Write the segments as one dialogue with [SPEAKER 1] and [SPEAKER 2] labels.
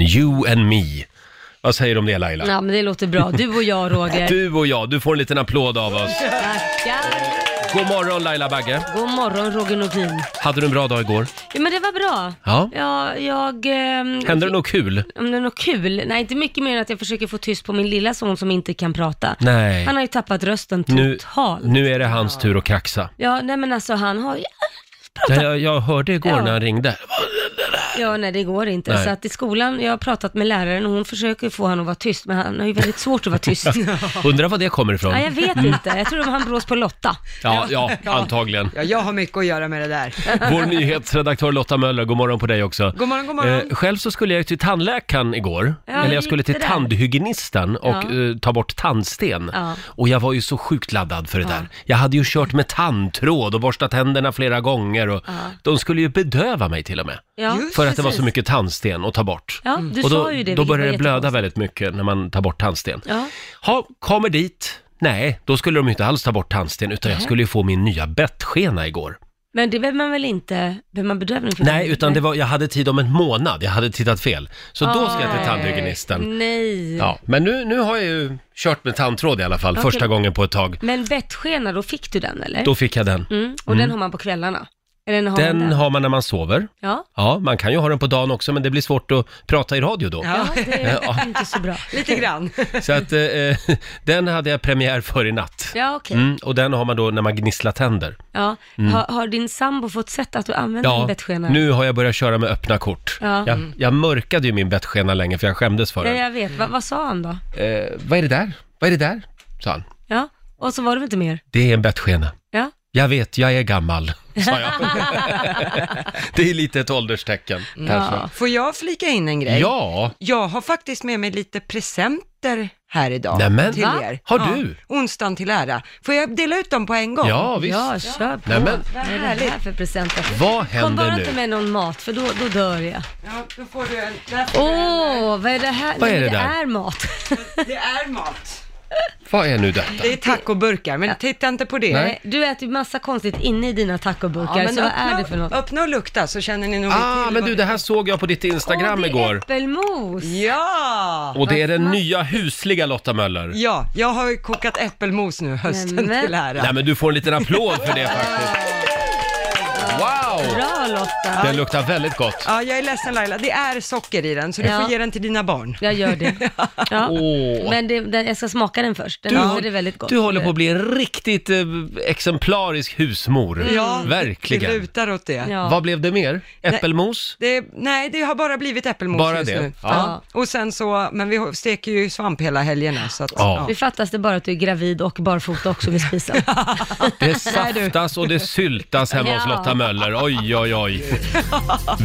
[SPEAKER 1] You and me. Vad säger du om det Laila?
[SPEAKER 2] Ja, men det låter bra. Du och jag, Roger.
[SPEAKER 1] Du och jag, du får en liten applåd av oss.
[SPEAKER 2] Tackar.
[SPEAKER 1] God morgon Laila Bagge.
[SPEAKER 2] God morgon, Roger Nordin.
[SPEAKER 1] Hade du en bra dag igår?
[SPEAKER 2] Ja, men det var bra.
[SPEAKER 1] Ja.
[SPEAKER 2] Ja, jag... ehm,
[SPEAKER 1] Hände det något kul?
[SPEAKER 2] Om det är något kul? Nej, inte mycket mer än att jag försöker få tyst på min lilla son som inte kan prata.
[SPEAKER 1] Nej.
[SPEAKER 2] Han har ju tappat rösten
[SPEAKER 1] Nu,
[SPEAKER 2] totalt.
[SPEAKER 1] nu är det hans tur att kraxa.
[SPEAKER 2] Ja, nej men alltså han har...
[SPEAKER 1] Ja, Jag, jag hörde igår
[SPEAKER 2] Ja.
[SPEAKER 1] när han ringde.
[SPEAKER 2] Ja, nej det går inte.
[SPEAKER 1] Nej.
[SPEAKER 2] Så att i skolan, jag har pratat med läraren och hon försöker få honom att vara tyst, men han har ju väldigt svårt att vara tyst.
[SPEAKER 1] Undrar var det kommer ifrån?
[SPEAKER 2] ja, jag vet
[SPEAKER 1] Mm.
[SPEAKER 2] inte. Jag tror det var han brås på Lotta.
[SPEAKER 1] Ja, ja, antagligen.
[SPEAKER 3] Ja, jag har mycket att göra med det där.
[SPEAKER 1] Vår nyhetsredaktör Lotta Möller, god morgon på dig också.
[SPEAKER 3] God morgon, god morgon.
[SPEAKER 1] Eh, själv så skulle jag till tandläkaren igår.
[SPEAKER 2] Ja,
[SPEAKER 1] eller
[SPEAKER 2] hur
[SPEAKER 1] jag skulle
[SPEAKER 2] gick
[SPEAKER 1] till
[SPEAKER 2] det där?
[SPEAKER 1] tandhygienisten och
[SPEAKER 2] Ja.
[SPEAKER 1] eh, ta bort tandsten.
[SPEAKER 2] Ja.
[SPEAKER 1] Och jag var ju så sjukt laddad för det där. Jag hade ju kört med tandtråd och borstat tänderna flera gånger och de skulle ju bedöva mig till och med.
[SPEAKER 2] Ja,
[SPEAKER 3] Just
[SPEAKER 1] För att det var så
[SPEAKER 2] precis.
[SPEAKER 1] mycket tandsten att ta bort.
[SPEAKER 2] Ja, du
[SPEAKER 1] och då,
[SPEAKER 2] sa ju det.
[SPEAKER 1] då
[SPEAKER 2] vilket
[SPEAKER 1] börjar
[SPEAKER 2] var
[SPEAKER 1] det blöda
[SPEAKER 2] jättekonstigt.
[SPEAKER 1] väldigt mycket när man tar bort tandsten.
[SPEAKER 2] Ja.
[SPEAKER 1] Ha, kommer dit. Nej, då skulle de ju inte alls ta bort tandsten utan jag skulle ju få min nya bettskena igår.
[SPEAKER 2] Men det behöver man väl inte, behöver man bedövning för
[SPEAKER 1] Nej, utan det var, jag hade tid om en månad. Jag hade tittat fel. Så då ska
[SPEAKER 2] Ah.
[SPEAKER 1] jag till
[SPEAKER 2] Mm.
[SPEAKER 1] tandhygienisten.
[SPEAKER 2] Nej.
[SPEAKER 1] Ja, men nu, nu har jag ju kört med tandtråd i alla fall,
[SPEAKER 2] Okej.
[SPEAKER 1] första gången på ett tag.
[SPEAKER 2] Men bettskena, då fick du den eller?
[SPEAKER 1] Då fick jag den.
[SPEAKER 2] Mm, och den har man på kvällarna? Eller när har man
[SPEAKER 1] Den
[SPEAKER 2] den?
[SPEAKER 1] har man när man sover.
[SPEAKER 2] Ja,
[SPEAKER 1] Ja, man kan ju ha den på dagen också, men det blir svårt att prata i radio då.
[SPEAKER 2] ja,
[SPEAKER 3] Ja,
[SPEAKER 2] det
[SPEAKER 1] Ja.
[SPEAKER 2] är inte så bra.
[SPEAKER 3] lite grann.
[SPEAKER 1] Så att eh, eh, den hade jag premiär för i natt.
[SPEAKER 2] Ja, okej.
[SPEAKER 1] Mm, och den har man då när man gnisslar tänder.
[SPEAKER 2] Ja. Har, har din sambo fått sett att du använder din
[SPEAKER 1] Ja,
[SPEAKER 2] bettskena?
[SPEAKER 1] nu har jag börjat köra med öppna kort.
[SPEAKER 2] Ja. Mm.
[SPEAKER 1] Jag, jag mörkade ju min bettskena länge för jag skämdes för
[SPEAKER 2] Ja,
[SPEAKER 1] den.
[SPEAKER 2] jag vet. Va, vad sa han då?
[SPEAKER 1] Eh, vad är det där? Vad är det där? sa han.
[SPEAKER 2] Ja, och så var det väl inte mer?
[SPEAKER 1] Det är en bettskena.
[SPEAKER 2] Ja.
[SPEAKER 1] Jag vet, jag är gammal, sa jag. det är lite ett ålderstecken,
[SPEAKER 2] Mm.
[SPEAKER 1] kanske.
[SPEAKER 3] Får jag flika in en grej?
[SPEAKER 1] Ja,
[SPEAKER 3] Jag har faktiskt med mig lite presenter här idag
[SPEAKER 1] Nämen.
[SPEAKER 3] till
[SPEAKER 1] Va?
[SPEAKER 3] er.
[SPEAKER 1] Har du?
[SPEAKER 3] Ja, onsdagen till ära. Får jag dela ut dem på en gång?
[SPEAKER 1] ja visst.
[SPEAKER 2] Ja, kör på.
[SPEAKER 1] Nej, men-
[SPEAKER 2] Vad är det här för presenter?
[SPEAKER 1] Vad
[SPEAKER 2] Kom bara
[SPEAKER 1] händer
[SPEAKER 2] inte
[SPEAKER 1] nu?
[SPEAKER 2] med någon mat, för då, då dör jag.
[SPEAKER 3] Ja, då får du en. Där får
[SPEAKER 2] Åh,
[SPEAKER 3] du en.
[SPEAKER 2] vad är det här?
[SPEAKER 1] Vad är
[SPEAKER 2] Nej,
[SPEAKER 1] det där?
[SPEAKER 2] är mat.
[SPEAKER 3] Det är mat.
[SPEAKER 1] Vad är nu detta?
[SPEAKER 3] Det är tacoburkar, men titta inte på det.
[SPEAKER 1] Nej.
[SPEAKER 2] Eh, Du äter ju massa konstigt inne i dina tacoburkar,
[SPEAKER 3] Ja, men
[SPEAKER 2] så vad
[SPEAKER 3] öppna,
[SPEAKER 2] är det för något?
[SPEAKER 3] öppna och lukta så känner ni nog
[SPEAKER 1] Ah,
[SPEAKER 3] till
[SPEAKER 1] men
[SPEAKER 3] vad
[SPEAKER 1] du, det här såg jag på ditt Instagram
[SPEAKER 2] Åh, det är
[SPEAKER 1] igår.
[SPEAKER 2] Äppelmos!
[SPEAKER 3] Ja!
[SPEAKER 1] Och det är den nya husliga Lotta Möller.
[SPEAKER 3] Ja, jag har ju kokat äppelmos nu hösten
[SPEAKER 2] Nämen.
[SPEAKER 3] till ära.
[SPEAKER 1] Nej, men du får en liten applåd för det faktiskt. Wow!
[SPEAKER 2] Bra Lotta!
[SPEAKER 1] Den luktar väldigt gott.
[SPEAKER 3] Ja, jag är ledsen Laila, det är socker i den så du
[SPEAKER 2] Ja.
[SPEAKER 3] får ge den till dina barn.
[SPEAKER 2] Jag gör det. Ja.
[SPEAKER 1] Åh.
[SPEAKER 2] Men det, den- jag ska smaka den först. Den luktar det väldigt gott.
[SPEAKER 1] Du håller på att bli en riktigt eh, exemplarisk husmor.
[SPEAKER 3] Ja, Det
[SPEAKER 1] Verkligen.
[SPEAKER 3] lutar åt det.
[SPEAKER 2] Ja.
[SPEAKER 1] Vad blev det mer? Äppelmos?
[SPEAKER 3] det. Nej, det har bara blivit äppelmos
[SPEAKER 1] Bara
[SPEAKER 3] just
[SPEAKER 1] det?
[SPEAKER 3] nu.
[SPEAKER 1] Ja.
[SPEAKER 3] Och sen så, men vi steker ju svamp hela helgerna så att,
[SPEAKER 1] Ja.
[SPEAKER 2] Nu fattas det bara att du är gravid och barfota också vid spisen.
[SPEAKER 1] Det saftas och det syltas hemma hos
[SPEAKER 2] Ja.
[SPEAKER 1] Lotta Möller. Oj, oj, oj.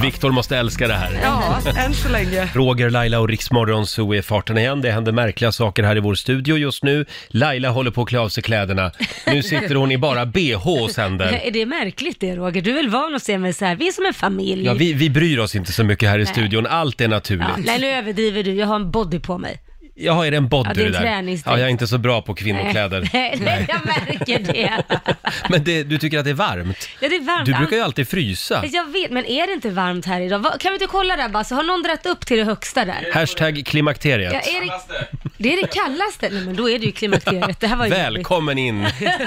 [SPEAKER 1] Viktor måste älska det här.
[SPEAKER 3] ja. ja, än så länge.
[SPEAKER 1] Roger, Laila och Riksmorgon så är farten igen. Det händer märkliga saker här i vår studio just nu. Laila håller på att klä av sig kläderna. Nu sitter hon i bara bh och sänder.
[SPEAKER 2] Är det märkligt det Roger? Du är väl van att se mig så här, vi är som en familj.
[SPEAKER 1] Ja, vi, vi bryr oss inte så mycket här i studion. Allt är
[SPEAKER 2] Ja,
[SPEAKER 1] naturligt.
[SPEAKER 2] nej nu överdriver du, jag har en body på mig.
[SPEAKER 1] Jaha, är det en body
[SPEAKER 2] Ja, det är en
[SPEAKER 1] det där?
[SPEAKER 2] träningsdräkt.
[SPEAKER 1] Ja, jag är inte så bra på kvinnokläder.
[SPEAKER 2] Nej, nej, jag märker det.
[SPEAKER 1] Men det, du tycker att det är varmt?
[SPEAKER 2] Ja, det är varmt.
[SPEAKER 1] Du brukar ju alltid frysa.
[SPEAKER 2] Jag vet, men är det inte varmt här idag? Vad- Kan vi inte kolla där Basse? Har någon dragit upp till det högsta där?
[SPEAKER 1] Hashtag
[SPEAKER 2] Ja,
[SPEAKER 1] klimakteriet.
[SPEAKER 2] är det, det är det kallaste. Nej, men då är det ju klimakteriet. Det här var ju jobbigt.
[SPEAKER 1] Välkommen in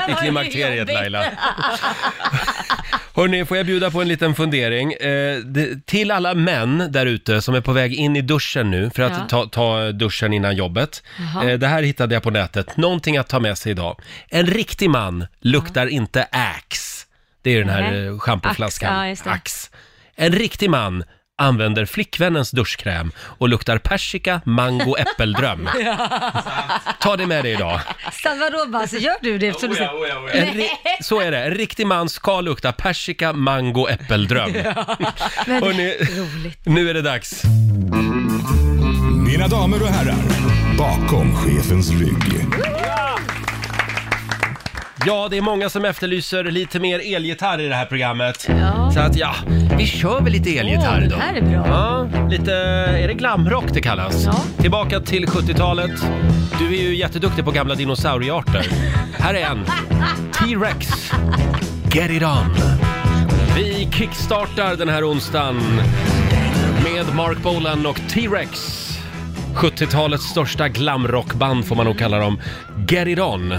[SPEAKER 1] i klimakteriet
[SPEAKER 2] jobbigt.
[SPEAKER 1] Laila. Hörni, får jag bjuda på en liten fundering? Eh, det, till alla män där ute som är på väg in i duschen nu för att
[SPEAKER 2] Ja.
[SPEAKER 1] ta, ta duschen innan jobbet.
[SPEAKER 2] Jaha.
[SPEAKER 1] Eh, det här hittade jag på nätet. Någonting att ta med sig idag. En riktig man luktar inte Axe. Det är ju den här
[SPEAKER 2] Nej.
[SPEAKER 1] eh, schampoflaskan.
[SPEAKER 2] Axe, ja, just det.
[SPEAKER 1] Axe. En riktig man använder flickvännens duschkräm och luktar persika, mango, äppeldröm. Ta det med dig idag.
[SPEAKER 2] Så vadå Basse, gör du det? eftersom du säger-
[SPEAKER 1] En ri- så är det, en riktig man ska lukta persika, mango, äppeldröm.
[SPEAKER 2] Men
[SPEAKER 1] Hörrni,
[SPEAKER 2] roligt.
[SPEAKER 1] nu är det dags.
[SPEAKER 4] Mina damer och herrar, bakom chefens rygg.
[SPEAKER 1] Ja, det är många som efterlyser lite mer elgitarr i det här programmet. Så att ja, vi kör väl lite elgitarr
[SPEAKER 2] Åh,
[SPEAKER 1] då.
[SPEAKER 2] det här är bra.
[SPEAKER 1] Ja, lite, är det glamrock det kallas?
[SPEAKER 2] Ja.
[SPEAKER 1] Tillbaka till 70-talet. Du är ju jätteduktig på gamla dinosauriearter. här är en. T-Rex. Get it on. Vi kickstartar den här onsdagen med Mark Bolan och T-Rex. 70-talets största glamrockband får man nog kalla dem. Get it on!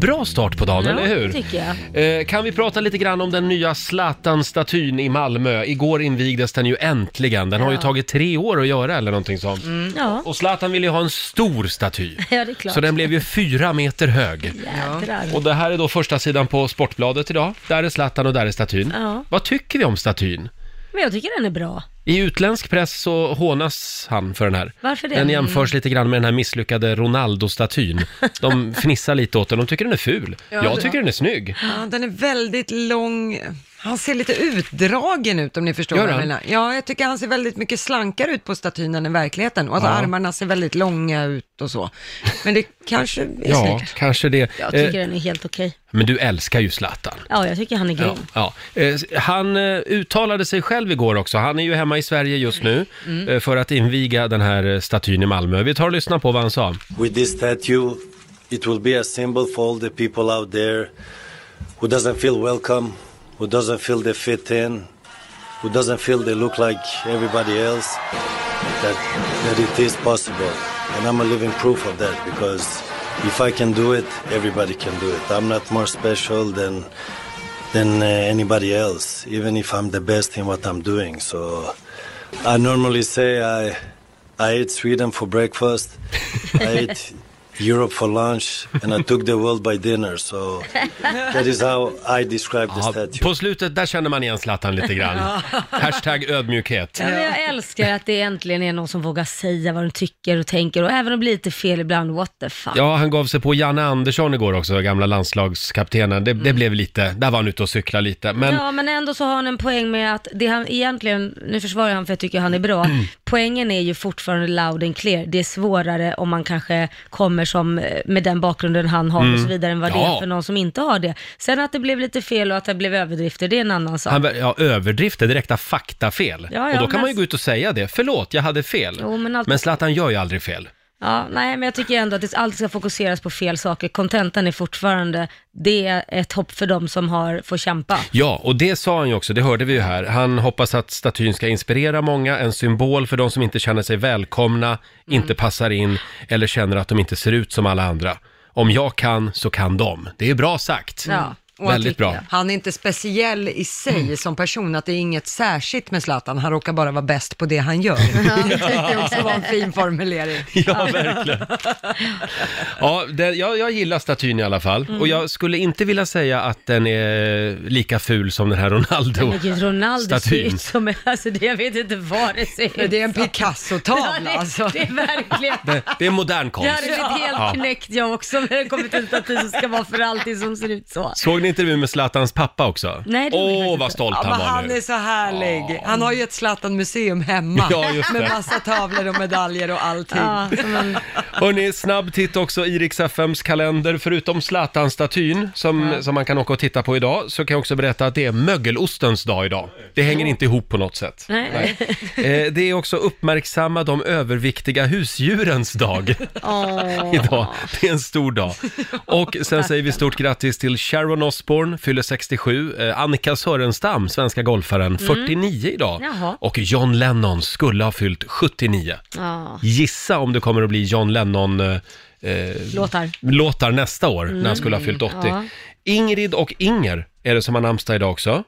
[SPEAKER 1] Bra start på dagen,
[SPEAKER 2] Ja,
[SPEAKER 1] eller hur?
[SPEAKER 2] det tycker jag.
[SPEAKER 1] Eh, Kan vi prata lite grann om den nya Zlatan-statyn i Malmö? Igår invigdes den ju äntligen. Den har ju
[SPEAKER 2] Ja.
[SPEAKER 1] tagit tre år att göra eller någonting sånt.
[SPEAKER 2] Ja,
[SPEAKER 1] Och Zlatan ville ju ha en stor staty.
[SPEAKER 2] ja det är klart.
[SPEAKER 1] Mm. Så den blev ju fyra meter hög.
[SPEAKER 2] Jädrar.
[SPEAKER 1] Och det här är då första sidan på Sportbladet idag. Där är Zlatan och där är statyn.
[SPEAKER 2] Ja.
[SPEAKER 1] Vad tycker vi om statyn?
[SPEAKER 2] Men jag tycker den är bra.
[SPEAKER 1] I utländsk press så hånas han för den här.
[SPEAKER 2] Varför det? Mm.
[SPEAKER 1] Den jämförs lite grann med den här misslyckade Ronaldo-statyn. De fnissar lite åt den, de tycker den är ful. Jag tycker den är snygg.
[SPEAKER 3] Ja, den är väldigt lång. Han ser lite utdragen ut om ni förstår
[SPEAKER 1] Gör
[SPEAKER 3] vad jag
[SPEAKER 1] han?
[SPEAKER 3] menar. Ja, jag tycker han ser väldigt mycket slankare ut på statyn än i verkligheten och att
[SPEAKER 1] Ja.
[SPEAKER 3] armarna ser väldigt långa ut och så. Men det kanske är
[SPEAKER 1] Ja,
[SPEAKER 3] snyggt.
[SPEAKER 1] kanske det.
[SPEAKER 2] Jag tycker
[SPEAKER 1] Eh,
[SPEAKER 2] den är helt okej.
[SPEAKER 1] men du älskar ju Zlatan.
[SPEAKER 2] Ja, jag tycker han är grym.
[SPEAKER 1] Ja, ja. Eh, Han eh, uttalade sig själv igår också. Han är ju hemma i Sverige just nu
[SPEAKER 2] Mm.
[SPEAKER 1] eh, för att inviga den här eh, statyn i Malmö. Vi tar och lyssnar på vad han sa.
[SPEAKER 5] With this statue, it will be a symbol for all the people out there who doesn't feel welcome, who doesn't feel they fit in, who doesn't feel they look like everybody else, that, that it is possible. And I'm a living proof of that because if I can do it, everybody can do it. I'm not more special than than uh, anybody else, even if I'm the best in what I'm doing. So I normally say I I ate Sweden for breakfast, I ate Europe for lunch, and I took the world by dinner. So that is how I describe the
[SPEAKER 1] Ja,
[SPEAKER 5] statue.
[SPEAKER 1] på slutet, där känner man igen Zlatan lite grann. Hashtag ödmjukhet.
[SPEAKER 2] Ja, men jag älskar att det äntligen är någon som vågar säga vad de tycker och tänker och även om det blir lite fel ibland, what the fuck.
[SPEAKER 1] Ja, han gav sig på Janne Andersson igår också, gamla landslagskaptenen. Det, det blev lite, där var han ute och cykla lite. Men
[SPEAKER 2] Mm. Ja, men ändå så har han en poäng med att det han egentligen, nu försvarar jag han för jag tycker han är bra, poängen är ju fortfarande loud and clear. Det är svårare om man kanske kommer som, eh, med den bakgrunden han har och så vidare, än vad det
[SPEAKER 1] Mm. Ja.
[SPEAKER 2] är för någon som inte har det. Sen att det blev lite fel och att det blev överdrifter, det är en annan sak.
[SPEAKER 1] han, ja, överdrifter, direkta faktafel.
[SPEAKER 2] Ja, ja,
[SPEAKER 1] och då kan
[SPEAKER 2] men-
[SPEAKER 1] man ju gå ut och säga det. Förlåt, jag hade fel.
[SPEAKER 2] Jo, men allt-
[SPEAKER 1] men Zlatan gör ju aldrig fel.
[SPEAKER 2] Ja, nej, men jag tycker ändå att det alltid ska fokuseras på fel saker. Kontentan är fortfarande, det är ett hopp för de som har, får kämpa.
[SPEAKER 1] Ja, och det sa han ju också, det hörde vi ju här. Han hoppas att statyn ska inspirera många, en symbol för de som inte känner sig välkomna,
[SPEAKER 2] Mm.
[SPEAKER 1] inte passar in eller känner att de inte ser ut som alla andra. Om jag kan, så kan de. Det är bra sagt.
[SPEAKER 2] Ja,
[SPEAKER 1] Mm. Väldigt
[SPEAKER 2] tycker
[SPEAKER 1] bra.
[SPEAKER 2] jag.
[SPEAKER 3] Han är inte speciell i sig som person, att det är inget särskilt med Zlatan, han råkar bara vara bäst på det han gör. Det tycker också var en fin formulering.
[SPEAKER 1] Ja, verkligen. Ja, det, jag, jag gillar statyn i alla fall.
[SPEAKER 2] Mm.
[SPEAKER 1] Och jag skulle inte vilja säga att den är lika ful som den här Ronaldo.
[SPEAKER 2] Men gud, Ronaldo ser ju
[SPEAKER 1] Statyn.
[SPEAKER 2] ut som en, alltså det, jag vet inte vad det ser ut
[SPEAKER 3] Det är en
[SPEAKER 2] som. Ja,
[SPEAKER 3] Picasso-tavla alltså.
[SPEAKER 2] det, det är verkligen...
[SPEAKER 1] Det, det är modern
[SPEAKER 2] Jag
[SPEAKER 1] konst.
[SPEAKER 2] hade blivit typ helt
[SPEAKER 1] Ja.
[SPEAKER 2] knäckt jag också när det kommit en staty som ska vara för alltid som ser ut så.
[SPEAKER 1] Såg ni intervjun med Zlatans pappa också?
[SPEAKER 2] Nej, det gjorde jag
[SPEAKER 1] Åh,
[SPEAKER 2] faktiskt
[SPEAKER 1] vad
[SPEAKER 2] inte.
[SPEAKER 1] stolt
[SPEAKER 3] Ja,
[SPEAKER 1] han
[SPEAKER 3] men
[SPEAKER 1] var
[SPEAKER 3] han
[SPEAKER 1] nu.
[SPEAKER 3] är så härlig. Han har ju ett Zlatan-museum hemma
[SPEAKER 1] Ja, just
[SPEAKER 3] med
[SPEAKER 1] det.
[SPEAKER 3] massa tavlor och medaljer och allting.
[SPEAKER 2] Ja, som en,
[SPEAKER 1] Hörrni, snabb titt också i Rix FMs kalender. Förutom Zlatan-statyn som, som man kan åka och titta på idag, så kan jag också berätta att det är mögelostens dag idag. Det hänger inte ihop på något sätt.
[SPEAKER 2] nej.
[SPEAKER 1] Eh, det är också uppmärksamma de överviktiga husdjurens dag.
[SPEAKER 2] Åh.
[SPEAKER 1] idag. Det är en stor dag. Och sen säger vi stort grattis till Sharon Osbourne, fyller 67. Eh, Annika Sörenstam, svenska golfaren, 49 idag.
[SPEAKER 2] Mm. Jaha.
[SPEAKER 1] Och John Lennon skulle ha fyllt 79.
[SPEAKER 2] Ja,
[SPEAKER 1] Gissa om det kommer att bli John Lennon eh,
[SPEAKER 2] låtar.
[SPEAKER 1] låtar nästa år när han skulle ha fyllt 80.
[SPEAKER 2] Mm, Ja.
[SPEAKER 1] Ingrid och Inger är det som har namnsdag idag också.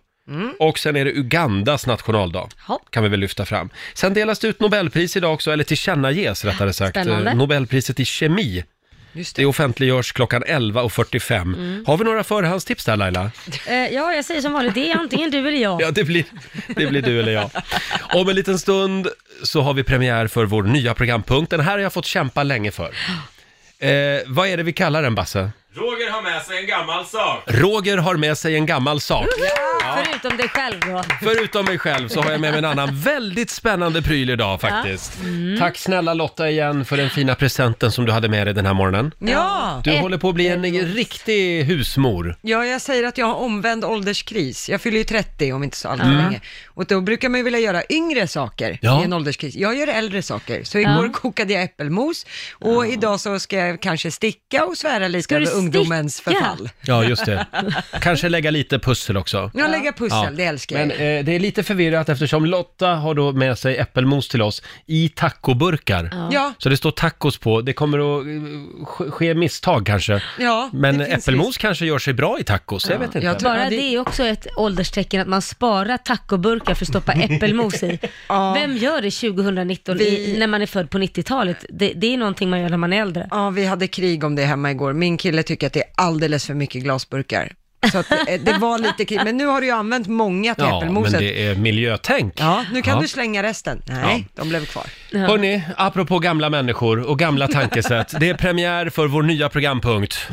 [SPEAKER 1] Och sen är det Ugandas nationaldag,
[SPEAKER 2] Ja.
[SPEAKER 1] kan vi väl lyfta fram. Sen delas det ut Nobelpris idag också, eller tillkännages rättare sagt.
[SPEAKER 2] Spännande.
[SPEAKER 1] Eh, Nobelpriset i kemi
[SPEAKER 3] Just
[SPEAKER 1] det offentliggörs klockan 11.45.
[SPEAKER 2] Mm.
[SPEAKER 1] Har vi några förhandstips där Laila?
[SPEAKER 2] Eh, ja, jag säger som vanligt, det är antingen du eller jag.
[SPEAKER 1] Ja, det blir, det blir du eller jag. Om en liten stund så har vi premiär för vår nya programpunkt. Den här har jag fått kämpa länge för. Eh, vad är det vi kallar den, Basse?
[SPEAKER 6] Roger har med sig en gammal sak.
[SPEAKER 1] Roger har med sig en gammal sak.
[SPEAKER 2] Förutom dig själv då.
[SPEAKER 1] Förutom mig själv så har jag med mig en annan väldigt spännande pryl idag faktiskt. Tack snälla Lotta igen för den fina presenten som du hade med dig den här morgonen.
[SPEAKER 3] Ja.
[SPEAKER 1] Du håller på att bli en riktig husmor.
[SPEAKER 3] ja, jag säger att jag har omvänd ålderskris. Jag fyller ju 30 om inte så alltför länge. Och då brukar man ju vilja göra yngre saker
[SPEAKER 1] Ja.
[SPEAKER 3] i en ålderskris. Jag gör äldre saker. Så igår kokade jag äppelmos och idag så ska jag kanske sticka och svära lite
[SPEAKER 2] Ska du
[SPEAKER 3] över ungdomen. världens förfall.
[SPEAKER 1] Ja, just det. Kanske lägga lite pussel också.
[SPEAKER 3] Ja, lägga pussel,
[SPEAKER 1] Ja.
[SPEAKER 3] det älskar jag.
[SPEAKER 1] Men eh, det är lite förvirrat eftersom Lotta har då med sig äppelmos till oss i tacoburkar.
[SPEAKER 3] ja,
[SPEAKER 1] Så det står tacos på. Det kommer att eh, ske- ske misstag kanske.
[SPEAKER 3] ja,
[SPEAKER 1] Men
[SPEAKER 3] det finns
[SPEAKER 1] äppelmos
[SPEAKER 3] risk.
[SPEAKER 1] kanske gör sig bra i tacos, jag vet inte.
[SPEAKER 3] Jag tror-
[SPEAKER 2] Bara
[SPEAKER 3] Ja, det-
[SPEAKER 2] det... är också ett ålderstecken att man sparar tacoburkar för att stoppa äppelmos i. Vem gör det 2019
[SPEAKER 3] Vi-
[SPEAKER 2] i, när man är född på 90-talet? Det, det är någonting man gör när man är äldre.
[SPEAKER 3] Ja, vi hade krig om det hemma igår. Min kille tycker att det är alldeles för mycket glasburkar. Så att, eh, det var lite krig, men nu har du ju använt många till
[SPEAKER 1] Ja, men
[SPEAKER 3] äppelmoset.
[SPEAKER 1] det är miljötänk.
[SPEAKER 3] Ja, nu kan
[SPEAKER 1] Ja.
[SPEAKER 3] du slänga resten. Nej, de blev kvar.
[SPEAKER 1] Hörni, apropå gamla människor och gamla tankesätt. det är premiär för vår nya programpunkt.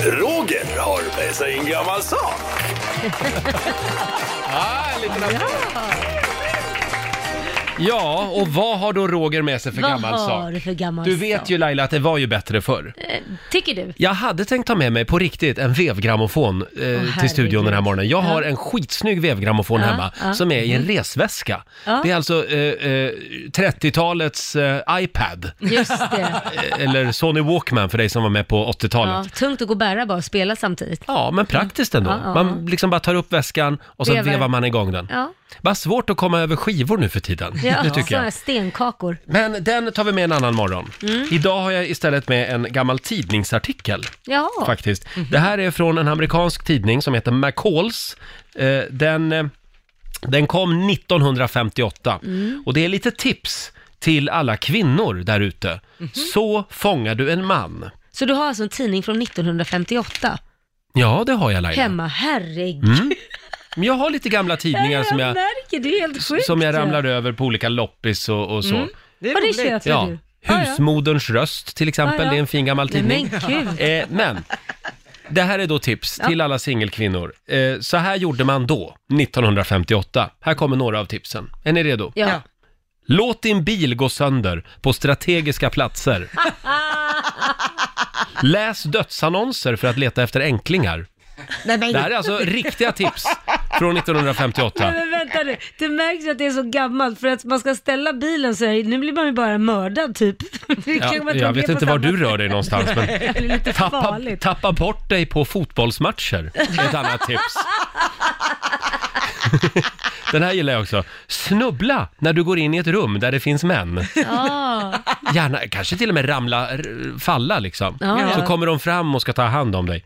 [SPEAKER 4] Roger har med sig en gammal sak.
[SPEAKER 1] Ja, och vad har då Roger med sig för
[SPEAKER 2] Vad
[SPEAKER 1] gammal
[SPEAKER 2] har
[SPEAKER 1] sak?
[SPEAKER 2] du för gammal
[SPEAKER 1] Du vet
[SPEAKER 2] sak?
[SPEAKER 1] ju Laila att det var ju bättre förr.
[SPEAKER 2] Tycker du?
[SPEAKER 1] Jag hade tänkt ta med mig på riktigt en vevgrammofon eh, till studion den här morgonen. Jag har en skitsnygg vevgrammofon
[SPEAKER 2] Ja,
[SPEAKER 1] hemma
[SPEAKER 2] ja. Mm.
[SPEAKER 1] som är i en resväska.
[SPEAKER 2] Ja.
[SPEAKER 1] Det är alltså eh, eh, 30-talets eh, iPad.
[SPEAKER 2] Just det.
[SPEAKER 1] Eh, Eller Sony Walkman för dig som var med på 80-talet.
[SPEAKER 2] Ja,
[SPEAKER 1] Ja.
[SPEAKER 2] tungt att gå och bära bara och spela samtidigt.
[SPEAKER 1] men praktiskt ändå.
[SPEAKER 2] Ja, ja,
[SPEAKER 1] Man liksom bara tar upp väskan och så
[SPEAKER 2] Vevar.
[SPEAKER 1] vevar man igång den.
[SPEAKER 2] Ja,
[SPEAKER 1] Vad svårt att komma över skivor nu för tiden.
[SPEAKER 2] ja.
[SPEAKER 1] Det tycker
[SPEAKER 2] såna här
[SPEAKER 1] jag.
[SPEAKER 2] stenkakor.
[SPEAKER 1] Men den tar vi med en annan morgon.
[SPEAKER 2] Mm.
[SPEAKER 1] Idag har jag istället med en gammal tidningsartikel.
[SPEAKER 2] Ja, Mhm.
[SPEAKER 1] faktiskt. Det här är från en amerikansk tidning som heter McCalls. Eh, den, eh, den kom 1958
[SPEAKER 2] Mm.
[SPEAKER 1] och det är lite tips till alla kvinnor där ute.
[SPEAKER 2] Mhm.
[SPEAKER 1] Så fångar du en man.
[SPEAKER 2] så du har alltså en tidning från 1958
[SPEAKER 1] Ja, det har jag Laila.
[SPEAKER 2] hemma. Herregud,
[SPEAKER 1] Men jag har lite gamla tidningar som jag,
[SPEAKER 2] märker, det är helt sjukt.
[SPEAKER 1] som jag ramlar över på olika loppis och, och så.
[SPEAKER 2] Mm.
[SPEAKER 3] Det är
[SPEAKER 2] Vad det
[SPEAKER 3] roligt.
[SPEAKER 2] köper
[SPEAKER 1] Ja.
[SPEAKER 2] du? Ja, ja.
[SPEAKER 1] Husmoderns röst till exempel,
[SPEAKER 2] Ja, ja.
[SPEAKER 1] det är en fin gammal
[SPEAKER 2] Nej,
[SPEAKER 1] tidning.
[SPEAKER 2] men gud.
[SPEAKER 1] Eh, men, det här är då tips till alla singelkvinnor. Eh, så här gjorde man då, 1958. Här kommer några av tipsen. Är ni redo?
[SPEAKER 2] Ja.
[SPEAKER 1] Låt din bil gå sönder på strategiska platser. Läs dödsannonser för att leta efter änklingar.
[SPEAKER 3] Nej, men,
[SPEAKER 1] Det här är alltså riktiga tips från 1958.
[SPEAKER 2] Men vänta nu, det märks ju att det är så gammalt för att man ska ställa bilen så här, nu blir man ju bara mördad typ. Det
[SPEAKER 1] Ja,
[SPEAKER 2] kanske man
[SPEAKER 1] jag
[SPEAKER 2] tog
[SPEAKER 1] vet
[SPEAKER 2] med
[SPEAKER 1] inte
[SPEAKER 2] på
[SPEAKER 1] var
[SPEAKER 2] samma-
[SPEAKER 1] du rör dig någonstans, men
[SPEAKER 2] Det är lite
[SPEAKER 1] tappa,
[SPEAKER 2] farligt.
[SPEAKER 1] tappa bort dig på fotbollsmatcher, är ett annat tips. Den här gillar jag också. Snubbla när du går in i ett rum där det finns män.
[SPEAKER 2] Ja,
[SPEAKER 1] Gärna, kanske till och med ramla, r- falla liksom.
[SPEAKER 2] Ja. Ah,
[SPEAKER 1] Så kommer de fram och ska ta hand om dig.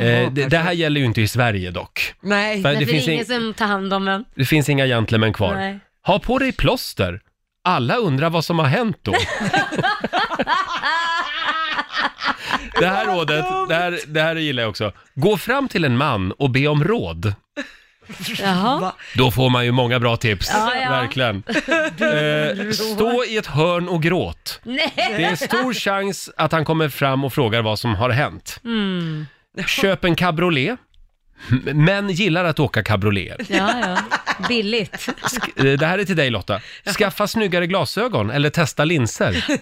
[SPEAKER 1] eh, det, det här gäller ju inte i Sverige dock.
[SPEAKER 3] nej.
[SPEAKER 1] För
[SPEAKER 2] det,
[SPEAKER 1] det,
[SPEAKER 2] det
[SPEAKER 1] finns
[SPEAKER 2] är ingen
[SPEAKER 1] ing-
[SPEAKER 2] som tar hand om en.
[SPEAKER 1] det finns inga gentlemän kvar.
[SPEAKER 2] Nej.
[SPEAKER 1] Ha på dig plåster. Alla undrar vad som har hänt då. det här rådet, det här, det här gillar jag också. Gå fram till en man och be om råd.
[SPEAKER 2] Jaha.
[SPEAKER 1] Då får man ju många bra tips,
[SPEAKER 2] Ja, ja.
[SPEAKER 1] verkligen. Eh, stå i ett hörn och gråt.
[SPEAKER 2] Nej.
[SPEAKER 1] Det är stor chans att han kommer fram och frågar vad som har hänt.
[SPEAKER 2] Mm.
[SPEAKER 1] Köp en cabriolet. M- Män gillar att åka cabriolet.
[SPEAKER 2] Ja, ja. Billigt.
[SPEAKER 1] Eh, Det här är till dig Lotta. Skaffa snyggare glasögon eller testa linser.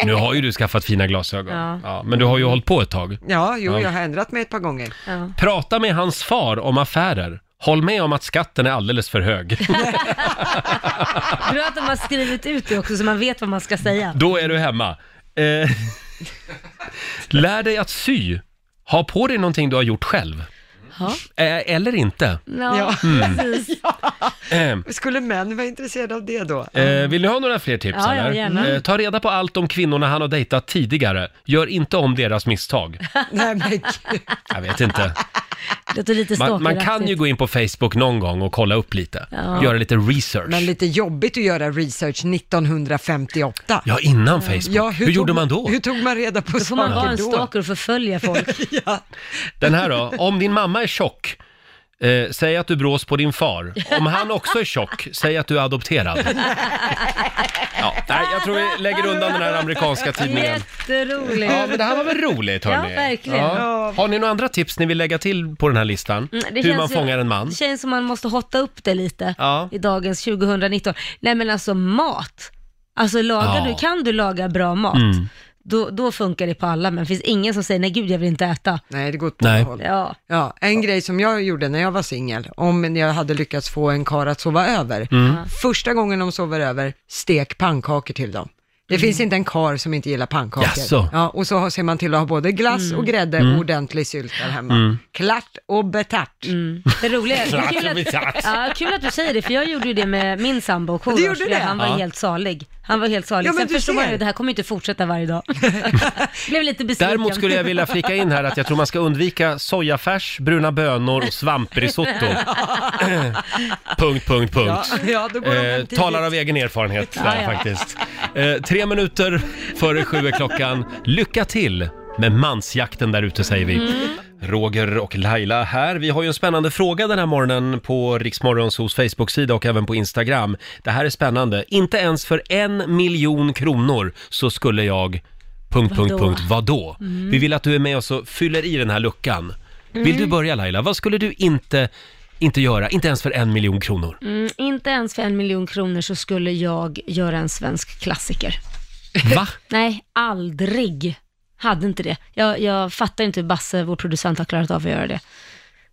[SPEAKER 2] Oh.
[SPEAKER 1] Nu har ju du skaffat fina glasögon. Ja.
[SPEAKER 2] Ja.
[SPEAKER 1] men du har ju hållit på ett tag.
[SPEAKER 3] Ja, jo,
[SPEAKER 1] Ja.
[SPEAKER 3] jag har ändrat mig ett par gånger.
[SPEAKER 2] Ja.
[SPEAKER 1] Prata med hans far om affärer. Håll med om att skatten är alldeles för hög.
[SPEAKER 2] Bra att de har skrivit ut det också så man vet vad man ska säga.
[SPEAKER 1] Då är du hemma. Eh, lär dig att sy. Ha på dig någonting du har gjort själv.
[SPEAKER 2] Ja.
[SPEAKER 1] Eh, eller inte.
[SPEAKER 2] Ja,
[SPEAKER 3] Ja.
[SPEAKER 2] precis.
[SPEAKER 1] Eh,
[SPEAKER 3] Skulle män vara intresserade av det då?
[SPEAKER 1] Eh, vill ni ha några fler tips?
[SPEAKER 2] Ja, ja,
[SPEAKER 1] eller?
[SPEAKER 2] gärna.
[SPEAKER 1] Eh, ta reda på allt om kvinnorna han har dejtat tidigare. Gör inte om deras misstag.
[SPEAKER 3] Nej, men gud.
[SPEAKER 1] Jag vet inte.
[SPEAKER 2] Det låter lite
[SPEAKER 1] Man, man kan
[SPEAKER 2] stalkeraktigt.
[SPEAKER 1] ju gå in på Facebook någon gång och kolla upp lite.
[SPEAKER 2] Ja.
[SPEAKER 1] Göra lite research.
[SPEAKER 3] Men lite jobbigt att göra research 1958.
[SPEAKER 1] Ja, innan Facebook. hur
[SPEAKER 3] tog
[SPEAKER 1] gjorde man då?
[SPEAKER 3] Hur tog man reda på
[SPEAKER 2] Då får man vara
[SPEAKER 3] saker
[SPEAKER 2] en
[SPEAKER 3] då?
[SPEAKER 2] stalker och förfölja folk.
[SPEAKER 3] Ja.
[SPEAKER 1] Den här då? Om din mamma är tjock, eh, säg att du brås på din far. Om han också är tjock, säg att du är adopterad. Ja, nej, jag tror vi lägger undan den här amerikanska tidningen.
[SPEAKER 2] Jätteroligt.
[SPEAKER 1] Ja, men det här var väl roligt hörni?
[SPEAKER 2] Ja, verkligen.
[SPEAKER 1] Ja. Har ni några andra tips ni vill lägga till på den här listan?
[SPEAKER 2] Mm, det
[SPEAKER 1] Hur
[SPEAKER 2] känns
[SPEAKER 1] man
[SPEAKER 2] ju-
[SPEAKER 1] fångar en man?
[SPEAKER 2] Det känns som man måste hotta upp det lite
[SPEAKER 1] Ja.
[SPEAKER 2] i dagens 2019. Nej men alltså mat. Alltså lagar
[SPEAKER 1] Ja. Mm.
[SPEAKER 2] du, kan du laga bra mat, då, då funkar det på alla, men det finns ingen som säger nej gud jag vill inte äta.
[SPEAKER 3] Nej, det går åt båda
[SPEAKER 1] Nej.
[SPEAKER 3] håll.
[SPEAKER 2] Ja,
[SPEAKER 3] Ja, en grej som jag gjorde när jag var singel, om jag hade lyckats
[SPEAKER 1] Mm.
[SPEAKER 3] få en karl att sova över. Första gången de sover över, stek pannkakor till dem. Det
[SPEAKER 2] Mm.
[SPEAKER 3] finns inte en kar som inte gillar pannkakor.
[SPEAKER 1] Jaså? Mm.
[SPEAKER 3] Ja, och så har- ser man till att ha både glass
[SPEAKER 2] Mm.
[SPEAKER 3] och grädde och ordentlig sylt där hemma. Klart och betärt.
[SPEAKER 2] Det roliga är, kul,
[SPEAKER 1] betärt.
[SPEAKER 2] att, ja, kul att du säger det, för jag gjorde ju det med min sambo och
[SPEAKER 3] Du gjorde det?
[SPEAKER 2] Han var
[SPEAKER 1] Ja.
[SPEAKER 2] helt salig. Han var helt salig.
[SPEAKER 3] Ja, men
[SPEAKER 2] Sen
[SPEAKER 3] du
[SPEAKER 2] förstår man
[SPEAKER 3] ser.
[SPEAKER 2] ju, det här kommer ju inte fortsätta varje dag. Blev lite besviken.
[SPEAKER 1] Däremot skulle jag vilja flika in här att jag tror man ska undvika sojafärs, bruna bönor och svamprisotto. punkt, punkt,
[SPEAKER 3] Ja,
[SPEAKER 1] punkt.
[SPEAKER 3] ja, då går de
[SPEAKER 1] Eh,
[SPEAKER 3] hem tidigt.
[SPEAKER 1] talar av egen erfarenhet
[SPEAKER 2] Ja,
[SPEAKER 1] där,
[SPEAKER 2] ja.
[SPEAKER 1] faktiskt. Eh, tre minuter före sju är klockan. Lycka till med mansjakten där ute säger vi.
[SPEAKER 3] Mm.
[SPEAKER 1] Roger och Laila här. Vi har ju en spännande fråga den här morgonen på Riksmorgonsos Facebook-sida och även på Instagram. Det här är spännande. Inte ens för en miljon kronor så skulle jag... Punkt, punkt,
[SPEAKER 2] Vadå?
[SPEAKER 1] punkt. Vadå?
[SPEAKER 3] Mm.
[SPEAKER 1] Vi vill att du är med oss och fyller i den här luckan. Vill du börja Laila? Vad skulle du inte, inte göra? Inte ens för en miljon kronor.
[SPEAKER 2] Mm, inte ens för en miljon kronor så skulle jag göra en svensk klassiker.
[SPEAKER 1] Va?
[SPEAKER 2] Nej, aldrig. Hade inte det. Jag, jag fattar inte hur Basse, vår producent, har klarat av att göra det.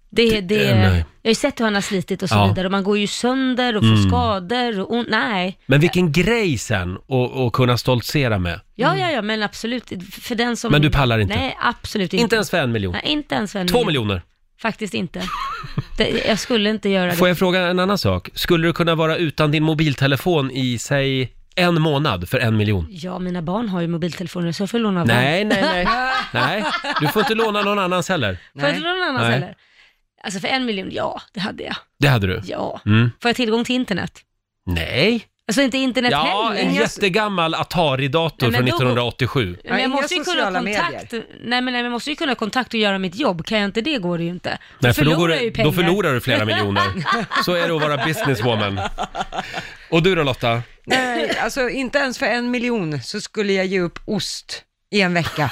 [SPEAKER 2] Det, det,
[SPEAKER 1] eh, nej.
[SPEAKER 2] jag har ju sett hur han har slitit och så
[SPEAKER 1] Ja. Mm.
[SPEAKER 2] vidare och man går ju sönder och får skador och ont. Nej.
[SPEAKER 1] Men vilken grej sen att- att kunna stoltsera med.
[SPEAKER 2] Ja, ja, ja, men absolut. För den som...
[SPEAKER 1] Mm. Men du pallar inte?
[SPEAKER 2] Nej, absolut inte.
[SPEAKER 1] Inte ens för en miljon.
[SPEAKER 2] Nej, Mm. inte ens för en
[SPEAKER 1] Två
[SPEAKER 2] miljon.
[SPEAKER 1] miljoner.
[SPEAKER 2] Faktiskt inte. Det, jag skulle inte göra
[SPEAKER 1] Får
[SPEAKER 2] det.
[SPEAKER 1] jag fråga en annan sak? Skulle du kunna vara utan din mobiltelefon i, säg, en månad för en miljon?
[SPEAKER 2] Ja, mina barn har ju mobiltelefoner så jag får låna av dem.
[SPEAKER 1] Nej, nej, nej. nej. Du får inte låna någon annans heller.
[SPEAKER 2] Får jag inte låna någon annans
[SPEAKER 1] Nej.
[SPEAKER 2] heller? Alltså för en miljon, ja, det hade jag.
[SPEAKER 1] Det hade du?
[SPEAKER 2] Ja.
[SPEAKER 1] Mm.
[SPEAKER 2] Får jag tillgång till internet?
[SPEAKER 1] Nej.
[SPEAKER 2] Alltså inte internet
[SPEAKER 1] Ja,
[SPEAKER 2] heller.
[SPEAKER 1] en jättegammal Atari-dator
[SPEAKER 2] Nej, men
[SPEAKER 1] från
[SPEAKER 2] då-
[SPEAKER 1] 1987.
[SPEAKER 2] Men jag
[SPEAKER 3] inga
[SPEAKER 2] måste ju kunna ha
[SPEAKER 3] sociala
[SPEAKER 2] kontakt. Nej men, nej men jag måste ju kunna ha kontakt och göra mitt jobb. Kan jag inte det går det ju inte.
[SPEAKER 1] Nej, för då, går
[SPEAKER 2] förlorar
[SPEAKER 1] det,
[SPEAKER 2] jag ju
[SPEAKER 1] då
[SPEAKER 2] pengar.
[SPEAKER 1] förlorar du flera miljoner. Så är det att vara businesswoman. Och du då Lotta?
[SPEAKER 3] Nej, alltså inte ens för en miljon så skulle jag ge upp ost i en vecka.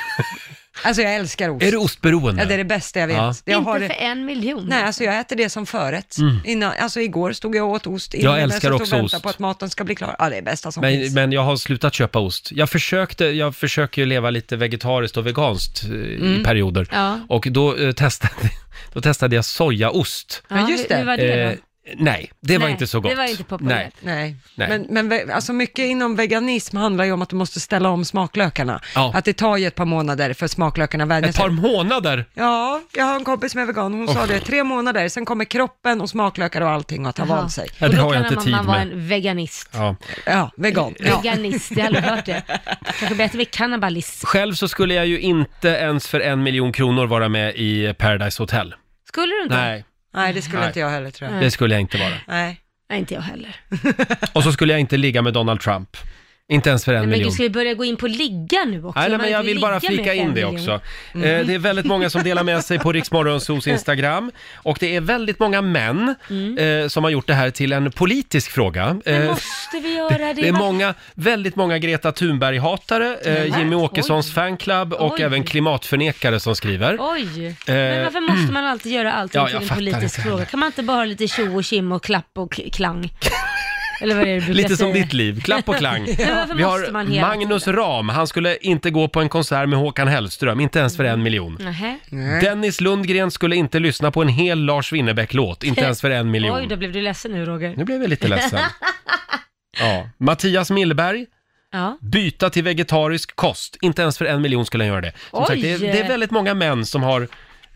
[SPEAKER 3] Alltså jag älskar ost.
[SPEAKER 1] Är du ostberoende?
[SPEAKER 3] Ja, det är det bästa jag vet.
[SPEAKER 1] Ja.
[SPEAKER 3] Jag
[SPEAKER 2] inte
[SPEAKER 3] har
[SPEAKER 2] för
[SPEAKER 3] det...
[SPEAKER 2] en miljon.
[SPEAKER 3] Nej, alltså jag äter det som förrätt. Innan, alltså igår stod jag och åt ost
[SPEAKER 1] Mm. Jag
[SPEAKER 3] innan
[SPEAKER 1] älskar
[SPEAKER 3] satt
[SPEAKER 1] också
[SPEAKER 3] och väntade
[SPEAKER 1] ost.
[SPEAKER 3] på att maten ska bli klar. Ja, det är det bästa som
[SPEAKER 1] Men,
[SPEAKER 3] finns.
[SPEAKER 1] men jag har slutat köpa ost. Jag, försökte, jag försöker ju leva lite vegetariskt och veganskt eh, i perioder.
[SPEAKER 2] Mm. Ja.
[SPEAKER 1] Och då, eh, testade, då testade jag sojaost.
[SPEAKER 2] Ja,
[SPEAKER 3] Men just
[SPEAKER 2] hur-
[SPEAKER 3] det.
[SPEAKER 2] Hur var det då?
[SPEAKER 1] Eh, nej, det var
[SPEAKER 2] Nej,
[SPEAKER 1] inte så
[SPEAKER 2] det
[SPEAKER 1] gott.
[SPEAKER 2] var inte populärt.
[SPEAKER 3] Nej.
[SPEAKER 1] Nej.
[SPEAKER 3] men, men ve- alltså mycket inom veganism handlar ju om att du måste ställa om smaklökarna.
[SPEAKER 1] Ja.
[SPEAKER 3] Att det tar ju ett par månader för smaklökarna vänjer
[SPEAKER 1] Nej. Ett par
[SPEAKER 3] sig.
[SPEAKER 1] månader?
[SPEAKER 3] Ja, jag har en kompis som är vegan, hon sa det, tre månader, sen kommer kroppen och smaklökar och allting att ha
[SPEAKER 2] Jaha.
[SPEAKER 3] vant sig.
[SPEAKER 1] Ja,
[SPEAKER 2] Och
[SPEAKER 1] det
[SPEAKER 2] då
[SPEAKER 1] har jag
[SPEAKER 2] kan
[SPEAKER 1] inte tid
[SPEAKER 2] man vara
[SPEAKER 1] med.
[SPEAKER 2] en veganist.
[SPEAKER 1] Ja.
[SPEAKER 3] Ja, vegan. Ja.
[SPEAKER 2] Veganist, jag har aldrig hört det. Kanske bättre med cannabalist.
[SPEAKER 1] Själv så skulle jag ju inte ens för en miljon kronor vara med i Paradise Hotel.
[SPEAKER 2] Skulle du inte?
[SPEAKER 1] Nej,
[SPEAKER 3] Nej, det skulle
[SPEAKER 1] Nej.
[SPEAKER 3] inte jag heller tror jag.
[SPEAKER 1] det skulle jag inte vara.
[SPEAKER 3] Nej.
[SPEAKER 2] Nej, inte jag heller.
[SPEAKER 1] Och så skulle jag inte ligga med Donald Trump. Inte ens för en
[SPEAKER 2] Men
[SPEAKER 1] miljon.
[SPEAKER 2] gud, ska vi börja gå in på ligga nu också?
[SPEAKER 1] Nej, nej,
[SPEAKER 2] Man
[SPEAKER 1] men jag
[SPEAKER 2] inte
[SPEAKER 1] vill bara
[SPEAKER 2] ligga med Mm.
[SPEAKER 1] flika in
[SPEAKER 2] fem
[SPEAKER 1] det
[SPEAKER 2] miljoner.
[SPEAKER 1] också. Eh, det är väldigt många som delar med sig på Riksmorgonsos Instagram och det är väldigt många män eh, som har gjort det här till en politisk fråga.
[SPEAKER 2] Mm. Men
[SPEAKER 1] Eh,
[SPEAKER 2] måste vi göra det?
[SPEAKER 1] det är
[SPEAKER 2] Va?
[SPEAKER 1] många, väldigt många Greta Thunberg-hatare, eh, Jimmy Åkessons fanclub och
[SPEAKER 2] Oj.
[SPEAKER 1] även klimatförnekare som skriver.
[SPEAKER 2] Oj, men varför måste man alltid göra allting
[SPEAKER 1] Eh, Ja, jag
[SPEAKER 2] till en
[SPEAKER 1] fattar
[SPEAKER 2] politisk
[SPEAKER 1] inte
[SPEAKER 2] fråga?
[SPEAKER 1] heller.
[SPEAKER 2] Kan man inte bara ha lite tjo och kim och klapp och k- klang? Eller vad är det du brukar
[SPEAKER 1] Lite som
[SPEAKER 2] säga?
[SPEAKER 1] ditt liv, klapp och klang.
[SPEAKER 2] Men varför
[SPEAKER 1] Vi
[SPEAKER 2] måste man
[SPEAKER 1] har
[SPEAKER 2] hela
[SPEAKER 1] Magnus Ram, han skulle inte gå på en konsert med Håkan Hellström, inte ens för
[SPEAKER 2] Mm.
[SPEAKER 1] en miljon.
[SPEAKER 2] Nähä.
[SPEAKER 1] Dennis Lundgren skulle inte lyssna på en hel Lars Winnerbäck-låt, inte ens för en miljon.
[SPEAKER 2] Oj, då blev du ledsen nu Roger.
[SPEAKER 1] Nu blev jag lite ledsen. Ja. Mattias Millberg,
[SPEAKER 2] Ja.
[SPEAKER 1] byta till vegetarisk kost. Inte ens för en miljon skulle han göra det. Som
[SPEAKER 2] Oj.
[SPEAKER 1] sagt, det, är, det är väldigt många män som har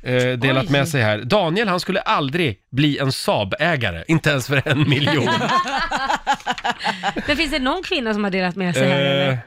[SPEAKER 1] eh, delat
[SPEAKER 2] Oj.
[SPEAKER 1] med sig här. Daniel, han skulle aldrig bli en Saab-ägare. Inte ens för en miljon.
[SPEAKER 2] Men finns det någon kvinna som har delat med sig här
[SPEAKER 1] eh,
[SPEAKER 2] eller?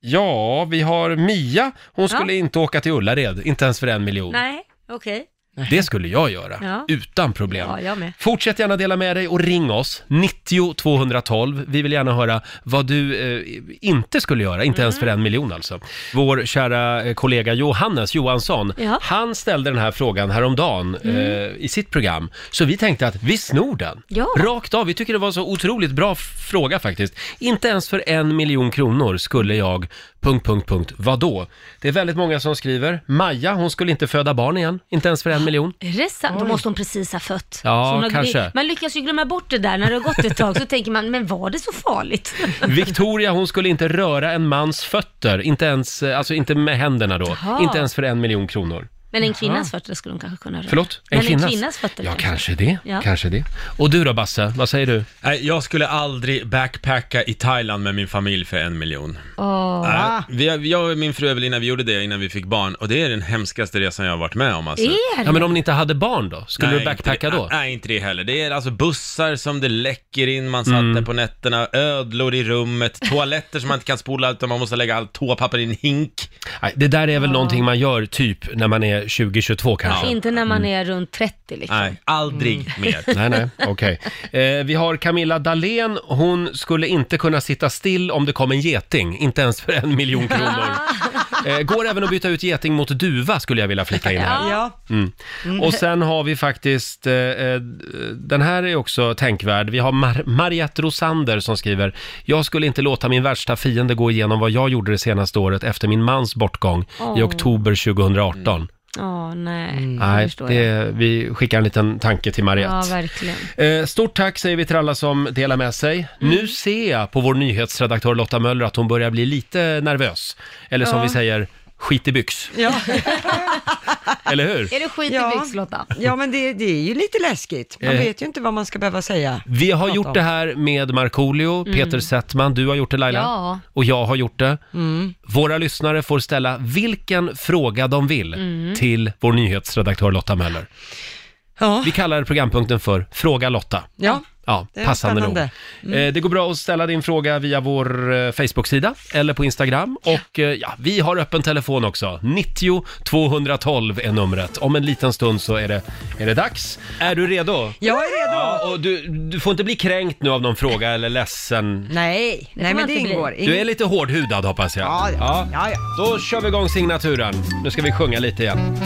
[SPEAKER 1] ja, vi har Mia. Hon
[SPEAKER 2] Ja.
[SPEAKER 1] skulle inte åka till Ullared. Inte ens för en miljon.
[SPEAKER 2] Nej, okej.
[SPEAKER 1] Det skulle jag göra.
[SPEAKER 2] Ja.
[SPEAKER 1] Utan problem.
[SPEAKER 2] Ja, jag med.
[SPEAKER 1] Fortsätt gärna dela med dig och ring oss, 90 212. Vi vill gärna höra vad du eh, inte skulle göra, inte ens
[SPEAKER 2] Mm.
[SPEAKER 1] för en miljon alltså. Vår kära eh, kollega Johannes Johansson,
[SPEAKER 2] Ja. Mm.
[SPEAKER 1] han ställde den här frågan häromdagen eh, i sitt program. Så vi tänkte att vi snor den.
[SPEAKER 2] Ja.
[SPEAKER 1] Rakt av, vi tycker det var så otroligt bra f- fråga faktiskt. Inte ens för en miljon kronor skulle jag... Punkt, punkt, punkt. Vadå? Det är väldigt många som skriver. Maja, hon skulle inte föda barn igen. Inte ens för en miljon.
[SPEAKER 2] Är det sant? Då måste hon precis ha fött.
[SPEAKER 1] Ja,
[SPEAKER 2] Så hon har-
[SPEAKER 1] kanske.
[SPEAKER 2] Man lyckas ju glömma bort det där när det har gått ett tag, så tänker man, men var det så farligt?
[SPEAKER 1] Victoria hon skulle inte röra en mans fötter, inte ens, alltså inte med händerna då,
[SPEAKER 2] Jaha.
[SPEAKER 1] inte ens för en miljon kronor.
[SPEAKER 2] Men en kvinnas fötter skulle de kanske kunna röra.
[SPEAKER 1] Förlåt?
[SPEAKER 2] Men en
[SPEAKER 1] kvinnas?
[SPEAKER 2] kvinnas fötter
[SPEAKER 1] Ja,
[SPEAKER 2] kanske.
[SPEAKER 1] kanske det.
[SPEAKER 2] Ja.
[SPEAKER 1] Kanske det. Och du då Basse, vad säger du?
[SPEAKER 6] Nej, jag skulle aldrig backpacka i Thailand med min familj för en miljon.
[SPEAKER 2] Åh.
[SPEAKER 6] Nej, vi, jag och min fru Evelina, vi gjorde det innan vi fick barn och det är den hemskaste resan jag har varit med om alltså.
[SPEAKER 2] Är
[SPEAKER 1] Ja,
[SPEAKER 2] det?
[SPEAKER 1] men om ni inte hade barn då? Skulle
[SPEAKER 6] Nej,
[SPEAKER 1] du backpacka
[SPEAKER 6] inte det,
[SPEAKER 1] då?
[SPEAKER 6] Nej, inte det heller. Det är alltså bussar som det läcker in, man satt
[SPEAKER 1] Mm.
[SPEAKER 6] där på nätterna, ödlor i rummet, toaletter som man inte kan spola utan man måste lägga allt toapapper i en hink.
[SPEAKER 1] Nej, det där är väl någonting man gör typ när man är 20-22 kanske?
[SPEAKER 2] Inte när
[SPEAKER 1] mm.
[SPEAKER 2] man är runt 30 liksom.
[SPEAKER 6] Nej, aldrig mer.
[SPEAKER 1] Nej, nej, okej. Eh, vi har Camilla Dahlén. Hon skulle inte kunna sitta still om det kom en geting, inte ens för en miljon kronor. Eh, går även att byta ut geting mot duva skulle jag vilja flika in här.
[SPEAKER 3] Ja.
[SPEAKER 1] Och sen har vi faktiskt, eh, eh, den här är också tänkvärd. Vi har Mar- Mariette Rosander som skriver, jag skulle inte låta min värsta fiende gå igenom vad jag gjorde det senaste året efter min mans bortgång i
[SPEAKER 2] Åh.
[SPEAKER 1] oktober 2018.
[SPEAKER 2] Åh nej,
[SPEAKER 3] Mm.
[SPEAKER 2] det
[SPEAKER 1] Nej,
[SPEAKER 2] förstår jag.
[SPEAKER 1] det, vi skickar en liten tanke till Mariette.
[SPEAKER 2] Ja, verkligen.
[SPEAKER 1] Eh, Stort tack säger vi till alla som delar med sig.
[SPEAKER 3] Mm.
[SPEAKER 1] Nu ser jag på vår nyhetsredaktör Lotta Möller att hon börjar bli lite nervös. Eller som vi säger, skit i byx.
[SPEAKER 3] Ja.
[SPEAKER 1] Eller hur?
[SPEAKER 2] Är det skit
[SPEAKER 3] Ja.
[SPEAKER 2] i byx, Lotta?
[SPEAKER 3] ja, men det, det är ju lite läskigt. Man
[SPEAKER 1] Eh.
[SPEAKER 3] vet ju inte vad man ska behöva säga.
[SPEAKER 1] Vi har
[SPEAKER 3] Prata
[SPEAKER 1] gjort
[SPEAKER 3] om. Mm.
[SPEAKER 1] det här med Markoolio, Peter Settman, du har gjort det Laila.
[SPEAKER 2] Ja.
[SPEAKER 1] Och jag har gjort det.
[SPEAKER 3] Mm.
[SPEAKER 1] Våra lyssnare får ställa vilken fråga de vill
[SPEAKER 3] Mm.
[SPEAKER 1] till vår nyhetsredaktör Lotta Möller.
[SPEAKER 3] Ja,
[SPEAKER 1] Vi kallar programpunkten för Fråga Lotta.
[SPEAKER 3] ja.
[SPEAKER 1] Ja,
[SPEAKER 3] Det är
[SPEAKER 1] passande nog.
[SPEAKER 3] spännande. Mm.
[SPEAKER 1] Eh, Det går bra att ställa din fråga via vår eh, Facebook-sida eller på Instagram. Och eh, ja, vi har öppen telefon också. 90 212 är numret. Om en liten stund så är det, är det dags. Är du redo?
[SPEAKER 3] jag är redo.
[SPEAKER 1] Ja, och du, du får inte bli kränkt nu av någon fråga eller ledsen.
[SPEAKER 3] Nej,
[SPEAKER 2] får
[SPEAKER 3] nej
[SPEAKER 2] man
[SPEAKER 3] men det
[SPEAKER 2] inte bli.
[SPEAKER 3] ingår.
[SPEAKER 1] Du är lite hårdhudad hoppas jag.
[SPEAKER 3] Ja, ja. ja, ja.
[SPEAKER 1] Då kör vi igång signaturen. Nu ska vi sjunga lite igen.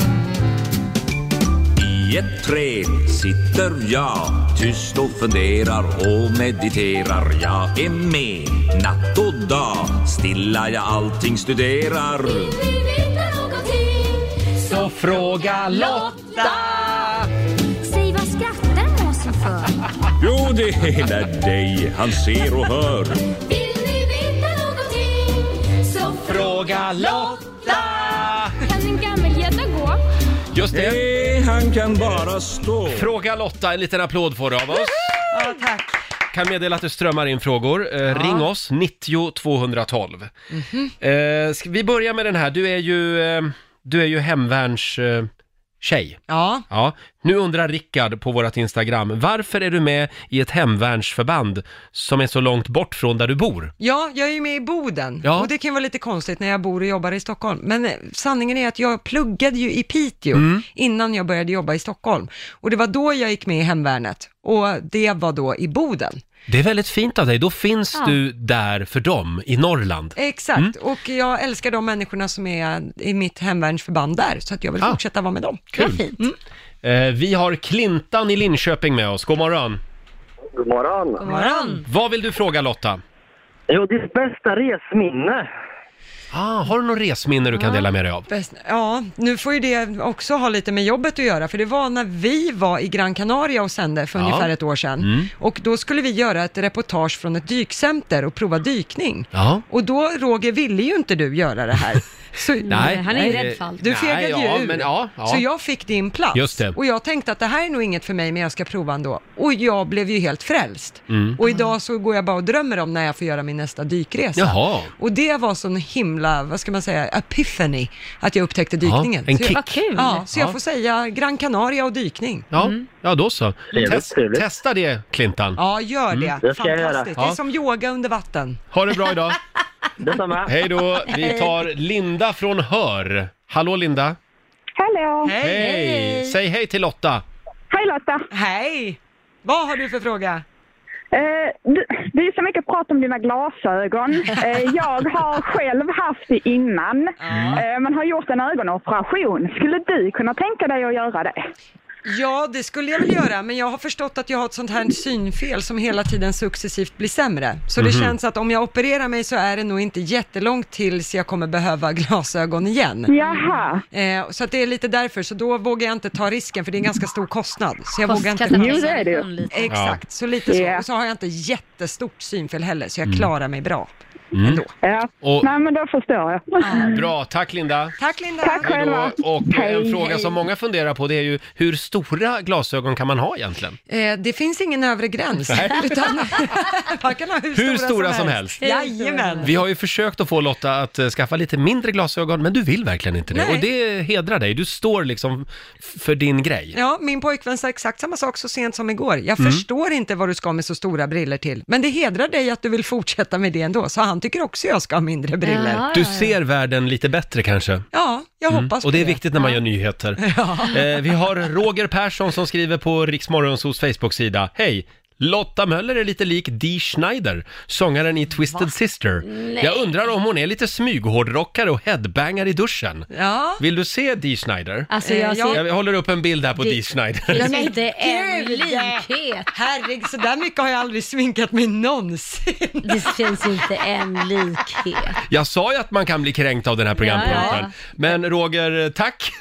[SPEAKER 4] I ett träd sitter jag tyst och funderar och mediterar. Jag är med natt och dag, stilla jag allting studerar.
[SPEAKER 7] Vill veta någonting?
[SPEAKER 1] Så fråga
[SPEAKER 7] Lotta! Säg vad skrattar måsen för?
[SPEAKER 4] Jo, det är hela dig han ser och hör.
[SPEAKER 7] Vill ni veta någonting? Så
[SPEAKER 1] Fråga Lotta!
[SPEAKER 7] kan en gammelgädda gå?
[SPEAKER 1] Just det.
[SPEAKER 4] Nej, han kan bara stå.
[SPEAKER 1] Fråga Lotta, en liten applåd får du av oss.
[SPEAKER 3] ja tack.
[SPEAKER 1] Kan meddela att det strömmar in frågor. Eh, Ring oss, 90 212. Eh, ska vi börja med den här. Du är ju, eh, du är ju hemvärns... Eh, tjej.
[SPEAKER 3] Ja.
[SPEAKER 1] Ja. Nu undrar Rickard på vårt Instagram, varför är du med i ett hemvärnsförband som är så långt bort från där du bor?
[SPEAKER 3] ja, jag är ju med i Boden
[SPEAKER 1] Ja.
[SPEAKER 3] och det kan ju vara lite konstigt när jag bor och jobbar i Stockholm. Men eh, sanningen är att jag pluggade ju i Piteå
[SPEAKER 1] Mm.
[SPEAKER 3] innan jag började jobba i Stockholm och det var då jag gick med i hemvärnet och det var då i Boden.
[SPEAKER 1] Det är väldigt fint av dig, då finns du där för dem i Norrland.
[SPEAKER 3] Exakt,
[SPEAKER 1] Mm.
[SPEAKER 3] och jag älskar de människorna som är i mitt hemvärnsförband där så att jag vill
[SPEAKER 1] Ah.
[SPEAKER 3] fortsätta vara med dem.
[SPEAKER 2] Vad fint.
[SPEAKER 1] Eh, vi har Klintan i Linköping med oss, god morgon.
[SPEAKER 8] God morgon.
[SPEAKER 2] God morgon.
[SPEAKER 1] Vad vill du fråga Lotta?
[SPEAKER 8] Jo, ditt bästa resminne?
[SPEAKER 1] Ah, har du något resminne du kan dela med dig av?
[SPEAKER 3] Bäst- Ja, nu får ju det också ha lite med jobbet att göra, för det var när vi var i Gran Canaria och sände för
[SPEAKER 1] Ja. Mm.
[SPEAKER 3] ungefär ett år sedan. Och då skulle vi göra ett reportage från ett dykcenter och prova dykning.
[SPEAKER 1] Ja.
[SPEAKER 3] Och då, Roger, ville ju inte du göra det här. Så,
[SPEAKER 1] Nej.
[SPEAKER 2] Han är ju
[SPEAKER 1] nej,
[SPEAKER 2] rädd för allt.
[SPEAKER 3] Du
[SPEAKER 1] Nej,
[SPEAKER 3] fegade ju
[SPEAKER 1] ja,
[SPEAKER 3] ur.
[SPEAKER 1] men ja, ja.
[SPEAKER 3] Så jag fick din plats.
[SPEAKER 1] Just det.
[SPEAKER 3] Och jag tänkte att det här är nog inget för mig, men jag ska prova ändå. Och jag blev ju helt frälst.
[SPEAKER 1] Mm.
[SPEAKER 3] Och idag så går jag bara och drömmer om när jag får göra min nästa dykresa.
[SPEAKER 1] Jaha.
[SPEAKER 3] Och det var sån himla, vad ska man säga, epiphany, att jag upptäckte dykningen.
[SPEAKER 1] en
[SPEAKER 3] Så jag-
[SPEAKER 1] kick. Mm.
[SPEAKER 2] Vad kul.
[SPEAKER 3] Ja, så jag
[SPEAKER 1] Ja.
[SPEAKER 3] får säga Gran Canaria och dykning.
[SPEAKER 1] Ja,
[SPEAKER 2] Mm.
[SPEAKER 1] ja då så.
[SPEAKER 8] Trevligt,
[SPEAKER 1] Test,
[SPEAKER 8] trevligt.
[SPEAKER 1] testa det Clintan.
[SPEAKER 3] Ja, gör det.
[SPEAKER 8] Det ska jag göra.
[SPEAKER 3] Fantastiskt. Det
[SPEAKER 1] Mm. Ja.
[SPEAKER 3] är som yoga under vatten.
[SPEAKER 1] Ha det bra idag.
[SPEAKER 8] Detsamma.
[SPEAKER 1] Hej då. Vi tar Linda från Hör. Hallå Linda.
[SPEAKER 9] Hallå!
[SPEAKER 3] Hej! Hej!
[SPEAKER 1] Säg hej till Lotta.
[SPEAKER 9] Hej Lotta!
[SPEAKER 3] Vad har du för fråga?
[SPEAKER 9] Eh, du, det är så mycket prat om dina glasögon. Eh, jag har själv haft det innan, eh, men har gjort en ögonoperation. Skulle du kunna tänka dig att göra det?
[SPEAKER 3] Ja, det skulle jag väl göra, men jag har förstått att jag har ett sånt här synfel som hela tiden successivt blir sämre. Så
[SPEAKER 1] Mhm.
[SPEAKER 3] det känns att om jag opererar mig så är det nog inte jättelångt tills jag kommer behöva glasögon igen.
[SPEAKER 9] Jaha.
[SPEAKER 3] Eh, så att det är lite därför, så då vågar jag inte ta risken för det är en ganska stor kostnad. Så jag vågar inte.
[SPEAKER 2] liksom
[SPEAKER 9] Jo, det är det ju.
[SPEAKER 3] Exakt, så lite så.
[SPEAKER 9] Ja.
[SPEAKER 3] Och så har jag inte jättestort synfel heller, så jag
[SPEAKER 1] Mm.
[SPEAKER 3] klarar mig bra.
[SPEAKER 9] Ja.
[SPEAKER 1] Och-
[SPEAKER 9] Nej, men då förstår jag.
[SPEAKER 1] Bra, tack Linda!
[SPEAKER 3] Tack Linda!
[SPEAKER 9] Tack
[SPEAKER 1] Hej
[SPEAKER 9] själva.
[SPEAKER 1] då. Och en
[SPEAKER 9] Hej,
[SPEAKER 1] fråga
[SPEAKER 9] hej.
[SPEAKER 1] som många funderar på det är ju hur stora glasögon kan man ha egentligen?
[SPEAKER 3] Eh, det finns ingen övre gräns,
[SPEAKER 1] Nej.
[SPEAKER 3] utan man kan ha hur,
[SPEAKER 1] Hur stora som
[SPEAKER 2] helst.
[SPEAKER 3] Jajamän!
[SPEAKER 1] Vi har ju försökt att få Lotta att eh, skaffa lite mindre glasögon, men du vill verkligen inte det.
[SPEAKER 3] Nej.
[SPEAKER 1] Och det hedrar dig, du står liksom f- för din grej.
[SPEAKER 3] Ja, min pojkvän sa exakt samma sak så sent som igår. Jag
[SPEAKER 1] Mm.
[SPEAKER 3] förstår inte vad du ska med så stora briller till, men det hedrar dig att du vill fortsätta med det ändå, så han tycker också jag ska ha mindre briller. Ja,
[SPEAKER 1] Du ser världen lite bättre kanske.
[SPEAKER 3] jag hoppas på
[SPEAKER 1] Mm. Och det är viktigt när man gör nyheter. Eh, vi har Roger Persson som skriver på Riksmorgonsos Facebook-sida. Hej! Lotta Möller är lite lik Dee Schneider, sångaren i Twisted Sister. Jag undrar om hon är lite smyghårdrockare och headbangar i duschen.
[SPEAKER 3] Ja,
[SPEAKER 1] Vill du se Dee Schneider?
[SPEAKER 2] Alltså
[SPEAKER 3] Eh,
[SPEAKER 2] jag
[SPEAKER 3] ja.
[SPEAKER 2] ser
[SPEAKER 1] Jag håller upp en bild här på
[SPEAKER 2] Det-
[SPEAKER 1] Dee Schneider.
[SPEAKER 2] finns inte en
[SPEAKER 3] gud.
[SPEAKER 2] likhet.
[SPEAKER 3] herregud, så där mycket har jag aldrig sminkat mig någonsin.
[SPEAKER 2] Det finns inte en likhet.
[SPEAKER 1] Jag sa ju att man kan bli kränkt av den här programpunkten.
[SPEAKER 2] Ja,
[SPEAKER 1] Men Roger, tack!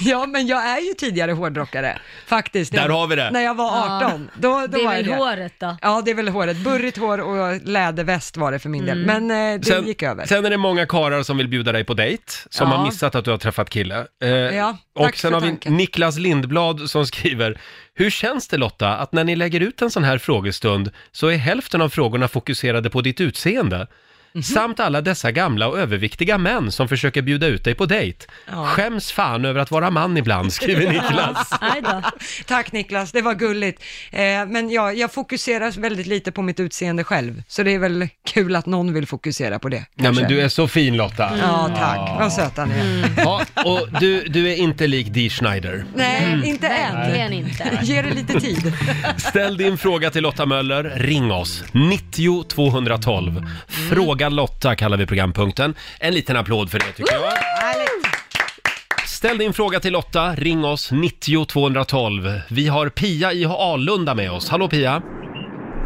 [SPEAKER 3] Ja, men jag är ju tidigare hårdrockare, faktiskt.
[SPEAKER 1] Där
[SPEAKER 3] Jag-
[SPEAKER 1] har vi det.
[SPEAKER 3] När jag var 18, då, då
[SPEAKER 2] Det är
[SPEAKER 3] var
[SPEAKER 2] väl
[SPEAKER 3] jag det.
[SPEAKER 2] håret då?
[SPEAKER 3] Ja, det är väl håret. Burrigt hår och läderväst var det för min del,
[SPEAKER 2] Mm.
[SPEAKER 3] men eh, det gick över.
[SPEAKER 1] sen är det många karar som vill bjuda dig på dejt, som
[SPEAKER 3] Ja.
[SPEAKER 1] har missat att du har träffat kille. Eh,
[SPEAKER 3] Ja,
[SPEAKER 1] och
[SPEAKER 3] tack
[SPEAKER 1] sen
[SPEAKER 3] för
[SPEAKER 1] har vi
[SPEAKER 3] tanken.
[SPEAKER 1] Niklas Lindblad som skriver, hur känns det Lotta att när ni lägger ut en sån här frågestund så är hälften av frågorna fokuserade på ditt utseende?
[SPEAKER 3] Mhm.
[SPEAKER 1] Samt alla dessa gamla och överviktiga män som försöker bjuda ut dig på dejt. Skäms fan över att vara man ibland, skriver Niklas.
[SPEAKER 3] Alltså.
[SPEAKER 2] Aj då.
[SPEAKER 3] Tack Niklas, det var gulligt. Eh, men ja, jag fokuserar väldigt lite på mitt utseende själv, så det är väl kul att någon vill fokusera på det.
[SPEAKER 1] Ja,
[SPEAKER 3] kanske.
[SPEAKER 1] men du är så fin Lotta.
[SPEAKER 3] Ja, tack. Vad söta ni är.
[SPEAKER 1] Ja, och du, du är inte lik Dee Schneider.
[SPEAKER 3] Nej, inte än.
[SPEAKER 2] Verkligen inte.
[SPEAKER 3] Ge det lite tid.
[SPEAKER 1] Ställ din fråga till Lotta Möller, ring oss. 90 212. Fråga Lotta kallar vi programpunkten. En liten applåd för det tycker jag. Ställ din fråga till Lotta, ring oss 90 212. Vi har Pia i Alunda med oss. Hallå Pia!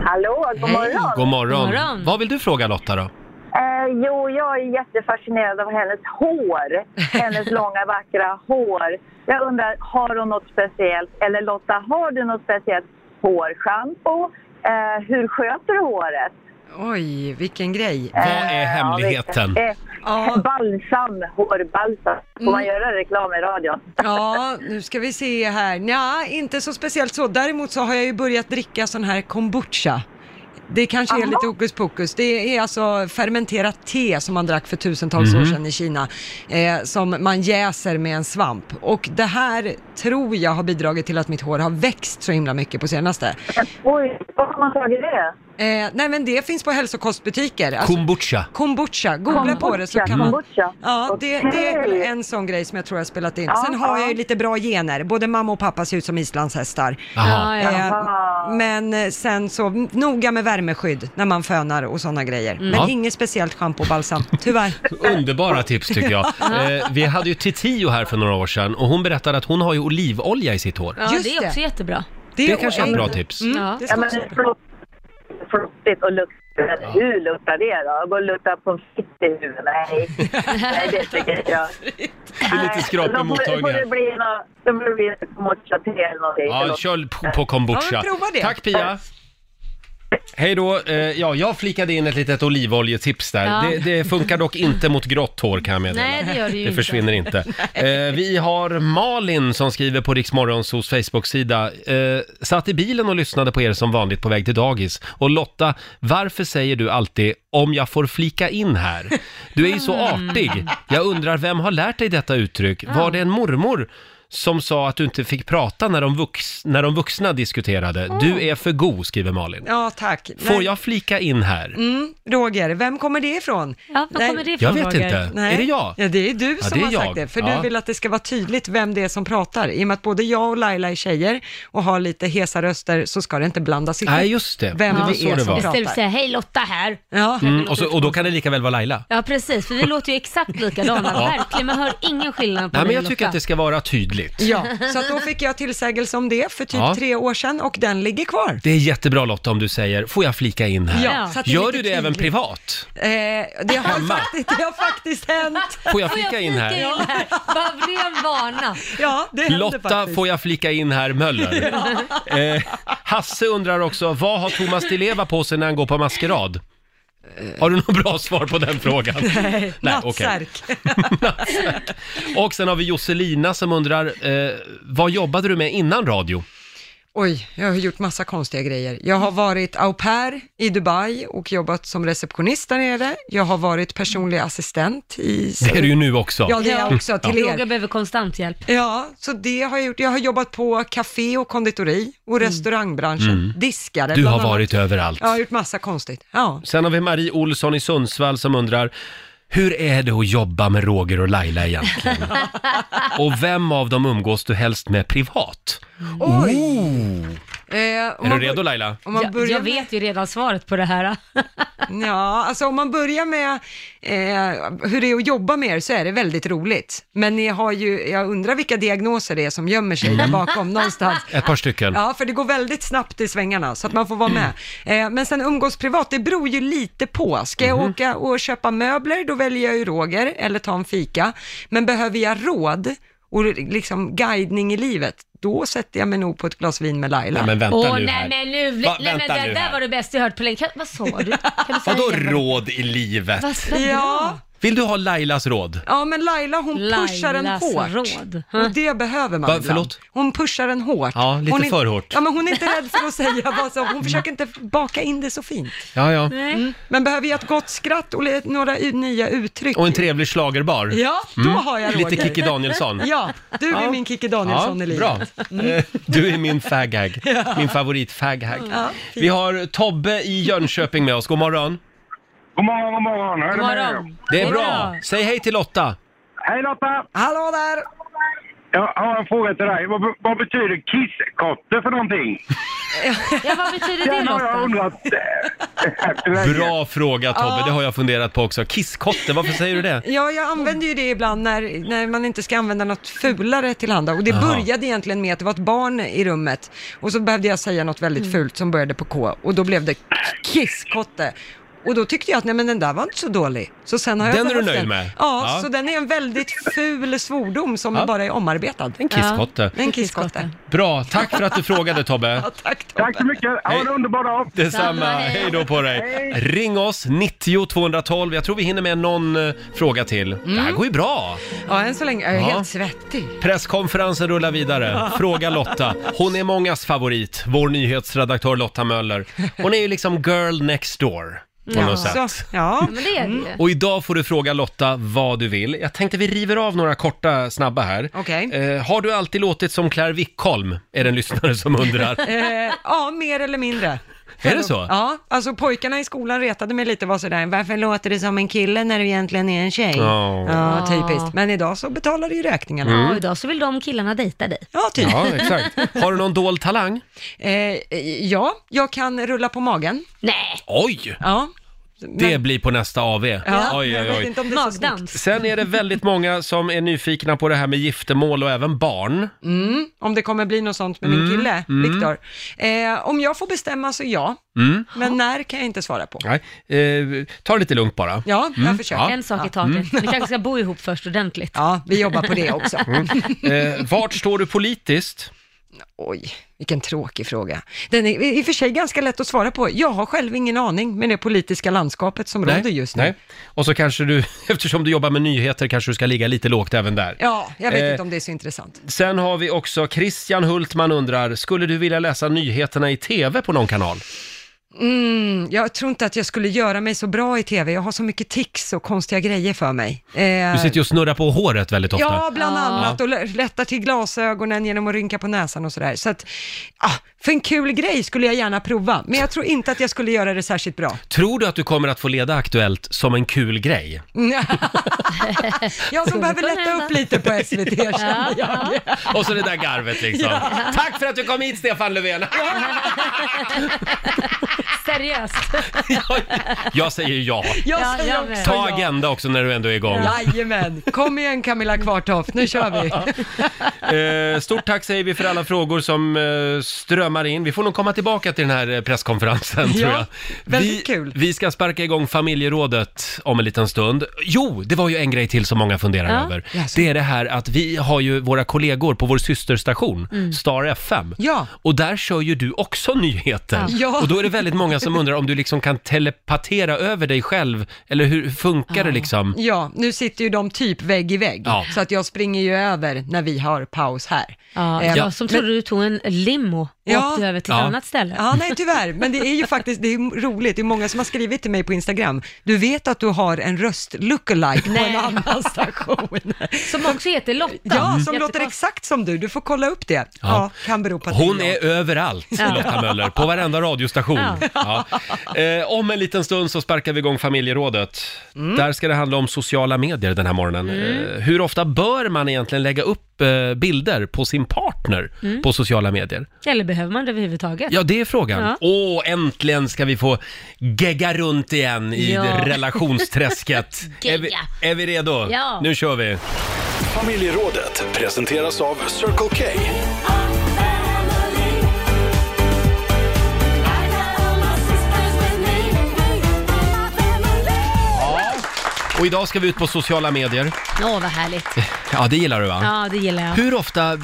[SPEAKER 9] Hallå, god morgon.
[SPEAKER 1] God morgon.
[SPEAKER 2] God morgon.
[SPEAKER 1] Vad vill du fråga Lotta då?
[SPEAKER 9] Eh, jo, jag är jättefascinerad av hennes hår. Hennes långa vackra hår. Jag undrar, har hon något speciellt? Eller Lotta, har du något speciellt hårschampo? Eh, hur sköter du håret?
[SPEAKER 3] Oj, vilken grej.
[SPEAKER 10] Eh,
[SPEAKER 1] Vad är hemligheten?
[SPEAKER 9] Ja, visst.
[SPEAKER 3] Ja. Mm.
[SPEAKER 9] eh, balsam, hårbalsam. Får man göra reklam i radion?
[SPEAKER 3] Ja, nu ska vi se här. Nja, inte så speciellt så. Däremot så har jag ju börjat dricka sån här kombucha. Det kanske är lite hokus pokus. Det är alltså fermenterat te som man drack för tusentals år sedan i Kina, eh, som man jäser med en svamp. Och det här tror jag har bidragit till att mitt hår har växt så himla mycket på senaste.
[SPEAKER 9] Oj, var har man tagit det?
[SPEAKER 3] Eh, nej men det finns på hälsokostbutiker. Alltså,
[SPEAKER 1] Kombucha.
[SPEAKER 3] kombucha, googla på det så
[SPEAKER 9] Kombucha,
[SPEAKER 3] kan man...
[SPEAKER 9] kombucha.
[SPEAKER 3] Ja, det, det är väl
[SPEAKER 9] Okej.
[SPEAKER 3] en sån grej som jag tror jag har spelat in.
[SPEAKER 9] Ja,
[SPEAKER 3] Sen har
[SPEAKER 9] ja.
[SPEAKER 3] jag ju lite bra gener. Både mamma och pappa ser ut som islandshästar.
[SPEAKER 1] Aha.
[SPEAKER 2] Ja, ja.
[SPEAKER 3] Eh,
[SPEAKER 9] Jaha.
[SPEAKER 3] men eh, sen så, m- noga med värmeskydd när man fönar och sådana grejer. Men
[SPEAKER 1] Mm. Ja.
[SPEAKER 3] inget speciellt schampo och balsam, tyvärr.
[SPEAKER 1] Underbara tips tycker jag. Eh, vi hade ju Titiyo här för några år sedan och hon berättade att hon har ju olivolja i sitt hår.
[SPEAKER 2] Ja,
[SPEAKER 3] Just
[SPEAKER 2] det är
[SPEAKER 3] det. Mm.
[SPEAKER 2] också jättebra.
[SPEAKER 1] Det kanske är ett bra tips.
[SPEAKER 2] Ja.
[SPEAKER 3] Det ska
[SPEAKER 9] Ja, men
[SPEAKER 3] också-
[SPEAKER 9] flott- flottigt och luktar. Hur luktar det då? Gå och lukta på en fitt i huvudet? Nej, Nej det tycker inte jag.
[SPEAKER 1] Det är lite skrapig
[SPEAKER 9] Då
[SPEAKER 1] mottagning
[SPEAKER 9] får det
[SPEAKER 1] här.
[SPEAKER 9] bli nå- då får det bli en kombucha te eller någonting.
[SPEAKER 1] Ja,
[SPEAKER 9] Eller-
[SPEAKER 1] kör på- på kombucha.
[SPEAKER 3] Ja, men prova det.
[SPEAKER 1] Tack Pia! Hej då! Eh, Ja, jag flikade in ett litet olivoljetips där.
[SPEAKER 2] Ja.
[SPEAKER 1] Det, det funkar dock inte mot grått hår kan jag meddela.
[SPEAKER 2] Nej, det gör det ju
[SPEAKER 1] Det
[SPEAKER 2] inte.
[SPEAKER 1] försvinner inte. Eh, vi har Malin som skriver på Riksmorgonsos Facebook-sida. Eh, satt i bilen och lyssnade på er som vanligt på väg till dagis. Och Lotta, varför säger du alltid om jag får flika in här? Du är ju så artig. Jag undrar vem har lärt dig detta uttryck? Var det en mormor som sa att du inte fick prata när de, vux- när de vuxna diskuterade? Du är för god, skriver Malin.
[SPEAKER 3] Ja, tack.
[SPEAKER 1] Får
[SPEAKER 3] Nej,
[SPEAKER 1] jag flika in här?
[SPEAKER 3] Mm, Roger, vem kommer det ifrån?
[SPEAKER 2] Ja, var
[SPEAKER 3] Nej,
[SPEAKER 2] kommer det ifrån
[SPEAKER 1] Jag vet
[SPEAKER 2] Roger?
[SPEAKER 1] inte. Är det jag?
[SPEAKER 3] Ja, det är du
[SPEAKER 1] Ja,
[SPEAKER 3] som
[SPEAKER 1] det är
[SPEAKER 3] har
[SPEAKER 1] jag.
[SPEAKER 3] sagt det. För
[SPEAKER 1] Ja.
[SPEAKER 3] du vill att det ska vara tydligt vem det är som pratar. I och med att både jag och Laila är tjejer och har lite hesa röster så ska det inte blandas ihop.
[SPEAKER 1] Nej, just det.
[SPEAKER 3] Vem
[SPEAKER 1] det var
[SPEAKER 3] det
[SPEAKER 1] så
[SPEAKER 3] är
[SPEAKER 1] det
[SPEAKER 3] som
[SPEAKER 1] var.
[SPEAKER 3] pratar.
[SPEAKER 2] Istället för att säga hej Lotta här.
[SPEAKER 3] Ja.
[SPEAKER 1] Mm, och, så, och då kan det lika väl vara Laila.
[SPEAKER 2] Ja precis, för vi låter ju exakt likadana, verkligen. Man hör ingen skillnad på
[SPEAKER 1] Nej, men
[SPEAKER 2] dig,
[SPEAKER 1] jag tycker
[SPEAKER 2] Lotta.
[SPEAKER 1] att det ska vara tidigt.
[SPEAKER 3] Ja, så att då fick jag tillsägelse om det för typ
[SPEAKER 1] Ja.
[SPEAKER 3] tre år sedan och den ligger kvar.
[SPEAKER 1] Det är jättebra Lotta om du säger, får jag flika in här?
[SPEAKER 3] Ja, så att det är
[SPEAKER 1] Gör
[SPEAKER 3] lite
[SPEAKER 1] du det
[SPEAKER 3] tydligt.
[SPEAKER 1] även privat?
[SPEAKER 3] Eh, det, har
[SPEAKER 1] Hemma?
[SPEAKER 3] faktiskt, det har faktiskt hänt.
[SPEAKER 1] Får jag flika in här?
[SPEAKER 2] in här? Bara ren vana.
[SPEAKER 3] Ja, det händer
[SPEAKER 1] Lotta,
[SPEAKER 3] faktiskt.
[SPEAKER 1] får jag flika in här Möller? Eh, Hasse undrar också, vad har Thomas Di Leva på sig när han går på maskerad? Har du något bra svar på den frågan? Nej, okej.
[SPEAKER 3] Nattsärk.
[SPEAKER 1] Och sen har vi Josselina som undrar, eh, vad jobbade du med innan radio?
[SPEAKER 3] Oj, jag har gjort massa konstiga grejer. Jag har varit au pair i Dubai och jobbat som receptionist där nere. Jag har varit personlig assistent i...
[SPEAKER 1] Det är du ju nu också.
[SPEAKER 3] Ja, det är jag också, till
[SPEAKER 2] Roger
[SPEAKER 3] er.
[SPEAKER 2] behöver konstant hjälp.
[SPEAKER 3] Ja, så det har jag gjort. Jag har jobbat på café och konditori och restaurangbranschen. Diskare.
[SPEAKER 1] Mm. Du
[SPEAKER 3] bland
[SPEAKER 1] har
[SPEAKER 3] annat.
[SPEAKER 1] varit överallt.
[SPEAKER 3] Jag har gjort massa konstigt. Ja. Eh,
[SPEAKER 1] Sen har vi Marie Olsson i Sundsvall som undrar, hur är det att jobba med Roger och Laila egentligen? och vem av dem umgås du helst med privat?
[SPEAKER 3] Oj! Eh,
[SPEAKER 1] Är du redo Laila?
[SPEAKER 3] Om man
[SPEAKER 2] Jag,
[SPEAKER 3] börjar
[SPEAKER 2] jag
[SPEAKER 3] med-
[SPEAKER 2] vet ju redan svaret på det här.
[SPEAKER 3] Ja, alltså om man börjar med eh, hur det är att jobba med er så är det väldigt roligt. Men ni har ju, jag undrar vilka diagnoser det är som gömmer sig
[SPEAKER 1] Mm.
[SPEAKER 3] där bakom någonstans.
[SPEAKER 1] Ett par stycken.
[SPEAKER 3] Ja, för det går väldigt snabbt i svängarna så att man får vara med. Eh, men sen umgås privat, det beror ju lite på. Ska
[SPEAKER 1] Mhm.
[SPEAKER 3] jag åka och köpa möbler, då väljer jag ju Roger eller ta en fika. Men behöver jag råd och liksom guidning i livet, då sätter jag mig nog på ett glas vin med Laila.
[SPEAKER 1] Nej, men vänta
[SPEAKER 2] Åh
[SPEAKER 1] nu
[SPEAKER 2] nej
[SPEAKER 1] här.
[SPEAKER 2] men nu,
[SPEAKER 1] Va-
[SPEAKER 2] nej, men
[SPEAKER 1] vänta
[SPEAKER 2] det
[SPEAKER 1] nu
[SPEAKER 2] där
[SPEAKER 1] här.
[SPEAKER 2] var det bästa jag hört på länge. Kan- Vad sa du? Kan du säga
[SPEAKER 1] Vadå
[SPEAKER 2] igen?
[SPEAKER 1] råd i livet?
[SPEAKER 2] Vad vad
[SPEAKER 3] Ja,
[SPEAKER 2] bra.
[SPEAKER 1] Vill du ha Lailas råd?
[SPEAKER 3] ja, men Laila hon pushar en
[SPEAKER 2] Lailas
[SPEAKER 3] hårt.
[SPEAKER 2] råd.
[SPEAKER 3] Och det behöver man
[SPEAKER 1] Va,
[SPEAKER 3] ibland.
[SPEAKER 1] förlåt?
[SPEAKER 3] Hon pushar en hårt.
[SPEAKER 1] Ja, lite
[SPEAKER 3] hon är-
[SPEAKER 1] för hårt.
[SPEAKER 3] Ja, men hon är inte rädd för att säga vad som, hon försöker inte baka in det så fint.
[SPEAKER 1] Ja, ja.
[SPEAKER 3] Men behöver jag ett gott skratt och le- några u- nya uttryck?
[SPEAKER 1] Och en trevlig slagerbar.
[SPEAKER 3] Ja, då har jag Roger.
[SPEAKER 1] Lite Kikki Danielsson.
[SPEAKER 3] Ja, du är
[SPEAKER 1] Ja.
[SPEAKER 3] min Kikki Danielsson i livet. Mm.
[SPEAKER 1] bra. Eh, Du är min faghag. Min favorit faghag. Vi har Tobbe i Jönköping med oss. God morgon.
[SPEAKER 11] God morgon, god morgon. Hur är
[SPEAKER 2] God
[SPEAKER 11] det med er?
[SPEAKER 2] morgon.
[SPEAKER 1] Det är
[SPEAKER 2] God
[SPEAKER 1] bra.
[SPEAKER 2] morgon.
[SPEAKER 1] Säg hej till Lotta.
[SPEAKER 11] Hej Lotta!
[SPEAKER 3] Hallå där!
[SPEAKER 11] Jag har en fråga till dig. Vad, vad betyder kisskotte för någonting?
[SPEAKER 2] Ja, vad betyder det
[SPEAKER 11] Den har jag
[SPEAKER 2] Lotta?
[SPEAKER 11] undrat eh, efter länge.
[SPEAKER 1] Bra fråga Tobbe, det har jag funderat på också. Kisskotte, varför säger du det?
[SPEAKER 3] Ja, jag använder ju det ibland när, när man inte ska använda något fulare tillhanda. Och det
[SPEAKER 1] Aha.
[SPEAKER 3] började egentligen med att det var ett barn i rummet. Och så behövde jag säga något väldigt fult som började på K. Och då blev det kisskotte. Och då tyckte jag att nej men den där var inte så dålig. Så sen har jag
[SPEAKER 1] Den är du
[SPEAKER 3] behövt
[SPEAKER 1] nöjd med?
[SPEAKER 3] Ja,
[SPEAKER 1] Ja.
[SPEAKER 3] så den är en väldigt ful svordom som
[SPEAKER 1] Ja.
[SPEAKER 3] bara är omarbetad.
[SPEAKER 1] En kisskotte.
[SPEAKER 3] En kisskotte.
[SPEAKER 1] Bra, tack för att du frågade Tobbe.
[SPEAKER 3] Ja, tack Tobbe.
[SPEAKER 11] Tack så mycket. Ha en underbar dag.
[SPEAKER 1] Detsamma,
[SPEAKER 2] Detsamma, hej.
[SPEAKER 1] hej då på dig. Ring oss, 90 212. Jag tror vi hinner med någon eh, fråga till. Det
[SPEAKER 3] Mm.
[SPEAKER 1] här går ju bra.
[SPEAKER 3] Ja, än så länge. Jag är
[SPEAKER 1] Ja.
[SPEAKER 3] helt svettig.
[SPEAKER 1] Presskonferensen rullar vidare. Fråga Lotta. Hon är mångas favorit, vår nyhetsredaktör Lotta Möller. Hon är ju liksom girl next door. På något
[SPEAKER 3] Så,
[SPEAKER 1] sätt.
[SPEAKER 3] ja.
[SPEAKER 2] Men det är det
[SPEAKER 3] Mm.
[SPEAKER 2] ju.
[SPEAKER 1] Och idag får du fråga Lotta vad du vill. Jag tänkte vi river av några korta snabba här.
[SPEAKER 3] Okej.
[SPEAKER 1] Eh, har du alltid låtit som Claire Wickholm? Är det en lyssnare som undrar.
[SPEAKER 3] Eh, ja, mer eller mindre.
[SPEAKER 1] Är det så?
[SPEAKER 3] Ja, alltså pojkarna i skolan retade mig lite och var sådär, varför låter det som en kille när du egentligen är en tjej?
[SPEAKER 1] Ja. Mm.
[SPEAKER 3] Ja, typiskt. Men idag så betalar du ju räkningarna.
[SPEAKER 2] Och idag så vill de killarna dejta dig.
[SPEAKER 3] Ja, typ.
[SPEAKER 1] Ja, exakt. Har du någon dold talang?
[SPEAKER 3] Eh, eh, ja, jag kan rulla på magen.
[SPEAKER 2] Nej,
[SPEAKER 1] Oj!
[SPEAKER 3] Ja.
[SPEAKER 1] Det blir på nästa AV.
[SPEAKER 3] ja.
[SPEAKER 1] Oj,
[SPEAKER 3] Jag
[SPEAKER 1] oj,
[SPEAKER 3] vet
[SPEAKER 1] oj.
[SPEAKER 3] inte om det är så snyggt.
[SPEAKER 2] magdans.
[SPEAKER 1] Sen är det väldigt många som är nyfikna på det här med giftermål och även barn.
[SPEAKER 3] Om det kommer bli något sånt med
[SPEAKER 1] Mm,
[SPEAKER 3] min kille, Viktor. Eh, om jag får bestämma så ja.
[SPEAKER 1] Mm.
[SPEAKER 3] Men när kan jag inte svara på.
[SPEAKER 1] Nej, eh, ta det lite lugnt bara.
[SPEAKER 3] Ja, jag försöker.
[SPEAKER 2] En sak i taget.
[SPEAKER 1] Mm.
[SPEAKER 2] Ni kanske ska bo ihop först ordentligt.
[SPEAKER 3] Ja, vi jobbar på det också.
[SPEAKER 1] Eh, vart står du politiskt?
[SPEAKER 3] Oj, vilken tråkig fråga. Den är i och för sig ganska lätt att svara på. Jag har själv ingen aning med det politiska landskapet som råder just nu.
[SPEAKER 1] nej. Och så kanske du, eftersom du jobbar med nyheter, kanske du ska ligga lite lågt även där.
[SPEAKER 3] Ja, jag vet
[SPEAKER 1] Eh,
[SPEAKER 3] inte om det är så intressant.
[SPEAKER 1] Sen har vi också Christian Hultman undrar, skulle du vilja läsa nyheterna i TV på någon kanal?
[SPEAKER 3] Mm, jag tror inte att jag skulle göra mig så bra i tv. Jag har så mycket tics och konstiga grejer för mig. Eh,
[SPEAKER 1] Du sitter ju och snurrar på håret väldigt ofta.
[SPEAKER 3] Ja, bland annat. Och lä- lättar till glasögonen genom att rynka på näsan och sådär. Så att, ah, För en kul grej skulle jag gärna prova, men jag tror inte att jag skulle göra det särskilt bra.
[SPEAKER 1] Tror du att du kommer att få leda Aktuellt som en kul grej?
[SPEAKER 3] jag som behöver lätta upp lite på SVT känner jag.
[SPEAKER 1] Och så det där garvet liksom.
[SPEAKER 3] Ja.
[SPEAKER 1] Tack för att du kom hit Stefan Löfven!
[SPEAKER 2] Seriöst.
[SPEAKER 1] Jag säger ja.
[SPEAKER 3] Jag Ja, säger jag också med.
[SPEAKER 1] Ta
[SPEAKER 3] ja.
[SPEAKER 1] agenda också när du ändå är igång.
[SPEAKER 3] Jajamän, kom igen Camilla Kvartoft, nu kör vi.
[SPEAKER 1] Eh, stort tack säger vi för alla frågor som eh, strömmar in. Vi får nog komma tillbaka till den här eh, presskonferensen
[SPEAKER 3] Ja,
[SPEAKER 1] tror jag.
[SPEAKER 3] väldigt
[SPEAKER 1] vi,
[SPEAKER 3] kul.
[SPEAKER 1] Vi ska sparka igång familjerådet om en liten stund. Jo, det var ju en grej till som många funderar
[SPEAKER 2] Ja.
[SPEAKER 1] över. Det är det här att vi har ju våra kollegor på vår systerstation,
[SPEAKER 2] Mm.
[SPEAKER 1] Star FM.
[SPEAKER 3] Ja.
[SPEAKER 1] Och där kör ju du också nyheter.
[SPEAKER 2] Ja. Ja.
[SPEAKER 1] Och då är det väldigt många som undrar om du liksom kan telepatera över dig själv, eller hur funkar det liksom?
[SPEAKER 3] Ja, nu sitter ju de typ vägg i vägg,
[SPEAKER 1] Ja.
[SPEAKER 3] så att jag springer ju över när vi har paus här.
[SPEAKER 2] Ja,
[SPEAKER 3] Eh,
[SPEAKER 2] jag som trodde du tog en limo och
[SPEAKER 3] Ja.
[SPEAKER 2] åkte över till ett
[SPEAKER 3] Ja.
[SPEAKER 2] annat ställe.
[SPEAKER 3] Ja, nej tyvärr, men det är ju faktiskt, det är roligt, det är många som har skrivit till mig på Instagram, du vet att du har en röst lookalike på en annan station.
[SPEAKER 2] Som också heter Lotta. Mm.
[SPEAKER 3] Ja, som låter
[SPEAKER 2] Jättekonst-
[SPEAKER 3] exakt som du, du får kolla upp det. Ja, kan bero på att
[SPEAKER 1] Hon
[SPEAKER 3] det
[SPEAKER 1] är överallt,
[SPEAKER 3] Ja.
[SPEAKER 1] Lotta Möller, på varenda radiostation. Ja. Eh, om en liten stund så sparkar vi igång familjerådet. Där ska det handla om sociala medier den här morgonen. Eh, hur ofta bör man egentligen lägga upp eh, bilder på sin partner
[SPEAKER 2] Mm.
[SPEAKER 1] på sociala medier?
[SPEAKER 2] Eller behöver man det överhuvudtaget?
[SPEAKER 1] Ja, det är frågan.
[SPEAKER 2] Ja.
[SPEAKER 1] Åh, äntligen ska vi få gegga runt igen i
[SPEAKER 2] Ja.
[SPEAKER 1] relationsträsket. är, vi,
[SPEAKER 12] Gegga.
[SPEAKER 1] är vi redo?
[SPEAKER 12] Ja.
[SPEAKER 1] Nu kör vi.
[SPEAKER 12] Familjerådet presenteras av Circle K.
[SPEAKER 1] Och idag ska vi ut på sociala medier.
[SPEAKER 2] Åh, vad härligt.
[SPEAKER 1] Ja, det gillar du va?
[SPEAKER 2] Ja, det gillar jag.
[SPEAKER 1] Hur ofta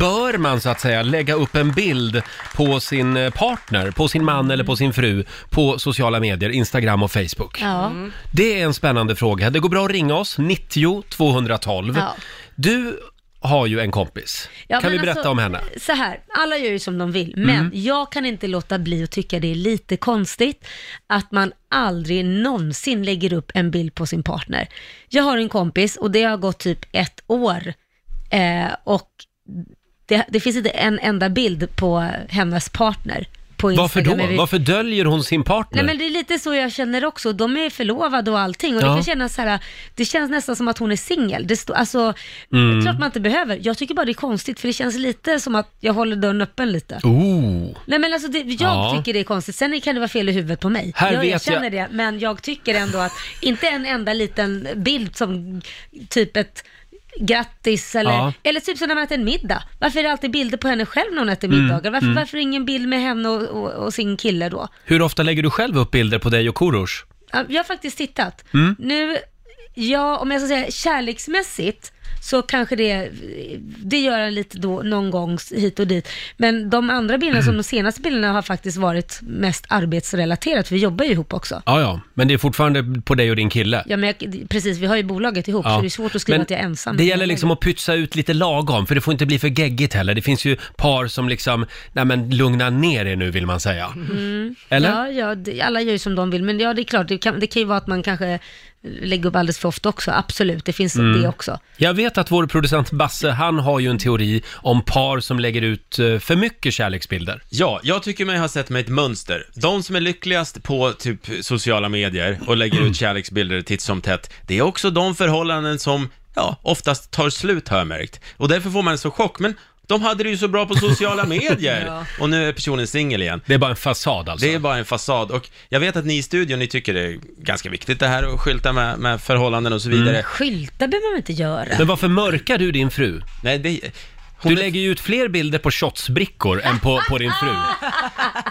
[SPEAKER 1] bör man så att säga lägga upp en bild på sin eh, partner, på sin man eller på sin fru på sociala medier, Instagram och Facebook?
[SPEAKER 2] Ja.
[SPEAKER 3] Mm.
[SPEAKER 1] Det är en spännande fråga. Det går bra att ringa oss, 90 212.
[SPEAKER 2] Ja.
[SPEAKER 1] Du har ju en kompis.
[SPEAKER 2] Ja,
[SPEAKER 1] kan
[SPEAKER 2] men
[SPEAKER 1] vi berätta
[SPEAKER 2] alltså,
[SPEAKER 1] om henne?
[SPEAKER 2] Så här, alla gör ju som de vill, men
[SPEAKER 1] Mm.
[SPEAKER 2] jag kan inte låta bli att tycka det är lite konstigt att man aldrig någonsin lägger upp en bild på sin partner. Jag har en kompis och det har gått typ ett år eh, och det, det finns inte en enda bild på hennes partner på Instagram.
[SPEAKER 1] Varför då?
[SPEAKER 2] över-
[SPEAKER 1] Varför döljer hon sin partner?
[SPEAKER 2] Nej men det är lite så jag känner också. De är förlovade och allting och det
[SPEAKER 1] Ja.
[SPEAKER 2] kan kännas så här, det känns nästan som att hon är singel. Det står, alltså,
[SPEAKER 1] Mm.
[SPEAKER 2] det är klart man inte behöver. Jag tycker bara det är konstigt för det känns lite som att jag håller dörren öppen lite.
[SPEAKER 1] Oh.
[SPEAKER 2] Nej men alltså det, jag
[SPEAKER 1] Ja.
[SPEAKER 2] tycker det är konstigt. Sen kan det vara fel i huvudet på mig.
[SPEAKER 1] Här
[SPEAKER 2] jag
[SPEAKER 1] vet
[SPEAKER 2] erkänner
[SPEAKER 1] jag-
[SPEAKER 2] det, men jag tycker ändå att inte en enda liten bild som typ ett grattis eller,
[SPEAKER 1] Ja.
[SPEAKER 2] eller typ som när man äter en middag. Varför är det alltid bilder på henne själv när hon äter middagar?
[SPEAKER 1] Mm,
[SPEAKER 2] Varför,
[SPEAKER 1] mm.
[SPEAKER 2] varför ingen bild med henne och, och, och sin kille då?
[SPEAKER 1] Hur ofta lägger du själv upp bilder på dig och Korosh?
[SPEAKER 2] Ja, Jag har faktiskt tittat.
[SPEAKER 1] Mm.
[SPEAKER 2] Nu, ja, om jag ska säga kärleksmässigt så kanske det, det gör jag lite då, någon gång hit och dit. Men de andra bilderna, som de senaste bilderna, har faktiskt varit mest arbetsrelaterat. för Vi jobbar ju ihop också.
[SPEAKER 1] Ja, ja, men det är fortfarande på dig och din kille.
[SPEAKER 2] Ja, men jag, precis, vi har ju bolaget ihop,
[SPEAKER 1] Ja.
[SPEAKER 2] så det är svårt att skriva
[SPEAKER 1] Men
[SPEAKER 2] att jag är ensam.
[SPEAKER 1] Det gäller liksom att pytsa ut lite lagom, för det får inte bli för geggigt heller. Det finns ju par som liksom, nej men lugna ner er nu vill man säga.
[SPEAKER 2] Mm.
[SPEAKER 1] Eller?
[SPEAKER 2] Ja, ja, det- alla gör ju som de vill, men ja, det är klart, det kan, det kan ju vara att man kanske lägger upp alldeles för ofta också, absolut, det finns
[SPEAKER 1] Mm.
[SPEAKER 2] det också.
[SPEAKER 1] Jag vet att vår producent Basse, han har ju en teori om par som lägger ut eh, för mycket kärleksbilder.
[SPEAKER 6] Ja, jag tycker mig ha sett mig ett mönster. De som är lyckligast på typ sociala medier och lägger ut kärleksbilder titt som tätt, det är också de förhållanden som, ja, oftast tar slut har jag märkt. Och därför får man en så chock, men de hade det ju så bra på sociala medier!
[SPEAKER 1] Ja.
[SPEAKER 6] Och nu är personen singel igen.
[SPEAKER 1] Det är bara en fasad alltså?
[SPEAKER 6] Det är bara en fasad. Och jag vet att ni i studion, ni tycker det är ganska viktigt det här att skylta med, med förhållanden och så vidare.
[SPEAKER 2] Skyltar behöver man inte göra.
[SPEAKER 1] Men varför mörkar du din fru?
[SPEAKER 6] Nej, det...
[SPEAKER 1] Du lägger ju ut fler bilder på shotsbrickor än på, på din fru.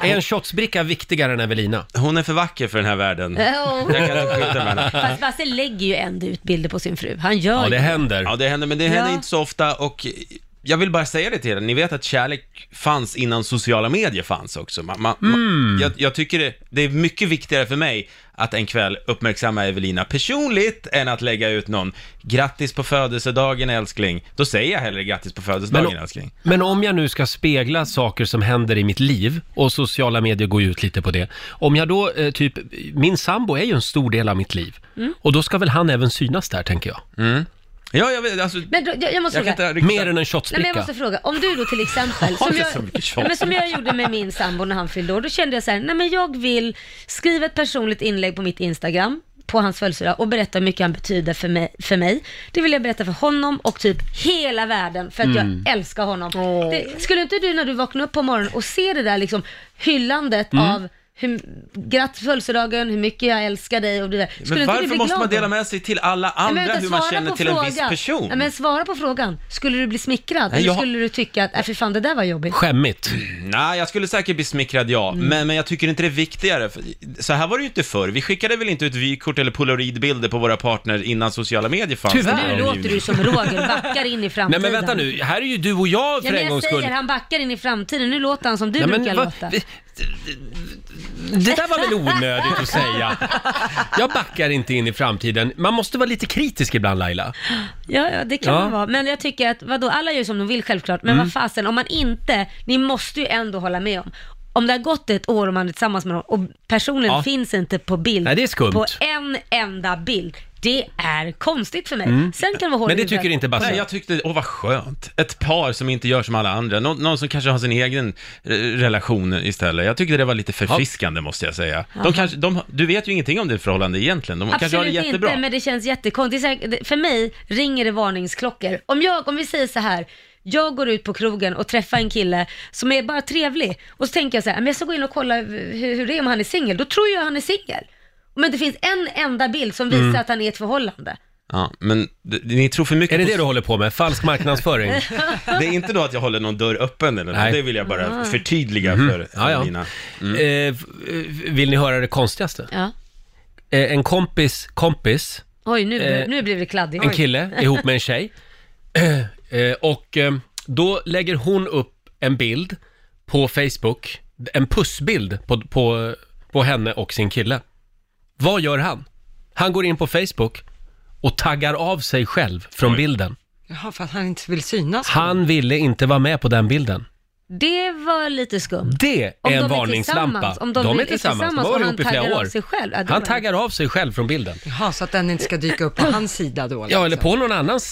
[SPEAKER 1] Är en shotsbricka viktigare än Evelina?
[SPEAKER 6] Hon är för vacker för den här världen.
[SPEAKER 2] Oh.
[SPEAKER 6] Jag kan inte skylta med henne.
[SPEAKER 2] Fast Basse lägger ju ändå ut bilder på sin fru. Han gör
[SPEAKER 6] Ja,
[SPEAKER 2] ju
[SPEAKER 6] det
[SPEAKER 1] händer.
[SPEAKER 6] Ja, det händer, men det
[SPEAKER 2] Ja.
[SPEAKER 6] händer inte så ofta och jag vill bara säga det till er, ni vet att kärlek fanns innan sociala medier fanns också. Man, man,
[SPEAKER 1] Mm.
[SPEAKER 6] jag, jag tycker det, det är mycket viktigare för mig att en kväll uppmärksamma Evelina personligt än att lägga ut någon “Grattis på födelsedagen älskling”. Då säger jag hellre “Grattis på födelsedagen
[SPEAKER 1] Men-
[SPEAKER 6] älskling”.
[SPEAKER 1] Men om jag nu ska spegla saker som händer i mitt liv och sociala medier går ju ut lite på det. Om jag då, eh, typ,
[SPEAKER 2] Mm.
[SPEAKER 1] min sambo är ju en stor del av mitt liv. Och då ska väl han även synas där, tänker jag.
[SPEAKER 6] Ja, jag vet, alltså...
[SPEAKER 2] Men då, jag, jag måste
[SPEAKER 6] Jag kan
[SPEAKER 2] fråga.
[SPEAKER 6] inte riktigt- Mer än en shotsbricka.
[SPEAKER 2] Nej, men jag måste fråga. Om du då till exempel,
[SPEAKER 6] Har
[SPEAKER 2] som
[SPEAKER 6] inte
[SPEAKER 2] jag,
[SPEAKER 6] så mycket shots.
[SPEAKER 2] nej, men som jag gjorde med min sambo när han fyllde år, då kände jag så här, nej men jag vill skriva ett personligt inlägg på mitt Instagram på hans födelsedag och berätta hur mycket han betyder för mig, för mig. Det vill jag berätta för honom och typ hela världen för att
[SPEAKER 10] Mm.
[SPEAKER 2] jag älskar honom. Det, skulle inte du när du vaknar upp på morgonen och ser det där liksom hyllandet
[SPEAKER 6] Mm.
[SPEAKER 2] av hur, grattis på födelsedagen, hur mycket jag älskar dig och det där. Skulle
[SPEAKER 6] Men
[SPEAKER 2] inte du
[SPEAKER 6] varför
[SPEAKER 2] bli
[SPEAKER 6] måste
[SPEAKER 2] glad
[SPEAKER 6] man
[SPEAKER 2] då?
[SPEAKER 6] dela med sig till alla andra
[SPEAKER 2] Nej, men vänta,
[SPEAKER 6] hur man
[SPEAKER 2] svara
[SPEAKER 6] känner
[SPEAKER 2] på
[SPEAKER 6] till en viss
[SPEAKER 2] frågan.
[SPEAKER 6] person?
[SPEAKER 2] Nej, men svara på frågan. Skulle du bli smickrad?
[SPEAKER 6] Nej, jag-
[SPEAKER 2] Eller skulle du tycka att, äh, för fan det där var jobbigt?
[SPEAKER 1] Skämmigt.
[SPEAKER 6] Nej, jag skulle säkert bli smickrad ja, men, men jag tycker inte det är viktigare. För- Så här var det ju inte förr. Vi skickade väl inte ut vykort eller polaroidbilder på våra partner innan sociala medier fanns?
[SPEAKER 2] Tyvärr.
[SPEAKER 6] i vår
[SPEAKER 2] Nu låter
[SPEAKER 6] omgivning.
[SPEAKER 2] du som Roger, backar in i
[SPEAKER 1] Nej
[SPEAKER 2] framtiden.
[SPEAKER 1] men vänta nu, här är ju du och jag
[SPEAKER 2] Ja,
[SPEAKER 1] för
[SPEAKER 2] men
[SPEAKER 1] en
[SPEAKER 2] jag
[SPEAKER 1] gångs
[SPEAKER 2] säger,
[SPEAKER 1] skull.
[SPEAKER 2] han backar in i framtiden. Nu låter han som du
[SPEAKER 1] Nej, men
[SPEAKER 2] brukar
[SPEAKER 1] vad-
[SPEAKER 2] låta.
[SPEAKER 1] Det där var väl onödigt att säga. Jag backar inte in i framtiden. Man måste vara lite kritisk ibland Laila.
[SPEAKER 2] Ja, ja, det kan
[SPEAKER 1] Ja.
[SPEAKER 2] man vara. Men jag tycker att, vadå, alla gör som de vill självklart, men
[SPEAKER 1] Mm.
[SPEAKER 2] vad fasen, om man inte, ni måste ju ändå hålla med om, om det har gått ett år och man är tillsammans med någon och personen
[SPEAKER 1] Ja.
[SPEAKER 2] finns inte på bild,
[SPEAKER 1] Nej, det är skumt.
[SPEAKER 2] på en enda bild, det är konstigt för mig.
[SPEAKER 6] Mm.
[SPEAKER 2] Sen kan det vara hårt i huvudet.
[SPEAKER 1] Alltså-
[SPEAKER 6] Nej, jag tyckte, åh vad skönt. Ett par som inte gör som alla andra. Nå- någon som kanske har sin egen eh, relation istället. Jag tyckte det var lite förfriskande måste jag säga.
[SPEAKER 2] Jaha.
[SPEAKER 6] De kanske, de, du vet ju ingenting om ditt förhållande egentligen. De kanske har det
[SPEAKER 2] Absolut
[SPEAKER 6] jättebra.
[SPEAKER 2] inte, men det känns jättekonstigt. Det är så här- För mig ringer det varningsklockor. Om, jag, om vi säger så här, jag går ut på krogen och träffar en kille som är bara trevlig och så tänker jag så här, men jag ska gå in och kolla hur, hur det är om han är singel. Då tror jag han är singel. Men det finns en enda bild som visar
[SPEAKER 6] Mm.
[SPEAKER 2] att han är i ett förhållande.
[SPEAKER 6] Ja, men d- ni tror för mycket Är det det
[SPEAKER 1] du håller på med? Falsk marknadsföring?
[SPEAKER 6] det är inte då att jag håller någon dörr öppen eller
[SPEAKER 1] Nej.
[SPEAKER 6] något. Det vill jag bara
[SPEAKER 2] Ah.
[SPEAKER 6] förtydliga för
[SPEAKER 1] Ja, ja.
[SPEAKER 6] Lina.
[SPEAKER 1] Eh, f- eh, vill ni höra det konstigaste?
[SPEAKER 2] Ja.
[SPEAKER 1] Eh, en kompis kompis,
[SPEAKER 2] Oj, nu,
[SPEAKER 1] Eh,
[SPEAKER 2] nu blir det kladdigt.
[SPEAKER 1] en kille ihop med en tjej. Eh, och eh, då lägger hon upp en bild på Facebook, en pussbild på, på, på henne och sin kille. Vad gör han? Han går in på Facebook och taggar av sig själv från bilden.
[SPEAKER 3] Jaha, för att han inte vill synas.
[SPEAKER 1] Han ville inte vara med på den bilden.
[SPEAKER 2] Det var lite skumt.
[SPEAKER 1] Det är
[SPEAKER 2] Om de
[SPEAKER 1] en
[SPEAKER 2] är
[SPEAKER 1] varningslampa.
[SPEAKER 2] tillsammans, om de är
[SPEAKER 1] de
[SPEAKER 2] tillsammans
[SPEAKER 1] har
[SPEAKER 2] och
[SPEAKER 1] varit
[SPEAKER 2] han
[SPEAKER 1] ihop i
[SPEAKER 2] taggar
[SPEAKER 1] flera
[SPEAKER 2] av
[SPEAKER 1] år.
[SPEAKER 2] sig själv. Ja, det
[SPEAKER 1] Han
[SPEAKER 2] var-
[SPEAKER 1] taggar av sig själv från bilden. Alltså.
[SPEAKER 3] Jaha, så att den inte ska dyka upp på hans sida då? liksom.
[SPEAKER 1] Ja, eller på någon annans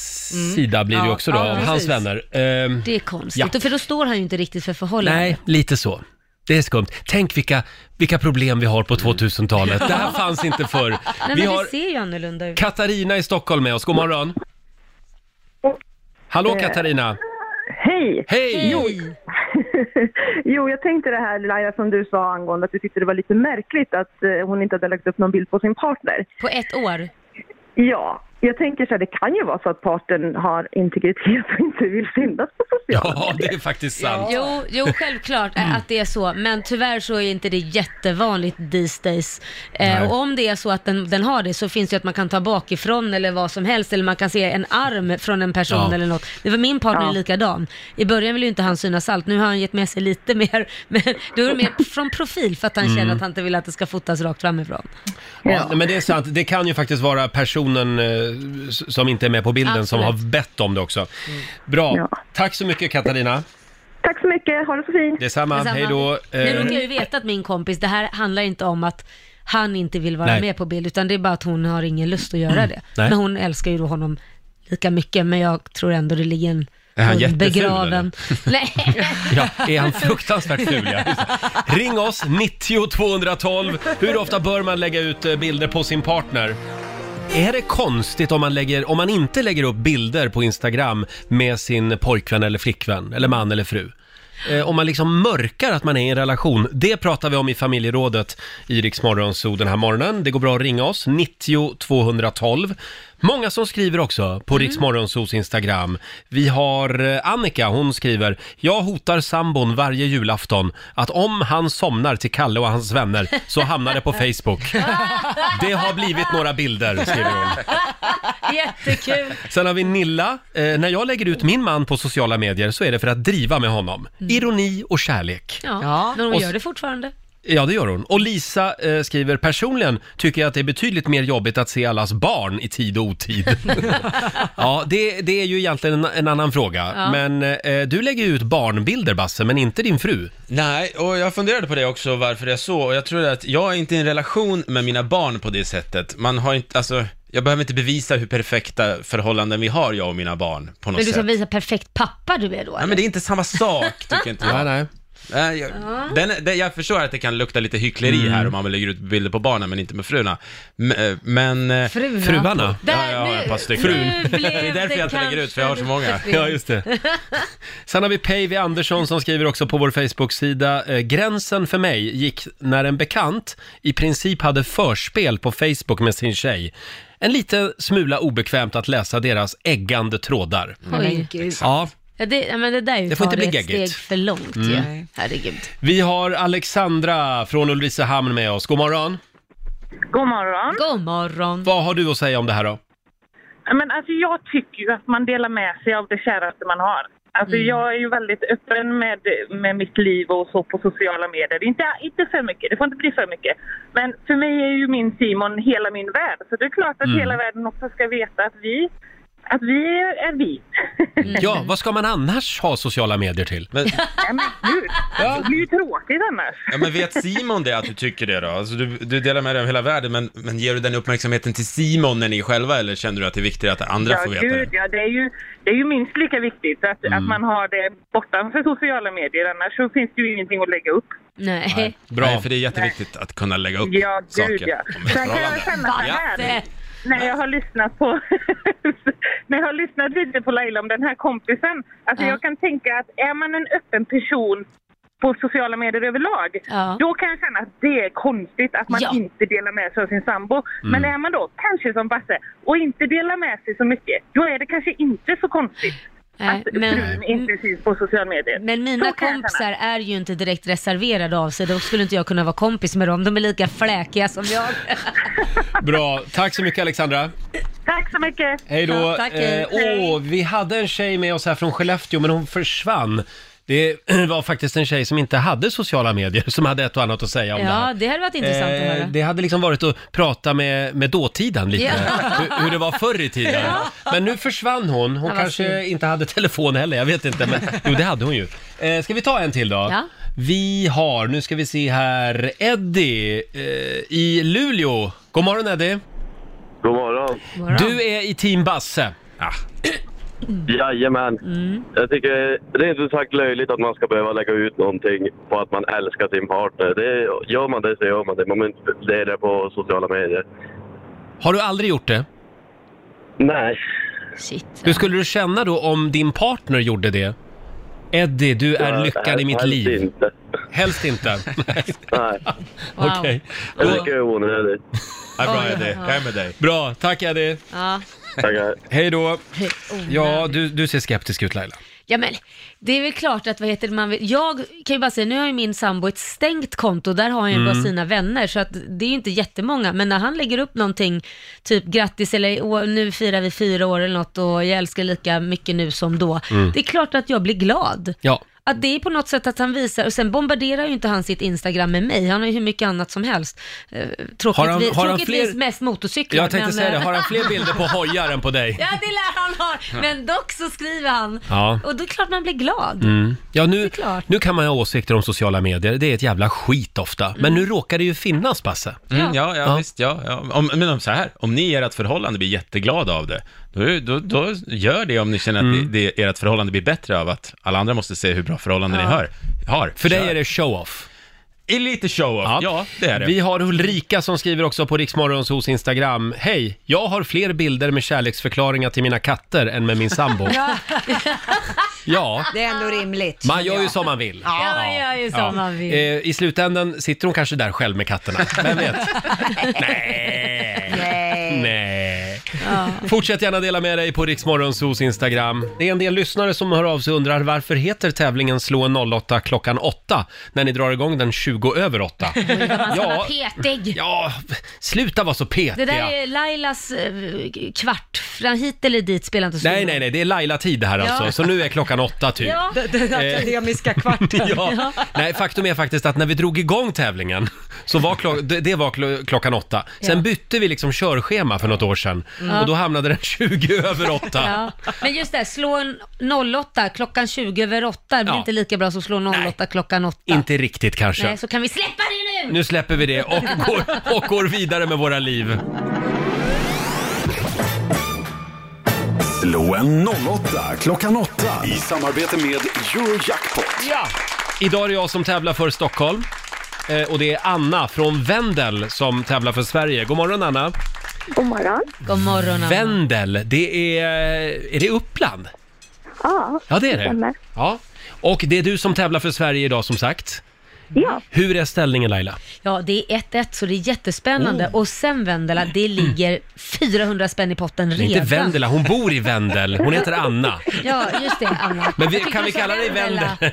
[SPEAKER 1] sida blir det ju
[SPEAKER 3] Ja,
[SPEAKER 1] också då,
[SPEAKER 3] ja,
[SPEAKER 1] av
[SPEAKER 3] precis.
[SPEAKER 1] hans vänner. Ehm,
[SPEAKER 2] Det är konstigt,
[SPEAKER 1] Ja.
[SPEAKER 2] Och för då står han ju inte riktigt för förhållandet.
[SPEAKER 1] nej, lite så. Det är skumt. Tänk vilka, vilka problem vi har på 2000-talet. Det här fanns inte förr.
[SPEAKER 2] Nej,
[SPEAKER 1] Vi
[SPEAKER 2] men
[SPEAKER 1] har
[SPEAKER 2] det ser ju annorlunda ut.
[SPEAKER 1] Katarina i Stockholm med oss. God morgon. Hallå
[SPEAKER 13] Eh,
[SPEAKER 1] Katarina!
[SPEAKER 13] Hej!
[SPEAKER 1] Hej!
[SPEAKER 13] Jo, jo, jag tänkte det här Laila som du sa angående att du tyckte det var lite märkligt att eh, hon inte hade lagt upp någon bild på sin partner.
[SPEAKER 2] På ett år?
[SPEAKER 13] Ja, jag tänker så här, det kan ju vara så att parten har integritet och inte vill syndas på sociala
[SPEAKER 1] Ja, det är faktiskt sant.
[SPEAKER 2] Jo, jo, självklart
[SPEAKER 1] Mm.
[SPEAKER 2] eh, att det är så, men tyvärr så är inte det jättevanligt these days.
[SPEAKER 1] Nej.
[SPEAKER 2] Eh, och om det är så att den, den har det så finns ju att man kan ta bakifrån eller vad som helst, eller man kan se en arm från en person
[SPEAKER 1] Ja.
[SPEAKER 2] eller något. Det var min partner
[SPEAKER 1] Ja.
[SPEAKER 2] likadan. I början ville ju inte han synas allt, nu har han gett med sig lite mer, men då är det mer från profil för att han
[SPEAKER 1] Mm.
[SPEAKER 2] känner att han inte vill att det ska fotas rakt framifrån.
[SPEAKER 1] Ja. Men det är sant, det kan ju faktiskt vara personen eh, s- som inte är med på bilden som har
[SPEAKER 2] Absolut.
[SPEAKER 1] bett om det också. Bra, tack så mycket Katarina.
[SPEAKER 13] Tack så mycket, ha det så fint.
[SPEAKER 1] Detsamma, hej då.
[SPEAKER 2] Nu
[SPEAKER 1] Eh,
[SPEAKER 2] råkar jag ju veta att min kompis, det här handlar inte om att han inte vill vara
[SPEAKER 1] Nej.
[SPEAKER 2] med på bild, utan det är bara att hon har ingen lust att göra
[SPEAKER 6] Mm.
[SPEAKER 2] det.
[SPEAKER 1] Nej.
[SPEAKER 2] Men hon älskar ju då honom lika mycket, men jag tror ändå det ligger en
[SPEAKER 1] Är han
[SPEAKER 2] hund
[SPEAKER 1] jätteful,
[SPEAKER 2] begraven. Nej.
[SPEAKER 1] Ja, är han fruktansvärt ful ja. Ring oss, 90 212. Hur ofta bör man lägga ut eh, bilder på sin partner? Är det konstigt om man, lägger, om man inte lägger upp bilder på Instagram med sin pojkvän eller flickvän, eller man eller fru? Eh, Om man liksom mörkar att man är i en relation, det pratar vi om i familjerådet i Rix Morgonzoo den här morgonen. Det går bra att ringa oss, 90 212. Många som skriver också på Rix Morgonzoos Instagram. Vi har eh, Annika, hon skriver, jag hotar sambon varje julafton att om han somnar till Kalle och hans vänner så hamnar det på Facebook. Det har blivit några bilder, skriver hon.
[SPEAKER 2] Jättekul.
[SPEAKER 1] Sen har vi Nilla. Eh, när jag lägger ut min man på sociala medier så är det för att driva med honom. Ironi och kärlek.
[SPEAKER 2] Ja, men hon
[SPEAKER 1] Och-
[SPEAKER 2] gör det fortfarande.
[SPEAKER 1] Ja, det gör hon. Och Lisa eh, skriver, personligen tycker jag att det är betydligt mer jobbigt att se allas barn i tid och otid. ja, det, det är ju egentligen en, en annan fråga.
[SPEAKER 6] Ja.
[SPEAKER 1] Men eh, du lägger ju ut barnbilder, Basse, men inte din fru.
[SPEAKER 6] Nej, och jag funderade på det också, varför det är så. Och jag tror att jag är inte i en relation med mina barn på det sättet. Man har inte, alltså, jag behöver inte bevisa hur perfekta förhållanden vi har, jag och mina barn, på något
[SPEAKER 2] Men du ska
[SPEAKER 6] sätt.
[SPEAKER 2] visa perfekt pappa du är då?
[SPEAKER 6] Nej, men det är inte samma sak, tycker inte jag.
[SPEAKER 1] nej.
[SPEAKER 6] Nej, jag, den, den, jag förstår att det kan lukta lite hyckleri
[SPEAKER 1] Mm.
[SPEAKER 6] här om man lägger ut bilder på barnen men inte med fruna. Men... men eh,
[SPEAKER 2] Fruna. Fruarna. Där,
[SPEAKER 6] ja, jag har ett par
[SPEAKER 2] nu-
[SPEAKER 6] stycken.
[SPEAKER 2] nu blev
[SPEAKER 6] det är därför
[SPEAKER 2] det
[SPEAKER 6] jag inte lägger ut, för jag har så många.
[SPEAKER 2] kanske Ja, just
[SPEAKER 1] det. Sen har vi Päivi Andersson som skriver också på vår Facebook-sida. Eh, gränsen för mig gick när en bekant i princip hade förspel på Facebook med sin tjej. En lite smula obekvämt att läsa deras äggande trådar.
[SPEAKER 2] Oj, gud.
[SPEAKER 1] Ja.
[SPEAKER 2] Ja, det, ja, men det där är ju
[SPEAKER 1] Det får
[SPEAKER 2] att
[SPEAKER 1] inte
[SPEAKER 2] ta
[SPEAKER 1] bli
[SPEAKER 2] ett
[SPEAKER 1] geggigt.
[SPEAKER 2] steg för långt
[SPEAKER 1] Mm.
[SPEAKER 2] ju.
[SPEAKER 1] Nej.
[SPEAKER 2] Herregud.
[SPEAKER 1] Vi har Alexandra från Ulricehamn med oss. God morgon.
[SPEAKER 10] God morgon.
[SPEAKER 2] God morgon.
[SPEAKER 1] Vad har du att säga om det här då?
[SPEAKER 10] Ja, Men alltså jag tycker ju att man delar med sig av det käraste man har. Alltså
[SPEAKER 14] Mm.
[SPEAKER 10] jag är ju väldigt öppen med, med mitt liv och så på sociala medier. Inte, inte för mycket, det får inte bli för mycket. Men för mig är ju min Simon hela min värld. Så det är klart att
[SPEAKER 1] Mm.
[SPEAKER 10] hela världen också ska veta att vi, att vi är, är vi.
[SPEAKER 6] Mm.
[SPEAKER 1] Ja, vad ska man annars ha sociala medier till?
[SPEAKER 10] Nej, men gud, det blir ju tråkigt annars.
[SPEAKER 6] Ja, men vet Simon det att du tycker det då? Alltså, du, du delar med dig av hela världen, men, men ger du den uppmärksamheten till Simon när ni är själva, eller känner du att det är viktigare att andra får
[SPEAKER 10] ja,
[SPEAKER 6] veta
[SPEAKER 10] gud,
[SPEAKER 6] det?
[SPEAKER 10] ja, det är ju, det är ju minst lika viktigt att,
[SPEAKER 6] Mm.
[SPEAKER 10] att man har det bortanför sociala medier. Annars så finns det ju ingenting att lägga upp.
[SPEAKER 2] Nej.
[SPEAKER 6] Bra. Nej, för det är jätteviktigt att kunna lägga upp
[SPEAKER 10] Ja,
[SPEAKER 6] saker.
[SPEAKER 10] gud ja.
[SPEAKER 6] om ett
[SPEAKER 10] Sen kan
[SPEAKER 6] förhållande.
[SPEAKER 10] jag känna så här. När jag har lyssnat på när jag har lyssnat lite på Laila om den här kompisen. Alltså jag kan tänka att är man en öppen person på sociala medier överlag, då kan jag känna att det är konstigt att man inte delar med sig av sin sambo. Men
[SPEAKER 1] Mm.
[SPEAKER 10] är man då kanske som Basse och inte delar med sig så mycket, då är det kanske inte så konstigt att
[SPEAKER 2] men-
[SPEAKER 10] frun inte syns på sociala medier.
[SPEAKER 2] Men mina
[SPEAKER 10] Alltså, Så kan jag
[SPEAKER 2] kompisar är ju inte direkt reserverade av sig, då skulle inte jag kunna vara kompis med dem. De är lika fläkiga som jag.
[SPEAKER 1] Bra, tack så mycket Alexandra.
[SPEAKER 10] Tack så mycket!
[SPEAKER 1] Hej då.
[SPEAKER 2] Ja, tack, hej.
[SPEAKER 1] Eh, åh, vi hade en tjej med oss här från Skellefteå, men hon försvann. Det var faktiskt en tjej som inte hade sociala medier, som hade ett och annat att säga om det
[SPEAKER 2] Ja,
[SPEAKER 1] här.
[SPEAKER 2] det hade varit intressant att höra.
[SPEAKER 1] det hade liksom varit att prata med, med dåtiden lite,
[SPEAKER 2] Ja.
[SPEAKER 1] hur, hur det var förr i tiden. Men nu försvann hon, hon
[SPEAKER 2] Ja, vad
[SPEAKER 1] kanske
[SPEAKER 2] synd.
[SPEAKER 1] inte hade telefon heller, jag vet inte. Men, jo, det hade hon ju. Eh, ska vi ta en till då?
[SPEAKER 2] Ja.
[SPEAKER 1] Vi har, nu ska vi se här, Eddie eh, i Luleå. God morgon Eddie!
[SPEAKER 8] God morgon.
[SPEAKER 1] Du är i team Basse.
[SPEAKER 8] Jajamän. Jag tycker rent ut sagt löjligt att man ska behöva lägga ut någonting på att man älskar sin partner. Det, gör man det så gör man det. Man behöver inte dela på sociala medier.
[SPEAKER 1] Har du aldrig gjort det?
[SPEAKER 8] Nej.
[SPEAKER 2] Shit.
[SPEAKER 1] Hur skulle du känna då om din partner gjorde det? Eddie, du är
[SPEAKER 8] Ja,
[SPEAKER 1] lyckan i mitt
[SPEAKER 8] helst
[SPEAKER 1] liv.
[SPEAKER 8] Inte.
[SPEAKER 1] Helst inte?
[SPEAKER 8] Nej.
[SPEAKER 2] Wow.
[SPEAKER 1] Okej.
[SPEAKER 8] Jag tycker det är onödigt.
[SPEAKER 6] Ja, bra
[SPEAKER 1] Oj,
[SPEAKER 6] Eddie,
[SPEAKER 1] ja.
[SPEAKER 6] jag är med dig.
[SPEAKER 1] Bra, tack Eddie.
[SPEAKER 2] Ja.
[SPEAKER 8] Tackar.
[SPEAKER 1] Hej då.
[SPEAKER 2] Ja.
[SPEAKER 1] Ja, du, du ser skeptisk ut Laila.
[SPEAKER 2] ja, men det är väl klart att vad heter det, man vill. Jag kan ju bara säga, nu har ju min sambo ett stängt konto, där har han ju
[SPEAKER 1] Mm.
[SPEAKER 2] bara sina vänner, så att det är ju inte jättemånga, men när han lägger upp någonting, typ grattis eller "Åh, nu firar vi fyra år eller något och jag älskar lika mycket nu som då,
[SPEAKER 7] Mm.
[SPEAKER 2] det är klart att jag blir glad.
[SPEAKER 1] Ja.
[SPEAKER 2] Att det är på något sätt att han visar, och sen bombarderar ju inte han sitt Instagram med mig, han har ju hur mycket annat som helst. Eh, Tråkigt,
[SPEAKER 1] Har han- har han
[SPEAKER 2] tråkigtvis
[SPEAKER 1] fler-
[SPEAKER 2] mest motorcyklar.
[SPEAKER 1] Jag tänkte
[SPEAKER 2] men- eh,
[SPEAKER 1] säga det, har han fler bilder på hojar än på dig?
[SPEAKER 2] Ja, det lär han ha. Men dock så skriver han.
[SPEAKER 1] Ja.
[SPEAKER 2] Och då är det klart man blir glad.
[SPEAKER 1] Mm. Ja, nu,
[SPEAKER 2] klart.
[SPEAKER 1] nu kan man ju ha åsikter om sociala medier, det är ett jävla skit ofta. Men nu råkar det ju finnas Basse.
[SPEAKER 6] Mm, ja, ja, visst, ja. ja. Om, men om så här, om ni i ert förhållande blir jätteglada av det, då, då, då gör det om ni känner att det, det, ert förhållande blir bättre av att alla andra måste se hur bra förhållande
[SPEAKER 1] Ja.
[SPEAKER 6] ni har. har.
[SPEAKER 1] För dig är det show-off.
[SPEAKER 6] Är lite show-off, ja. det är det.
[SPEAKER 1] Vi har Ulrika som skriver också på Riksmorgonsos Instagram. Hej, jag har fler bilder med kärleksförklaringar till mina katter än med min sambo.
[SPEAKER 3] Ja.
[SPEAKER 1] Ja,
[SPEAKER 3] Det är ändå rimligt.
[SPEAKER 1] man gör ju som man vill.
[SPEAKER 3] Ja, man gör ju som man vill.
[SPEAKER 1] Eh, I slutändan sitter hon kanske där själv med katterna. Vem vet? Nej. Nej. Fortsätt gärna dela med dig på Riksmorgonsos Instagram. Det är en del lyssnare som hör av sig och undrar varför heter tävlingen Slå en 08 klockan 8 när ni drar igång den 20 över 8?
[SPEAKER 2] Oj, vad man ska vara petig.
[SPEAKER 1] Ja, sluta vara så petiga.
[SPEAKER 2] Det där är Lailas eh, kvart. Från hit eller dit spelar inte så
[SPEAKER 1] Nej, nej, nej, det är Laila-tid det här
[SPEAKER 2] Ja.
[SPEAKER 1] alltså, så nu är klockan åtta typ.
[SPEAKER 2] Ja.
[SPEAKER 3] Den- Den
[SPEAKER 1] Eh.
[SPEAKER 3] akademiska kvarten.
[SPEAKER 1] Ja. Nej, faktum är faktiskt att när vi drog igång tävlingen så var klo- det det var klo- klockan åtta. Sen
[SPEAKER 2] Ja.
[SPEAKER 1] bytte vi liksom körschema för något år sedan
[SPEAKER 2] Mm.
[SPEAKER 1] och då hamnade den 20 över åtta.
[SPEAKER 2] Ja. Men just det, här, slå en 08 klockan 20 över 8 blir
[SPEAKER 1] Ja.
[SPEAKER 2] inte lika bra som slå en 08 klockan 8.
[SPEAKER 1] Inte riktigt kanske.
[SPEAKER 2] Nej, så kan vi släppa det nu!
[SPEAKER 1] Nu släpper vi det och går, och går vidare med våra liv.
[SPEAKER 12] Slå en 08 klockan 8 i samarbete med Eurojackpot.
[SPEAKER 1] Ja! Idag är det jag som tävlar för Stockholm. Eh, och det är Anna från Vendel som tävlar för Sverige. God morgon Anna!
[SPEAKER 14] God morgon.
[SPEAKER 2] God morgon
[SPEAKER 1] Vendel, det är... Är det Uppland?
[SPEAKER 14] Ja,
[SPEAKER 1] Ja, det är det.
[SPEAKER 14] stämmer.
[SPEAKER 1] Ja. Och det är du som tävlar för Sverige idag som sagt. Ja. Hur är ställningen Laila?
[SPEAKER 2] Ja, det är 1-1 så det är jättespännande.
[SPEAKER 1] Oh.
[SPEAKER 2] Och sen Vendela, det ligger 400 spänn i potten
[SPEAKER 1] Det är
[SPEAKER 2] redan.
[SPEAKER 1] inte Vendela, hon bor i Vendel. Hon heter Anna.
[SPEAKER 2] Ja, just det Anna.
[SPEAKER 1] Men vi,
[SPEAKER 2] Jag tycker
[SPEAKER 1] kan vi
[SPEAKER 2] du sa
[SPEAKER 1] kalla dig Vendela? Får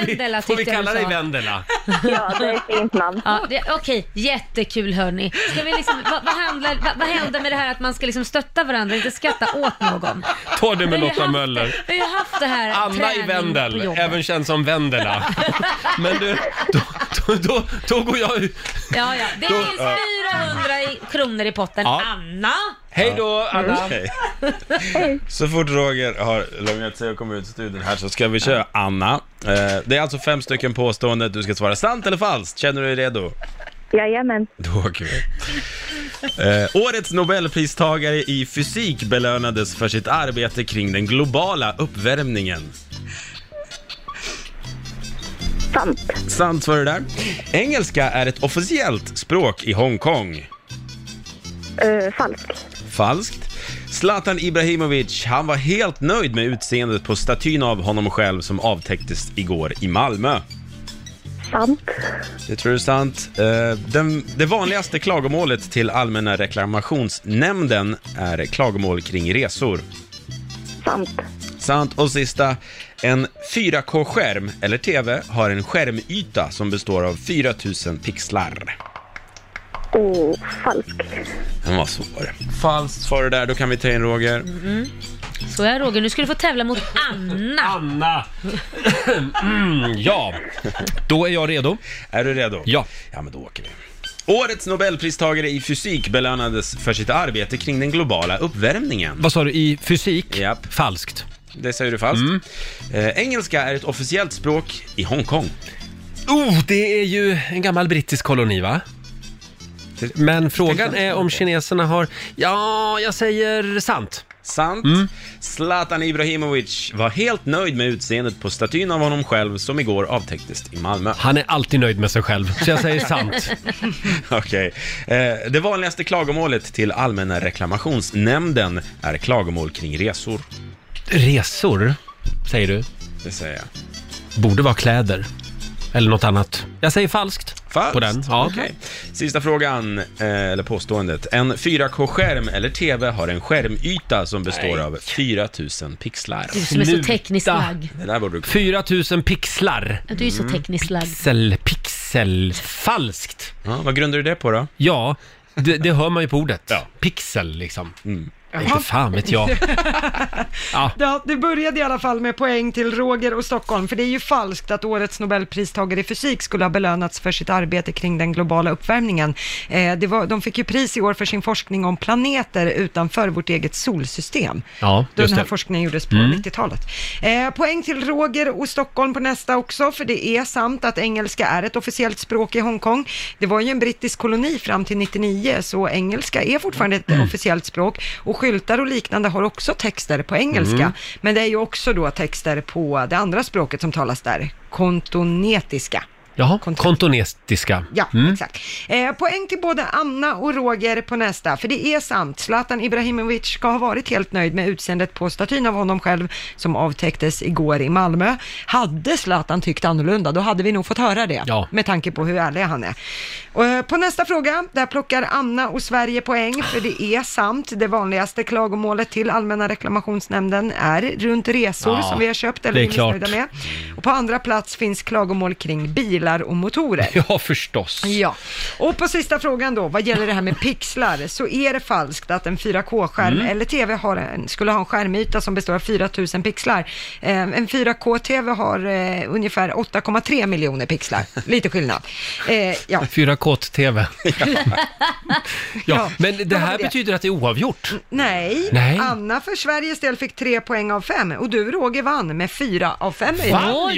[SPEAKER 1] vi-
[SPEAKER 2] Vendela
[SPEAKER 1] Får vi
[SPEAKER 2] tyckte jag
[SPEAKER 1] kalla
[SPEAKER 2] du
[SPEAKER 1] dig
[SPEAKER 2] sa.
[SPEAKER 1] Vendela?
[SPEAKER 14] Ja, det är ett fint namn.
[SPEAKER 2] Ja, det, okej, jättekul hörni. Ska vi liksom, vad, vad, handlar, vad, vad händer med det här att man ska liksom stötta varandra, inte skratta åt någon?
[SPEAKER 1] Ta det med
[SPEAKER 2] Vi har
[SPEAKER 1] Lotta
[SPEAKER 2] haft-
[SPEAKER 1] Möller.
[SPEAKER 2] Vi har ju haft det här
[SPEAKER 1] Anna i
[SPEAKER 2] träning
[SPEAKER 1] Vendel,
[SPEAKER 2] på jobbet.
[SPEAKER 1] även känd som Vendela. Men du, då, då, då, då går jag ut.
[SPEAKER 2] Ja, ja. Det
[SPEAKER 1] Då-
[SPEAKER 2] finns
[SPEAKER 1] ja.
[SPEAKER 2] 400 i, kronor i potten.
[SPEAKER 1] Ja.
[SPEAKER 2] Anna!
[SPEAKER 1] Hej då Anna!
[SPEAKER 14] Mm.
[SPEAKER 6] Okej. Så fort Roger har lugnat sig och kommit ut studion här så ska vi köra Anna. Eh, Det är alltså fem stycken påståenden, du ska svara sant eller falskt. Känner du dig redo?
[SPEAKER 14] Jajamän.
[SPEAKER 6] Då åker vi. Eh, årets Nobelpristagare i fysik belönades för sitt arbete kring den globala uppvärmningen.
[SPEAKER 14] Sant.
[SPEAKER 6] Sant var det där. Engelska är ett officiellt språk i Hongkong.
[SPEAKER 14] Eh, falskt.
[SPEAKER 6] Falskt. Zlatan Ibrahimovic, han var helt nöjd med utseendet på statyn av honom själv som avtäcktes igår i Malmö.
[SPEAKER 14] Sant.
[SPEAKER 6] Det tror du är sant. Eh, Den, det vanligaste klagomålet till Allmänna reklamationsnämnden är klagomål kring resor.
[SPEAKER 14] Sant.
[SPEAKER 6] Sant. Och sista, en 4K-skärm eller TV har en skärmyta som består av 4000 pixlar.
[SPEAKER 14] Och falskt.
[SPEAKER 6] Den var svår. Falskt var det där, då kan vi ta in Roger.
[SPEAKER 2] Mm. Så är Roger, nu ska du få tävla mot Anna.
[SPEAKER 1] Anna! Mm, ja, då är jag redo.
[SPEAKER 6] Är du redo?
[SPEAKER 1] Ja.
[SPEAKER 6] Ja, men då åker vi. Årets Nobelpristagare i fysik belönades för sitt arbete kring den globala uppvärmningen.
[SPEAKER 1] Vad sa du, i fysik?
[SPEAKER 6] Japp.
[SPEAKER 1] Falskt.
[SPEAKER 6] Det säger du falskt.
[SPEAKER 1] Mm.
[SPEAKER 6] Eh, engelska är ett officiellt språk i Hongkong.
[SPEAKER 1] Oh, det är ju en gammal brittisk koloni va? Men frågan är om kineserna har... Ja, jag säger sant.
[SPEAKER 6] Sant.
[SPEAKER 1] Mm.
[SPEAKER 6] Zlatan Ibrahimovic var helt nöjd med utseendet på statyn av honom själv som igår avtäcktes i Malmö.
[SPEAKER 1] Han är alltid nöjd med sig själv, så jag säger sant.
[SPEAKER 6] Okej. Eh, det vanligaste klagomålet till Allmänna reklamationsnämnden är klagomål kring resor.
[SPEAKER 1] Resor, säger du?
[SPEAKER 6] Det säger jag.
[SPEAKER 1] Borde vara kläder. Eller något annat. Jag säger falskt.
[SPEAKER 6] Falskt?
[SPEAKER 1] På den, ja.
[SPEAKER 6] Okej. Sista frågan, eh, eller påståendet. En 4K-skärm eller TV har en skärmyta som består av 4000 pixlar.
[SPEAKER 2] Du som är så tekniskt lagd.
[SPEAKER 6] Det där borde du
[SPEAKER 1] 4000 pixlar.
[SPEAKER 2] Du är ju så tekniskt lagd.
[SPEAKER 1] Pixel, pixel. Falskt.
[SPEAKER 6] Ja, vad grundar du det på då?
[SPEAKER 1] Ja, det, det hör man ju på ordet. Pixel liksom. Inte fan vet jag. Ja.
[SPEAKER 3] det började i alla fall med poäng till Roger och Stockholm, för det är ju falskt att årets Nobelpristagare i fysik skulle ha belönats för sitt arbete kring den globala uppvärmningen. Eh, det var, de fick ju pris i år för sin forskning om planeter utanför vårt eget solsystem.
[SPEAKER 1] Ja,
[SPEAKER 3] Då
[SPEAKER 1] just
[SPEAKER 3] den här
[SPEAKER 1] det.
[SPEAKER 3] forskningen gjordes på
[SPEAKER 1] Mm.
[SPEAKER 3] 90-talet. Eh, poäng till Roger och Stockholm på nästa också, för det är sant att engelska är ett officiellt språk i Hongkong. Det var ju en brittisk koloni fram till 99, så engelska är fortfarande ett officiellt språk. Och skyltar och liknande har också texter på engelska,
[SPEAKER 15] Mm.
[SPEAKER 3] men det är ju också då texter på det andra språket som talas där, kontonetiska.
[SPEAKER 1] Jaha, kontonestiska. Mm.
[SPEAKER 3] Ja, exakt. Eh, poäng till både Anna och Roger på nästa, för det är sant. Zlatan Ibrahimovic ska ha varit helt nöjd med utseendet på statyn av honom själv som avtäcktes igår i Malmö. Hade Zlatan tyckt annorlunda, då hade vi nog fått höra det,
[SPEAKER 1] Ja.
[SPEAKER 3] med tanke på hur ärlig han är. Eh, på nästa fråga, där plockar Anna och Sverige poäng, för det är sant. Det vanligaste klagomålet till Allmänna reklamationsnämnden är runt resor
[SPEAKER 1] Ja,
[SPEAKER 3] som vi har köpt
[SPEAKER 1] det
[SPEAKER 3] eller
[SPEAKER 1] är
[SPEAKER 3] är missnöjda
[SPEAKER 1] klart.
[SPEAKER 3] med. Och på andra plats finns klagomål kring bilar och motorer.
[SPEAKER 1] Ja, förstås.
[SPEAKER 3] Ja, och på sista frågan då, vad gäller det här med pixlar, så är det falskt att en 4K-skärm
[SPEAKER 1] Mm.
[SPEAKER 3] eller TV har en, skulle ha en skärmyta som består av 4000 pixlar. Eh, en 4K-TV har eh, ungefär 8,3 miljoner pixlar, lite skillnad. Eh, ja.
[SPEAKER 1] 4K-TV. Ja.
[SPEAKER 3] Ja,
[SPEAKER 1] men det
[SPEAKER 3] då har
[SPEAKER 1] här
[SPEAKER 3] vi det.
[SPEAKER 1] betyder att det är oavgjort.
[SPEAKER 3] Nej,
[SPEAKER 1] Nej.
[SPEAKER 3] Anna för Sveriges del fick 3 poäng av 5 och du Roger vann med 4 av 5
[SPEAKER 2] Oj! Det var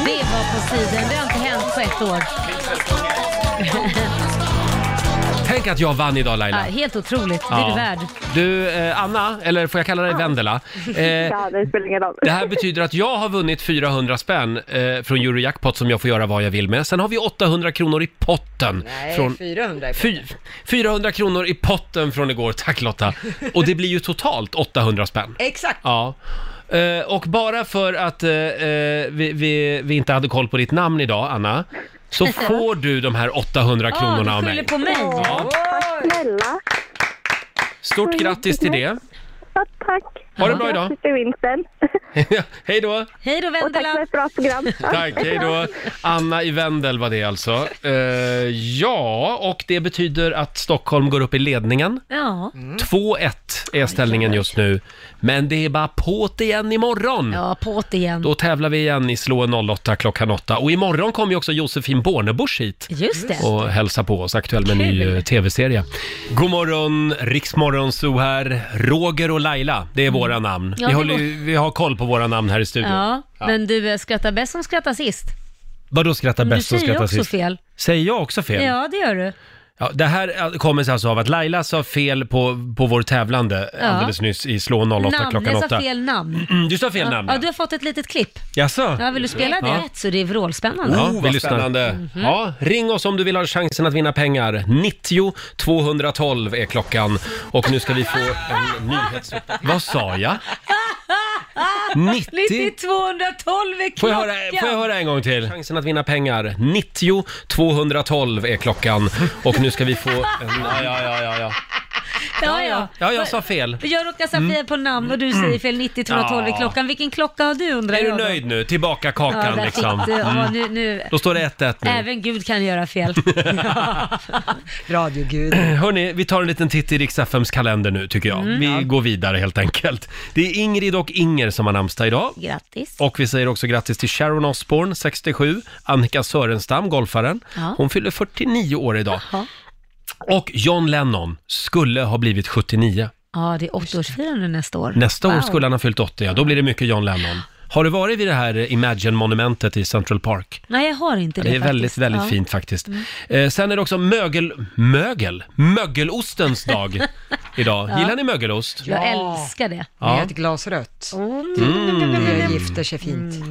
[SPEAKER 2] på tiden, det har inte hänt på ett år.
[SPEAKER 1] Tänk att jag vann idag
[SPEAKER 2] Ja,
[SPEAKER 1] Laila.
[SPEAKER 2] helt otroligt, det är
[SPEAKER 1] Ja.
[SPEAKER 2] du värd.
[SPEAKER 1] Du, eh, Anna, eller får jag kalla dig Vendela? Eh,
[SPEAKER 14] Ja, det spelar ingen roll.
[SPEAKER 1] det här betyder att jag har vunnit 400 spänn eh, från Eurojackpot som jag får göra vad jag vill med. Sen har vi 800 kronor i potten.
[SPEAKER 15] Nej,
[SPEAKER 1] från...
[SPEAKER 15] 400 i
[SPEAKER 1] Fy- 400 kronor i potten från igår, tack Lotta. Och det blir ju totalt 800 spänn.
[SPEAKER 15] Exakt.
[SPEAKER 1] Ja. Eh, Och bara för att eh, eh, vi, vi, vi inte hade koll på ditt namn idag, Anna, så får du de här 800
[SPEAKER 2] Ah,
[SPEAKER 1] kronorna av mig.
[SPEAKER 2] på mig.
[SPEAKER 1] Ja.
[SPEAKER 14] Tack snälla.
[SPEAKER 1] Stort grattis till det.
[SPEAKER 14] Ja, tack.
[SPEAKER 1] Ha det bra idag.
[SPEAKER 14] Grattis till vinsten.
[SPEAKER 1] Hej då!
[SPEAKER 2] Hej då Vendela.
[SPEAKER 14] Och tack för ett bra program. Ja,
[SPEAKER 1] Tack, hej då. Anna i Vendel var det alltså. Eh, ja, och det betyder att Stockholm går upp i ledningen.
[SPEAKER 2] Ja.
[SPEAKER 1] Mm. 2-1 är ställningen just nu. Men det är bara på't igen imorgon.
[SPEAKER 2] Ja, på't igen.
[SPEAKER 1] Då tävlar vi igen i Slå 08 klockan 8. Och imorgon kommer ju också Josefin Bornebusch hit.
[SPEAKER 2] Just det.
[SPEAKER 1] Och hälsa på oss, aktuell med ny
[SPEAKER 2] Kul.
[SPEAKER 1] eh, tv-serie. God morgon, Riksmorgon så här. Roger och Laila, det är våra namn.
[SPEAKER 2] Mm. Ja,
[SPEAKER 1] vi,
[SPEAKER 2] det
[SPEAKER 1] håller, ju- vi har koll på våra namn här i studion.
[SPEAKER 2] Ja,
[SPEAKER 1] Ja.
[SPEAKER 2] men du eh, skrattar bäst som skrattar sist.
[SPEAKER 1] Vadå skrattar
[SPEAKER 2] Men du
[SPEAKER 1] bäst och
[SPEAKER 2] säger ju
[SPEAKER 1] skrattar
[SPEAKER 2] också
[SPEAKER 1] sist?
[SPEAKER 2] fel.
[SPEAKER 1] Säger jag också fel?
[SPEAKER 2] Ja, det gör du.
[SPEAKER 1] Ja, det här kommer sig alltså av att Laila sa fel på, på vår tävlande
[SPEAKER 2] Ja.
[SPEAKER 1] alldeles nyss i Slå 08
[SPEAKER 2] namn,
[SPEAKER 1] klockan
[SPEAKER 2] jag
[SPEAKER 1] 8.
[SPEAKER 2] sa fel namn.
[SPEAKER 1] Mm, du sa fel
[SPEAKER 2] ja.
[SPEAKER 1] namn.
[SPEAKER 2] Ja, du har fått ett litet klipp.
[SPEAKER 1] Jaså?
[SPEAKER 2] Ja, vill du spela det
[SPEAKER 1] Ja.
[SPEAKER 2] rätt så det är vrålspännande.
[SPEAKER 1] Ja, vi lyssnar. Oh, Mhm. Ja, ring oss om du vill ha chansen att vinna pengar. 90 212 är klockan. Och nu ska vi få en nyhetsuppdatering. Vad sa jag? 90?
[SPEAKER 2] 212 är klockan.
[SPEAKER 1] Får jag, höra, får jag höra en gång till? Chansen att vinna pengar. 90 212 är klockan. Och nu ska vi få en... Ja, ja, ja, ja. ja.
[SPEAKER 2] Ja, ja.
[SPEAKER 1] Ja, jag sa fel.
[SPEAKER 2] Jag råkar säga fel på namn och du säger fel 90 212 är
[SPEAKER 1] Mm. Ja.
[SPEAKER 2] klockan. Vilken klocka har du undrar
[SPEAKER 1] Är du
[SPEAKER 2] jag då?
[SPEAKER 1] nöjd nu? Tillbaka
[SPEAKER 2] Ja,
[SPEAKER 1] kakan
[SPEAKER 2] där fick
[SPEAKER 1] liksom.
[SPEAKER 2] du. Ja, nu,
[SPEAKER 1] Mm.
[SPEAKER 2] nu.
[SPEAKER 1] Då står det 1-1 nu.
[SPEAKER 2] Även Gud kan göra fel.
[SPEAKER 1] Radiogud. Hörni, vi tar en liten titt i riks FMs kalender nu tycker jag.
[SPEAKER 2] Mm.
[SPEAKER 1] Vi
[SPEAKER 2] Ja.
[SPEAKER 1] går vidare helt enkelt. Det är Ingrid och Inger som har namnsdag idag.
[SPEAKER 2] Grattis.
[SPEAKER 1] Och vi säger också grattis till Sharon Osbourne, 67, Annika Sörenstam, golfaren.
[SPEAKER 2] Ja.
[SPEAKER 1] Hon fyller 49 år idag. Och John Lennon skulle ha blivit 79.
[SPEAKER 2] Ja, det är 80-årsfirande nästa år.
[SPEAKER 1] Nästa år
[SPEAKER 2] Wow.
[SPEAKER 1] skulle han ha fyllt 80, ja. Då blir det mycket John Lennon. Har du varit vid det här Imagine-monumentet i Central Park?
[SPEAKER 2] Nej, jag har inte
[SPEAKER 1] Ja,
[SPEAKER 2] det
[SPEAKER 1] det är väldigt,
[SPEAKER 2] faktiskt.
[SPEAKER 1] väldigt
[SPEAKER 2] Ja.
[SPEAKER 1] fint faktiskt.
[SPEAKER 2] Mm.
[SPEAKER 1] Eh, sen är det också mögel... Mögel? Mögelostens dag idag.
[SPEAKER 2] Ja.
[SPEAKER 1] Gillar ni mögelost?
[SPEAKER 2] Jag älskar det.
[SPEAKER 1] Ja.
[SPEAKER 3] Med ett glas rött. Det
[SPEAKER 1] Mm.
[SPEAKER 3] gifter sig fint.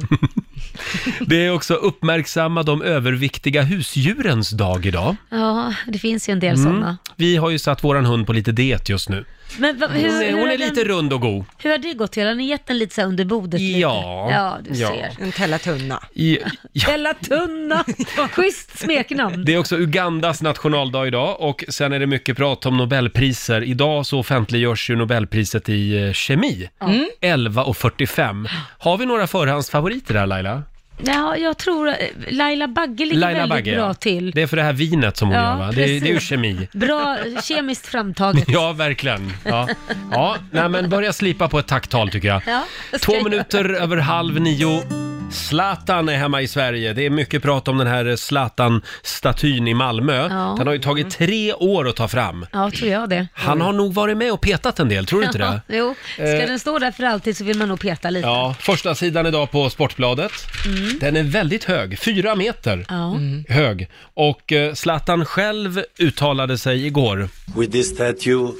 [SPEAKER 1] Det är också uppmärksamma de överviktiga husdjurens dag idag.
[SPEAKER 2] Ja, det finns ju en del
[SPEAKER 1] Mm.
[SPEAKER 2] sådana.
[SPEAKER 1] Vi har ju satt våran hund på lite diet just nu.
[SPEAKER 2] Men va, hur,
[SPEAKER 1] hon är,
[SPEAKER 2] hur,
[SPEAKER 1] hon
[SPEAKER 2] har
[SPEAKER 1] är lite
[SPEAKER 2] den,
[SPEAKER 1] rund och god.
[SPEAKER 2] hur har det gått till? Har ni gett den lite så här under bordet? lite?
[SPEAKER 1] Ja.
[SPEAKER 2] Ja, du
[SPEAKER 1] Ja.
[SPEAKER 2] ser.
[SPEAKER 3] En Tellatunna.
[SPEAKER 1] I,
[SPEAKER 2] Tellatunna! Schysst smeknamn.
[SPEAKER 1] det är också Ugandas nationaldag idag och sen är det mycket prat om Nobelpriser. Idag så offentliggörs ju Nobelpriset i eh, kemi.
[SPEAKER 2] Mm.
[SPEAKER 1] 11.45. Har vi några förhandsfavoriter där Laila?
[SPEAKER 2] Ja, jag tror eh, Laila Bagge ligger väldigt bra
[SPEAKER 1] ja.
[SPEAKER 2] till.
[SPEAKER 1] Det är för det här vinet som hon
[SPEAKER 2] Ja,
[SPEAKER 1] gör va? Det, är- det är ju
[SPEAKER 2] precis.
[SPEAKER 1] kemi.
[SPEAKER 2] Bra kemiskt framtaget.
[SPEAKER 1] Ja, verkligen. Ja. ja, nej men börja slipa på ett tacktal tycker jag.
[SPEAKER 2] Ja, det ska
[SPEAKER 1] Två
[SPEAKER 2] jag
[SPEAKER 1] minuter över halv nio. Zlatan är hemma i Sverige. Det är mycket prat om den här Zlatan-statyn i Malmö.
[SPEAKER 2] Ja. Mm.
[SPEAKER 1] Den har ju tagit tre år att ta fram.
[SPEAKER 2] Ja, tror jag det.
[SPEAKER 1] Han har nog varit med och petat en del, tror du inte det?
[SPEAKER 2] Mm. Ja, jo, ska
[SPEAKER 1] Eh.
[SPEAKER 2] den stå där för alltid så vill man nog peta lite.
[SPEAKER 1] Ja, första sidan idag på Sportbladet.
[SPEAKER 2] Mm.
[SPEAKER 1] Den är väldigt hög, fyra meter
[SPEAKER 2] Ja.
[SPEAKER 1] hög. Och eh, Zlatan själv uttalade sig igår.
[SPEAKER 5] With this statue,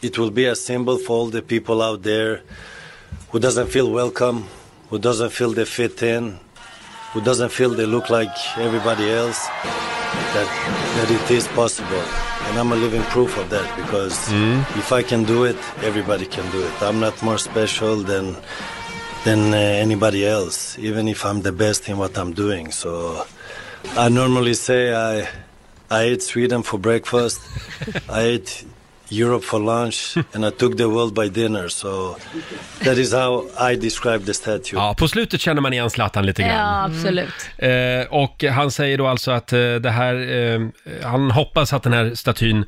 [SPEAKER 5] it will be a symbol for all the people out there who doesn't feel welcome, who doesn't feel they fit in, who doesn't feel they look like everybody else, that, that it is possible. And I'm a living proof of that because if I can do it, everybody can do it. I'm not more special than than uh, anybody else, even if I'm the best in what I'm doing. So I normally say I I ate Sweden for breakfast, I ate Europe for lunch, and I took the world by dinner. So that is how I describe the statue.
[SPEAKER 1] Ja, på slutet känner man igen Zlatan lite grann.
[SPEAKER 2] Ja, absolut.
[SPEAKER 1] Eh, och han säger då alltså att eh, det här, eh, han hoppas att den här statyn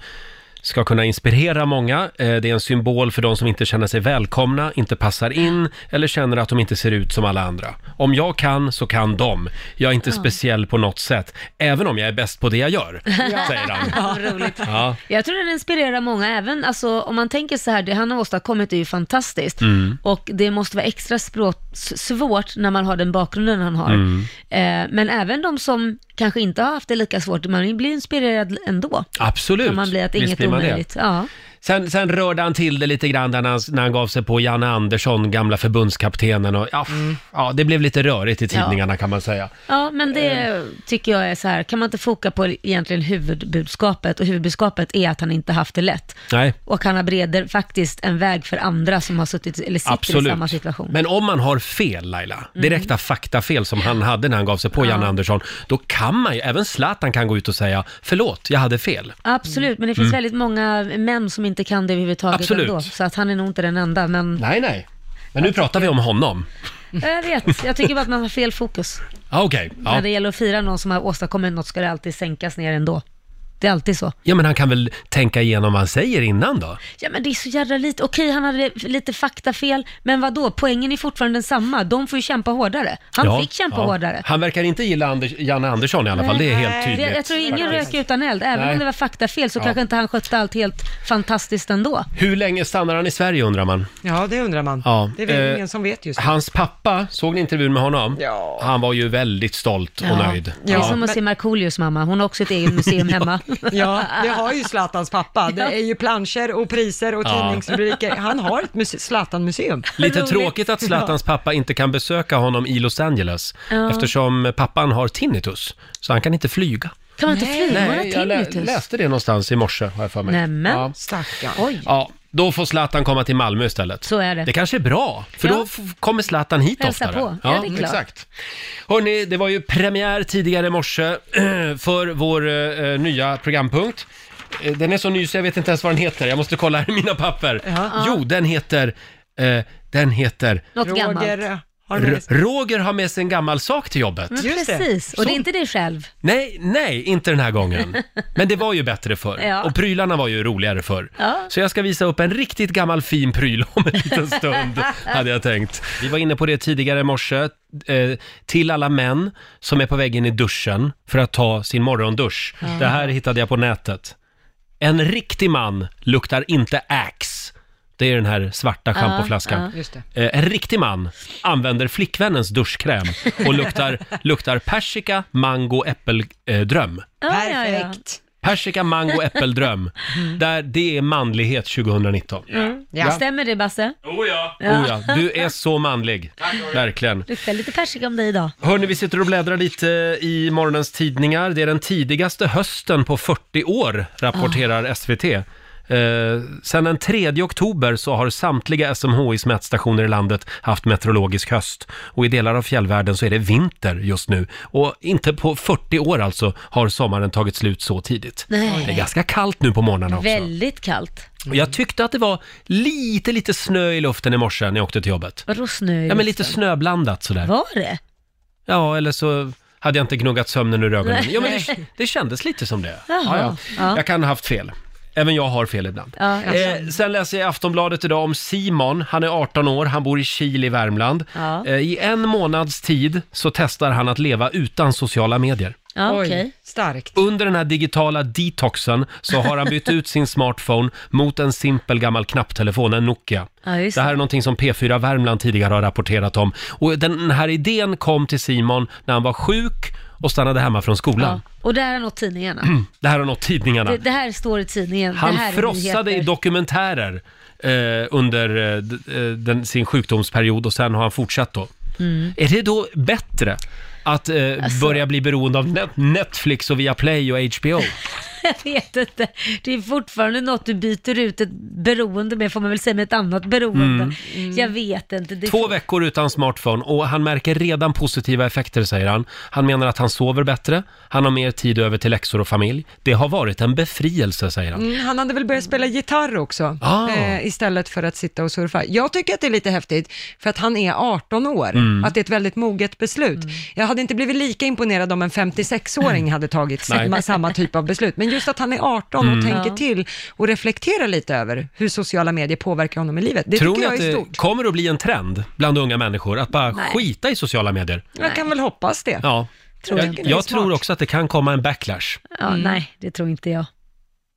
[SPEAKER 1] ska kunna inspirera många. Eh, Det är en symbol för de som inte känner sig välkomna, inte passar in eller känner att de inte ser ut som alla andra. Om jag kan så kan de. Jag är inte
[SPEAKER 2] Ja.
[SPEAKER 1] speciell på något sätt, även om jag är bäst på det jag gör, säger han.
[SPEAKER 2] Vad roligt.
[SPEAKER 1] Ja.
[SPEAKER 2] Jag tror den inspirerar många, även alltså, om man tänker så här, det han har åstadkommit är ju fantastiskt.
[SPEAKER 1] Mm.
[SPEAKER 2] Och det måste vara extra språk, s- svårt när man har den bakgrunden han har.
[SPEAKER 1] Mm.
[SPEAKER 2] Eh, men även de som kanske inte har haft det lika svårt, man blir inspirerad ändå.
[SPEAKER 1] Absolut.
[SPEAKER 2] Kan man bli att
[SPEAKER 1] Visst
[SPEAKER 2] inget är
[SPEAKER 1] blir man det.
[SPEAKER 2] omöjligt. Ja.
[SPEAKER 1] Sen, sen rörde han till det lite grann där när han, när han gav sig på Janne Andersson, gamla förbundskaptenen. Och, ja, f-
[SPEAKER 2] Mm.
[SPEAKER 1] ja, det blev lite rörigt i tidningarna kan man säga.
[SPEAKER 2] ja, men
[SPEAKER 1] Eh.
[SPEAKER 2] det tycker jag är så här, kan man inte foka på egentligen huvudbudskapet? Och huvudbudskapet är att han inte haft det lätt.
[SPEAKER 1] Nej,
[SPEAKER 2] Och han har breder faktiskt en väg för andra som har suttit eller sitter i
[SPEAKER 1] absolut.
[SPEAKER 2] samma situation. Mm.
[SPEAKER 1] Men om man har fel Laila, direkta faktafel som han hade när han gav sig på
[SPEAKER 2] Ja.
[SPEAKER 1] Janne Andersson, då kan man ju, även Zlatan kan gå ut och säga förlåt, jag hade fel.
[SPEAKER 2] Absolut, men det finns
[SPEAKER 1] Mm.
[SPEAKER 2] väldigt många män som inte kan det överhuvudtaget
[SPEAKER 1] Absolut.
[SPEAKER 2] ändå. Så att han är nog inte den enda, men...
[SPEAKER 1] Nej, nej. Men nu pratar vi om honom.
[SPEAKER 2] Jag vet, jag tycker bara att man har fel fokus.
[SPEAKER 1] Ah, Okej.
[SPEAKER 2] När
[SPEAKER 1] Ja.
[SPEAKER 2] det gäller att fira någon som har åstadkommit något ska det alltid sänkas ner ändå. Det är alltid så.
[SPEAKER 1] ja, men han kan väl tänka igenom vad han säger innan då?
[SPEAKER 2] Ja men det är så jävla lite, okej han hade lite faktafel, men vad då? poängen är fortfarande densamma. De får ju kämpa hårdare. Han
[SPEAKER 1] ja,
[SPEAKER 2] fick kämpa
[SPEAKER 1] ja.
[SPEAKER 2] hårdare.
[SPEAKER 1] Han verkar inte gilla Anders, Janne Andersson i alla fall, det är helt tydligt.
[SPEAKER 2] Jag, jag tror ingen
[SPEAKER 1] faktiskt.
[SPEAKER 2] rök utan eld, även
[SPEAKER 1] Nej.
[SPEAKER 2] om det var faktafel så
[SPEAKER 1] Ja.
[SPEAKER 2] kanske inte han skötte allt helt fantastiskt ändå.
[SPEAKER 1] Hur länge stannar han i Sverige undrar man?
[SPEAKER 3] Ja, det undrar man.
[SPEAKER 1] Ja.
[SPEAKER 3] Det är väl
[SPEAKER 1] eh,
[SPEAKER 3] ingen som vet just nu.
[SPEAKER 1] Hans pappa, såg ni intervjun med honom? Ja. Han var ju väldigt stolt och nöjd.
[SPEAKER 2] Det är som att se Markoolios mamma, hon har också ett eget museum hemma.
[SPEAKER 3] Ja, det har ju Zlatans pappa. Det är ju planscher och priser och
[SPEAKER 1] Ja.
[SPEAKER 3] tidningsrubriker. Han har ett muse- Zlatan-museum.
[SPEAKER 1] Lite tråkigt att Zlatans pappa inte kan besöka honom i Los Angeles
[SPEAKER 3] Ja.
[SPEAKER 1] eftersom pappan har tinnitus, så han kan inte flyga.
[SPEAKER 2] Kan man inte flyga? Man har
[SPEAKER 1] jag lä-
[SPEAKER 2] tinnitus.
[SPEAKER 1] läste det någonstans i morse, har jag för mig.
[SPEAKER 2] Nämen,
[SPEAKER 1] Ja.
[SPEAKER 3] stackarn.
[SPEAKER 2] Oj.
[SPEAKER 1] ja, då får Zlatan komma till Malmö istället.
[SPEAKER 2] Så är det.
[SPEAKER 1] Det kanske är bra, för
[SPEAKER 2] Ja.
[SPEAKER 1] då f- kommer Zlatan hit
[SPEAKER 2] Hälsa
[SPEAKER 1] oftare.
[SPEAKER 2] på. Ja, det är klart.
[SPEAKER 1] Exakt. Hörni, det var ju premiär tidigare i morse för vår eh, nya programpunkt. Eh, Den är så ny så jag vet inte ens vad den heter. Jag måste kolla här i mina papper.
[SPEAKER 2] Ja.
[SPEAKER 1] Jo, den heter... Eh, den heter...
[SPEAKER 2] Något gammalt.
[SPEAKER 3] eh,
[SPEAKER 1] R- Roger har med sig en gammal sak till jobbet.
[SPEAKER 2] Men precis, och det är inte dig själv.
[SPEAKER 1] Nej, nej, inte den här gången. Men det var ju bättre förr.
[SPEAKER 2] Ja.
[SPEAKER 1] Och prylarna var ju roligare förr.
[SPEAKER 2] Ja.
[SPEAKER 1] Så jag ska visa upp en riktigt gammal fin pryl om en liten stund, hade jag tänkt. Vi var inne på det tidigare i morse. Eh, till alla män som är på väg in i duschen för att ta sin morgondusch.
[SPEAKER 6] Ja.
[SPEAKER 1] Det här hittade jag på nätet. En riktig man luktar inte Axe. Det är den här svarta
[SPEAKER 6] Ja,
[SPEAKER 1] schampoflaskan.
[SPEAKER 6] ja. Just det.
[SPEAKER 1] Eh, En riktig man använder flickvännens duschkräm och luktar, luktar persika, mango, äppeldröm.
[SPEAKER 2] Perfekt.
[SPEAKER 1] Persika, mango, äppeldröm. Där, det är manlighet 2019.
[SPEAKER 2] Mm.
[SPEAKER 1] Ja.
[SPEAKER 2] Stämmer det Basse?
[SPEAKER 1] Oh ja.
[SPEAKER 2] Ja.
[SPEAKER 1] Oh ja. Du är så manlig. Verkligen.
[SPEAKER 2] Luktar lite persika om dig idag.
[SPEAKER 1] Hörni, vi sitter och bläddrar lite i morgonens tidningar. Det är den tidigaste hösten på 40 år,
[SPEAKER 2] Ah.
[SPEAKER 1] rapporterar SVT. Eh, sen den 3 oktober så har samtliga SMHIs mätstationer i landet haft meteorologisk höst. Och i delar av fjällvärlden så är det vinter just nu. Och inte på 40 år alltså har sommaren tagit slut så tidigt.
[SPEAKER 2] Nej.
[SPEAKER 1] Det är ganska kallt nu på morgnarna också.
[SPEAKER 2] Väldigt kallt.
[SPEAKER 1] Och jag tyckte att det var lite, lite snö i luften i morse när jag åkte till jobbet.
[SPEAKER 2] Vadå snö? i
[SPEAKER 1] Ja, men lite
[SPEAKER 2] luften?
[SPEAKER 1] snöblandat sådär.
[SPEAKER 2] Var det?
[SPEAKER 1] Ja, eller så hade jag inte gnuggat sömnen ur ögonen.
[SPEAKER 2] Nej.
[SPEAKER 1] Ja, men det, det kändes lite som det.
[SPEAKER 2] Jaha.
[SPEAKER 1] Ja, ja.
[SPEAKER 2] Ja.
[SPEAKER 1] Jag kan ha haft fel. Även jag har fel ibland.
[SPEAKER 2] Ja, jag
[SPEAKER 1] eh, sen läser jag i Aftonbladet idag om Simon. Han är 18 år, han bor i Kil i Värmland.
[SPEAKER 2] Ja.
[SPEAKER 1] Eh, I en månads tid så testar han att leva utan sociala medier.
[SPEAKER 2] Ja,
[SPEAKER 3] Oj,
[SPEAKER 2] okej.
[SPEAKER 3] Starkt.
[SPEAKER 1] Under den här digitala detoxen så har han bytt ut sin smartphone mot en simpel gammal knapptelefon, en Nokia.
[SPEAKER 2] Ja, just
[SPEAKER 1] det här är någonting som P4 Värmland tidigare har rapporterat om. Och den här idén kom till Simon när han var sjuk och stannade hemma från skolan.
[SPEAKER 2] Och det här har nått tidningarna.
[SPEAKER 1] Det här har nått tidningarna.
[SPEAKER 2] Det, det här står i tidningen. det här
[SPEAKER 1] Han
[SPEAKER 2] är
[SPEAKER 1] frossade i
[SPEAKER 2] nyheter.
[SPEAKER 1] dokumentärer eh, under eh, d- eh, den, sin sjukdomsperiod och sen har han fortsatt då.
[SPEAKER 2] Mm. Alltså-
[SPEAKER 1] Är det då bättre att eh, börja bli beroende av Net- Netflix och Viaplay och HBO?
[SPEAKER 2] Jag vet inte. Det är fortfarande något du byter ut ett beroende med, får man väl säga, med ett annat beroende.
[SPEAKER 1] Mm.
[SPEAKER 2] Jag vet inte. Det
[SPEAKER 1] Två veckor utan smartphone och han märker redan positiva effekter, säger han. Han menar att han sover bättre, han har mer tid över till läxor och familj. Det har varit en befrielse, säger han.
[SPEAKER 3] Mm, han hade väl börjat spela gitarr också,
[SPEAKER 1] Ah.
[SPEAKER 3] eh, istället för att sitta och surfa. Jag tycker att det är lite häftigt, för att han är 18 år,
[SPEAKER 1] Mm.
[SPEAKER 3] att det är ett väldigt moget
[SPEAKER 2] Mm.
[SPEAKER 3] beslut. Jag hade inte blivit lika imponerad om en 56-åring hade tagit
[SPEAKER 1] Nej.
[SPEAKER 3] samma, samma typ av beslut, men Men just att han är 18 och
[SPEAKER 1] Mm.
[SPEAKER 3] tänker
[SPEAKER 1] Ja.
[SPEAKER 3] till och reflekterar lite över hur sociala medier påverkar honom i livet. Det
[SPEAKER 1] Tror
[SPEAKER 3] tycker
[SPEAKER 1] ni
[SPEAKER 3] jag
[SPEAKER 1] att
[SPEAKER 3] är
[SPEAKER 1] det
[SPEAKER 3] stort.
[SPEAKER 1] kommer att bli en trend bland unga människor att bara
[SPEAKER 3] Nej.
[SPEAKER 1] skita i sociala medier?
[SPEAKER 3] Jag kan väl hoppas det.
[SPEAKER 1] Ja.
[SPEAKER 2] Tror jag
[SPEAKER 1] jag
[SPEAKER 2] inte.
[SPEAKER 1] jag,
[SPEAKER 2] Det är
[SPEAKER 1] tror också att det kan komma en backlash.
[SPEAKER 2] Ja, Nej, det tror inte jag.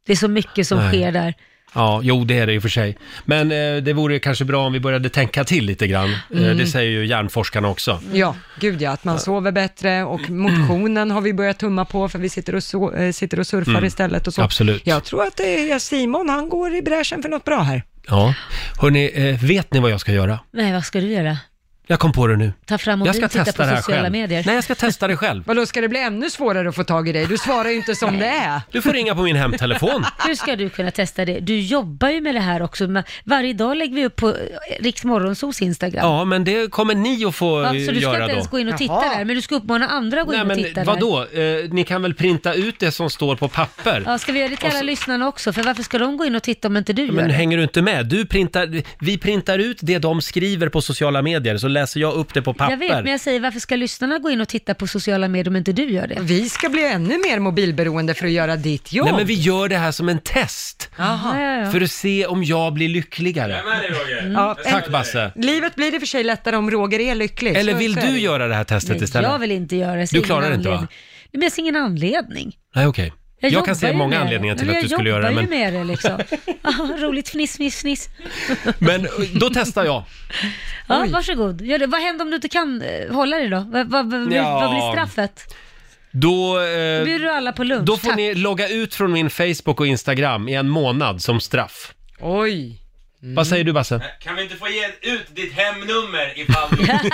[SPEAKER 2] Det är så mycket som
[SPEAKER 1] Nej.
[SPEAKER 2] sker där.
[SPEAKER 1] Ja, jo det är det i och för sig. Men eh, det vore kanske bra om vi började tänka till lite grann. Eh,
[SPEAKER 3] Mm.
[SPEAKER 1] det säger ju hjärnforskarna också.
[SPEAKER 3] Ja, gud ja, att man sover bättre och motionen har vi börjat tumma på för vi sitter och, so- eh, sitter och surfar
[SPEAKER 1] Mm.
[SPEAKER 3] istället och så.
[SPEAKER 1] Absolut.
[SPEAKER 3] Jag tror att det är Simon, han går i bräschen för något bra här.
[SPEAKER 1] Ja. Hörni, eh, vet ni vad jag ska göra?
[SPEAKER 2] Nej, vad ska du göra?
[SPEAKER 1] Jag kom på det nu.
[SPEAKER 2] Ta fram
[SPEAKER 1] Jag
[SPEAKER 2] mobilen
[SPEAKER 1] ska
[SPEAKER 2] och titta
[SPEAKER 1] testa
[SPEAKER 2] på
[SPEAKER 1] det här
[SPEAKER 2] sociala
[SPEAKER 1] själv.
[SPEAKER 2] medier.
[SPEAKER 1] Nej, jag ska testa det själv.
[SPEAKER 3] Vadå, ska det bli ännu svårare att få tag i dig? Du svarar ju inte som det är.
[SPEAKER 1] Du får ringa på min hemtelefon.
[SPEAKER 2] Hur ska du kunna testa det? Du jobbar ju med det här också. men Varje dag lägger vi upp på Riksmorgonsos Instagram.
[SPEAKER 1] Ja, men det kommer ni att få
[SPEAKER 2] Ja,
[SPEAKER 1] eh,
[SPEAKER 2] så du ska
[SPEAKER 1] göra
[SPEAKER 2] inte ens
[SPEAKER 1] då.
[SPEAKER 2] gå in och titta där, men du ska uppmana andra att gå
[SPEAKER 1] Nej,
[SPEAKER 2] in och
[SPEAKER 1] men
[SPEAKER 2] titta där.
[SPEAKER 1] vadå? Eh, ni kan väl printa ut det som står på papper?
[SPEAKER 2] Ja, ska vi göra det till
[SPEAKER 1] Och
[SPEAKER 2] alla
[SPEAKER 1] så-
[SPEAKER 2] lyssnarna också? För varför ska de gå in och titta om inte du gör
[SPEAKER 1] Men
[SPEAKER 2] det?
[SPEAKER 1] hänger du inte med? Du printar, vi printar ut det de skriver på sociala medier, så läser jag upp det på papper.
[SPEAKER 2] Jag vet, men jag säger varför ska lyssnarna gå in och titta på sociala medier om inte du gör det?
[SPEAKER 3] Vi ska bli ännu mer mobilberoende för att göra ditt jobb.
[SPEAKER 1] Nej, men vi gör det här som en test.
[SPEAKER 3] Aha. Ja, ja, ja.
[SPEAKER 1] För att se om jag blir lyckligare.
[SPEAKER 3] Mm. Ja,
[SPEAKER 1] Tack
[SPEAKER 3] en-
[SPEAKER 1] Basse.
[SPEAKER 3] Livet blir i och för sig lättare om Roger är lycklig.
[SPEAKER 1] Eller
[SPEAKER 3] Så-
[SPEAKER 1] vill
[SPEAKER 3] så är det
[SPEAKER 1] du
[SPEAKER 3] ju.
[SPEAKER 1] göra det här testet
[SPEAKER 2] Nej,
[SPEAKER 1] istället?
[SPEAKER 2] jag vill inte göra det. Jag ser
[SPEAKER 1] Du
[SPEAKER 2] ingen
[SPEAKER 1] klarar inte, va?
[SPEAKER 2] anledning. Nej, men jag ser ingen anledning.
[SPEAKER 1] Nej, okej. Jag,
[SPEAKER 2] jobbar
[SPEAKER 1] kan se
[SPEAKER 2] ju
[SPEAKER 1] många
[SPEAKER 2] med
[SPEAKER 1] anledningar
[SPEAKER 2] det.
[SPEAKER 1] till
[SPEAKER 2] Nej,
[SPEAKER 1] att du skulle göra det,
[SPEAKER 2] Jag
[SPEAKER 1] men,
[SPEAKER 2] jobbar ju med det liksom. Ah, Roligt fniss, fniss, fniss.
[SPEAKER 1] men eh, då testar jag.
[SPEAKER 2] Ja, varsågod. Gör det. Vad händer om du inte kan eh, hålla dig då? Vad, vad, vad,
[SPEAKER 1] Ja.
[SPEAKER 2] vad blir straffet?
[SPEAKER 1] Då,
[SPEAKER 2] Då
[SPEAKER 1] eh,
[SPEAKER 2] bjuder du alla på lunch.
[SPEAKER 1] då får
[SPEAKER 2] Tack.
[SPEAKER 1] ni logga ut från min Facebook och Instagram i en månad som straff.
[SPEAKER 3] Oj!
[SPEAKER 2] Mm.
[SPEAKER 1] Vad säger du Basse?
[SPEAKER 6] Kan vi inte få ge ut ditt hemnummer ifall du...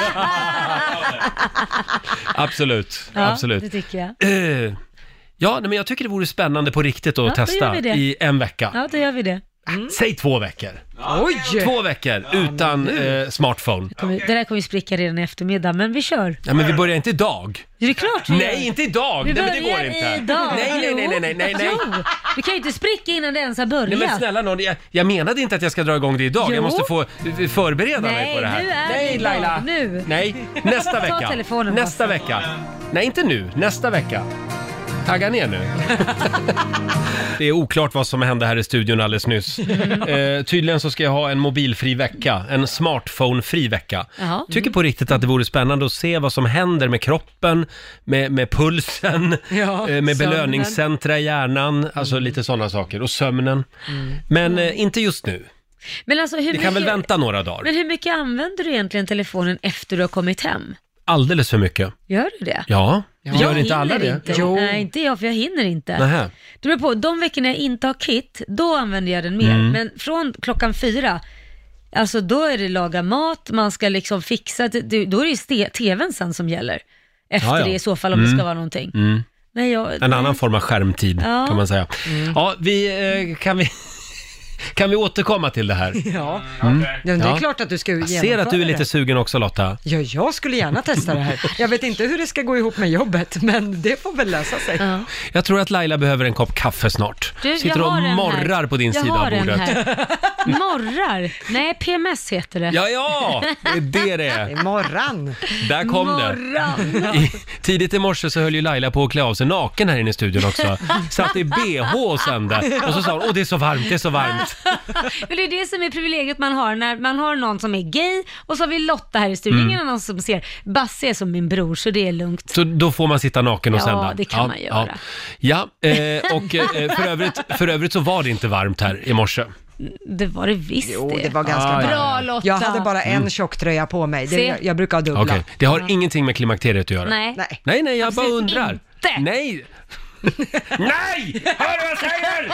[SPEAKER 1] Absolut,
[SPEAKER 2] Ja,
[SPEAKER 1] absolut.
[SPEAKER 2] det tycker jag.
[SPEAKER 1] Eh, Ja, nej, men jag tycker det vore spännande på riktigt att
[SPEAKER 2] Ja, då gör
[SPEAKER 1] testa
[SPEAKER 2] vi det.
[SPEAKER 1] i en vecka.
[SPEAKER 2] Ja, då gör vi det.
[SPEAKER 1] Säg två veckor.
[SPEAKER 3] Oj!
[SPEAKER 1] Två veckor utan eh, smartphone.
[SPEAKER 2] Kommer, Det där kommer ju spricka redan i eftermiddag, men vi kör.
[SPEAKER 1] Ja, men vi börjar inte idag.
[SPEAKER 2] Det är klart vi gör.
[SPEAKER 1] Nej, inte idag!
[SPEAKER 2] Vi
[SPEAKER 1] Nej, men
[SPEAKER 2] börjar
[SPEAKER 1] det går inte.
[SPEAKER 2] idag.
[SPEAKER 1] Nej, nej, nej, nej, nej, nej, nej.
[SPEAKER 2] Jo, du kan ju inte spricka innan det ens har börjat.
[SPEAKER 1] Nej men snälla någon, jag, jag menade inte att jag ska dra igång det idag.
[SPEAKER 2] Jo.
[SPEAKER 1] Jag måste få eh, förbereda mig
[SPEAKER 2] Nej,
[SPEAKER 1] på det här.
[SPEAKER 2] nu är det
[SPEAKER 1] Nej,
[SPEAKER 2] idag.
[SPEAKER 1] Laila.
[SPEAKER 2] Nu.
[SPEAKER 1] Nej, nästa
[SPEAKER 2] Ta
[SPEAKER 1] vecka.
[SPEAKER 2] telefonen,
[SPEAKER 1] nästa vecka. Nej, inte nu. Nästa vecka. Tagga ner nu. Det är oklart vad som hände här i studion alldeles nyss. Eh, tydligen så ska jag ha en mobilfri vecka, en smartphone-fri vecka.
[SPEAKER 2] Jaha.
[SPEAKER 1] Tycker på riktigt att det vore spännande att se vad som händer med kroppen, med, med pulsen,
[SPEAKER 3] Ja,
[SPEAKER 1] eh, med
[SPEAKER 3] sömnen.
[SPEAKER 1] belöningscentra i hjärnan, alltså
[SPEAKER 2] Mm.
[SPEAKER 1] lite sådana saker. Och sömnen. Men eh, inte just nu.
[SPEAKER 2] Men alltså, hur
[SPEAKER 1] Vi kan väl vänta några dagar.
[SPEAKER 2] Men hur mycket använder du egentligen telefonen efter du har kommit hem?
[SPEAKER 1] Alldeles för mycket.
[SPEAKER 2] Gör du det?
[SPEAKER 1] Ja, gör inte
[SPEAKER 2] hinner
[SPEAKER 1] alla det?
[SPEAKER 2] Inte. Nej, inte jag, för jag hinner inte.
[SPEAKER 1] Nähä.
[SPEAKER 2] Det beror på, de veckorna jag inte har kit, då använder jag den mer.
[SPEAKER 1] Mm.
[SPEAKER 2] Men från klockan fyra, alltså då är det laga mat, man ska liksom fixa, det- det- då är det ju ste- tvn sen som gäller. Efter
[SPEAKER 1] Ja, ja.
[SPEAKER 2] det i så fall, om det
[SPEAKER 1] Mm.
[SPEAKER 2] ska vara någonting.
[SPEAKER 1] Mm.
[SPEAKER 2] Nej, jag,
[SPEAKER 1] En annan form av skärmtid
[SPEAKER 2] Ja. Mm.
[SPEAKER 1] kan man säga. Ja, vi, eh, kan, vi, kan vi återkomma till det här?
[SPEAKER 3] Ja.
[SPEAKER 1] Mm.
[SPEAKER 3] Ja, men det är
[SPEAKER 1] Ja.
[SPEAKER 3] klart att du ska
[SPEAKER 1] Jag ser att du är lite sugen också Lotta.
[SPEAKER 3] Ja, jag skulle gärna testa det här. Jag vet inte hur det ska gå ihop med jobbet, men det får väl lösa sig.
[SPEAKER 1] Jag tror att Laila behöver en kopp kaffe snart.
[SPEAKER 2] Du, jag
[SPEAKER 1] Sitter och
[SPEAKER 2] har en här.
[SPEAKER 1] morrar på din
[SPEAKER 2] jag
[SPEAKER 1] sida
[SPEAKER 2] har
[SPEAKER 1] av
[SPEAKER 2] den
[SPEAKER 1] bordet.
[SPEAKER 2] Här. Morrar? Nej, PMS heter det.
[SPEAKER 1] Ja, ja, det är det det är.
[SPEAKER 3] Morran.
[SPEAKER 1] Där kom det. I, tidigt i morse så höll ju Laila på att klä av sig naken här inne i studion också. Satt i bh och sände. Och så sa hon, åh det är så varmt, det är så varmt.
[SPEAKER 2] Men det är det som är privilegiet man har när man har någon som är gay och så har vi Lotta här i studion.
[SPEAKER 1] Mm.
[SPEAKER 2] Ingen annan som ser. Basse är som min bror så det är lugnt.
[SPEAKER 1] Så då får man sitta naken och
[SPEAKER 2] Ja,
[SPEAKER 1] sända?
[SPEAKER 2] det kan man göra.
[SPEAKER 1] Ja, ja. Eh, och eh, för, övrigt, för övrigt så var det inte varmt här i morse.
[SPEAKER 2] Det var det visst
[SPEAKER 3] Jo, det var ganska
[SPEAKER 1] Ah, ja,
[SPEAKER 3] bra.
[SPEAKER 1] ja.
[SPEAKER 2] Lotta.
[SPEAKER 3] Jag hade bara
[SPEAKER 1] Mm.
[SPEAKER 3] en tjocktröja på mig. Det,
[SPEAKER 2] Se.
[SPEAKER 3] jag, jag brukar ha dubbla.
[SPEAKER 1] Okej, det har ingenting med klimakteriet att göra?
[SPEAKER 2] Nej.
[SPEAKER 1] Nej, nej, jag bara undrar.
[SPEAKER 2] inte.
[SPEAKER 1] Nej! nej! Hör du vad jag säger?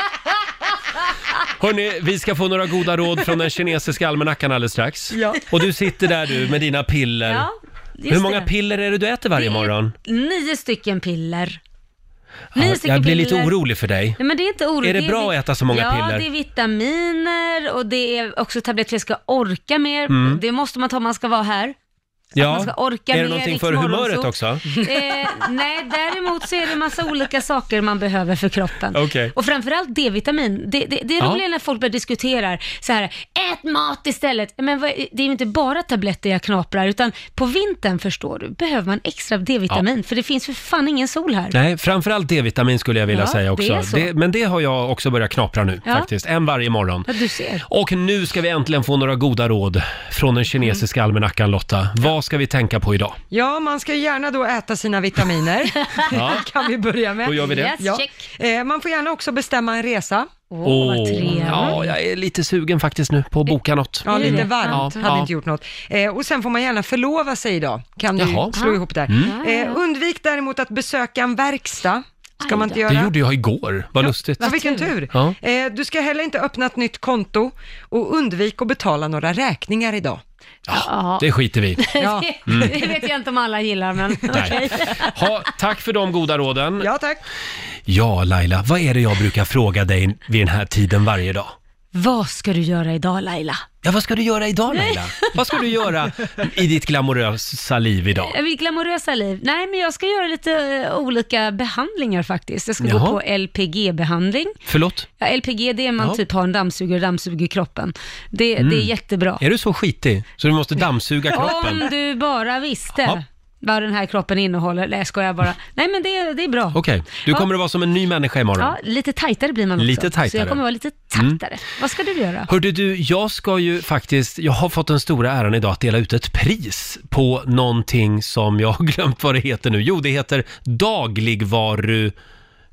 [SPEAKER 1] Hörni, vi ska få några goda råd från den kinesiska almanackan alldeles strax.
[SPEAKER 2] Ja.
[SPEAKER 1] Och du sitter där du med dina piller.
[SPEAKER 2] Ja, just
[SPEAKER 1] Hur många
[SPEAKER 2] det.
[SPEAKER 1] piller är det du äter varje morgon?
[SPEAKER 2] Nio stycken piller. Nio
[SPEAKER 1] Ja,
[SPEAKER 2] stycken
[SPEAKER 1] jag blir lite
[SPEAKER 2] piller.
[SPEAKER 1] orolig för dig.
[SPEAKER 2] Nej, men det är inte oroligt.
[SPEAKER 1] Är det
[SPEAKER 2] är
[SPEAKER 1] bra
[SPEAKER 2] vi-
[SPEAKER 1] att äta så många
[SPEAKER 2] ja,
[SPEAKER 1] piller?
[SPEAKER 2] Ja, det är vitaminer och det är också tabletter för att jag ska orka mer.
[SPEAKER 1] Mm.
[SPEAKER 2] Det måste man ta om man ska vara här.
[SPEAKER 1] Ja.
[SPEAKER 2] man ska orka
[SPEAKER 1] är det
[SPEAKER 2] med
[SPEAKER 1] någonting
[SPEAKER 2] Rix
[SPEAKER 1] för
[SPEAKER 2] Morgonzoo.
[SPEAKER 1] humöret också?
[SPEAKER 2] Eh, nej, däremot så är det massa olika saker man behöver för kroppen.
[SPEAKER 1] Okej.
[SPEAKER 2] Och framförallt D-vitamin. Det, det, det är
[SPEAKER 1] Ja.
[SPEAKER 2] roligt när folk börjar diskutera så här, ät mat istället. Men vad, det är ju inte bara tabletter jag knaprar, utan på vintern förstår du, behöver man extra D-vitamin, för det finns för fan ingen sol här.
[SPEAKER 1] Nej, framförallt D-vitamin skulle jag vilja
[SPEAKER 2] Ja, det
[SPEAKER 1] säga också.
[SPEAKER 2] är så.
[SPEAKER 1] men det har jag också börjat knapra nu
[SPEAKER 2] Ja.
[SPEAKER 1] faktiskt. En varje morgon.
[SPEAKER 2] Ja, du ser.
[SPEAKER 1] Och nu ska vi äntligen få några goda råd från den kinesiska almanackan Lotta. Vad ska vi tänka på idag?
[SPEAKER 3] Ja, man ska ju gärna då äta sina vitaminer.
[SPEAKER 1] Ja.
[SPEAKER 3] Det kan vi börja med.
[SPEAKER 1] Då gör vi det. Yes,
[SPEAKER 3] Ja. Eh, Man får gärna också bestämma en resa.
[SPEAKER 1] Åh, ja, jag är lite sugen faktiskt nu på att boka något.
[SPEAKER 3] Ja, lite
[SPEAKER 1] Mm.
[SPEAKER 3] varmt.
[SPEAKER 1] Ja,
[SPEAKER 3] Hade
[SPEAKER 1] ja.
[SPEAKER 3] inte gjort något. Eh, och sen får man gärna förlova sig idag. Kan du
[SPEAKER 1] Jaha.
[SPEAKER 3] slå ihop där.
[SPEAKER 1] Mm. Ja, ja,
[SPEAKER 3] Eh, undvik däremot att besöka en verkstad. Ska man inte göra.
[SPEAKER 1] Det gjorde jag igår, vad lustigt.
[SPEAKER 3] Ja, vilken tur.
[SPEAKER 1] Ja.
[SPEAKER 3] Eh, du ska heller inte öppna ett nytt konto och undvik att betala några räkningar idag.
[SPEAKER 2] Ja,
[SPEAKER 1] Det skiter vi i.
[SPEAKER 2] Ja.
[SPEAKER 1] Mm.
[SPEAKER 2] det vet jag inte om alla gillar, men okej.
[SPEAKER 1] Ha, tack för de goda råden.
[SPEAKER 3] Ja, tack.
[SPEAKER 1] Ja, Laila, vad är det jag brukar fråga dig vid den här tiden varje dag?
[SPEAKER 2] Vad ska du göra idag Laila?
[SPEAKER 1] Ja, vad ska du göra idag Laila? Vad ska du göra i ditt glamorösa liv idag?
[SPEAKER 2] Eh, Mitt glamorösa liv? Nej, men jag ska göra lite eh, olika behandlingar faktiskt. Jag ska
[SPEAKER 1] Jaha.
[SPEAKER 2] gå på LPG-behandling.
[SPEAKER 1] Förlåt?
[SPEAKER 2] Ja, LPG, det är man
[SPEAKER 1] Ja.
[SPEAKER 2] typ har en dammsugare och dammsuger kroppen. Det,
[SPEAKER 1] Mm.
[SPEAKER 2] det är jättebra.
[SPEAKER 1] Är du så skitig så du måste dammsuga kroppen?
[SPEAKER 2] Om du bara visste
[SPEAKER 1] Ja.
[SPEAKER 2] vad den här kroppen innehåller. Nej, jag skojar bara. Nej, men det, det är bra.
[SPEAKER 1] Okej, du
[SPEAKER 2] Ja.
[SPEAKER 1] kommer att vara som en ny människa imorgon.
[SPEAKER 2] Ja, lite tajtare blir man också.
[SPEAKER 1] Lite
[SPEAKER 2] Så
[SPEAKER 1] tajtare.
[SPEAKER 2] jag kommer vara lite
[SPEAKER 1] Mm.
[SPEAKER 2] tajtare. Vad ska du göra?
[SPEAKER 1] Hörde du, jag ska ju faktiskt, jag har fått den stora äran idag att dela ut ett pris på någonting som jag har glömt vad det heter nu. Jo, det heter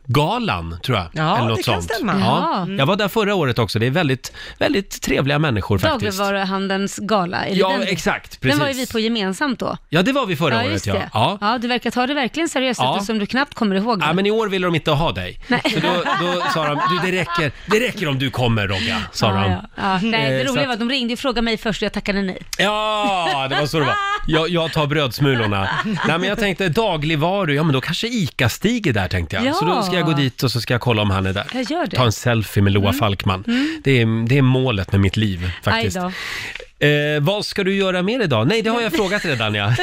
[SPEAKER 1] Dagligvarugalan, tror jag.
[SPEAKER 2] Ja,
[SPEAKER 1] eller något
[SPEAKER 2] det kan
[SPEAKER 1] sånt.
[SPEAKER 2] stämma.
[SPEAKER 1] Ja.
[SPEAKER 2] Ja.
[SPEAKER 1] Jag var där förra året också. Det är väldigt, väldigt trevliga människor faktiskt.
[SPEAKER 2] Dagligvaruhandelns gala, är det
[SPEAKER 1] Ja,
[SPEAKER 2] den?
[SPEAKER 1] exakt,
[SPEAKER 2] Den var ju vi
[SPEAKER 1] precis.
[SPEAKER 2] på gemensamt då.
[SPEAKER 1] Ja, det var vi förra
[SPEAKER 2] ja,
[SPEAKER 1] året,
[SPEAKER 2] just
[SPEAKER 1] ja.
[SPEAKER 2] det. ja. du verkar ta det verkligen seriöst
[SPEAKER 1] Ja.
[SPEAKER 2] eftersom du knappt kommer ihåg det.
[SPEAKER 1] Ja, men i år ville de inte ha dig. Så då, då sa de, du det räcker, det räcker om du kommer Rogga, sa
[SPEAKER 2] Ja,
[SPEAKER 1] de.
[SPEAKER 2] ja. Ja, nej, det
[SPEAKER 1] Eh, så
[SPEAKER 2] roliga
[SPEAKER 1] att-
[SPEAKER 2] var att de ringde och frågade mig först och jag tackade nej.
[SPEAKER 1] Ja, det var så det var. Jag, jag tar brödsmulorna. Nej, men jag tänkte dagligvaru, ja men då kanske ICA-Stig är där tänkte jag.
[SPEAKER 2] Ja.
[SPEAKER 1] Så då ska jag gå dit och så ska jag kolla om han är där.
[SPEAKER 2] Jag gör det.
[SPEAKER 1] Ta en selfie med Loa
[SPEAKER 2] Mm.
[SPEAKER 1] Falkman.
[SPEAKER 2] Mm.
[SPEAKER 1] Det, är, det är målet med mitt liv faktiskt.
[SPEAKER 2] Aj då.
[SPEAKER 1] Eh, vad ska du göra mer idag? Nej, det har jag frågat redan ja.
[SPEAKER 2] Det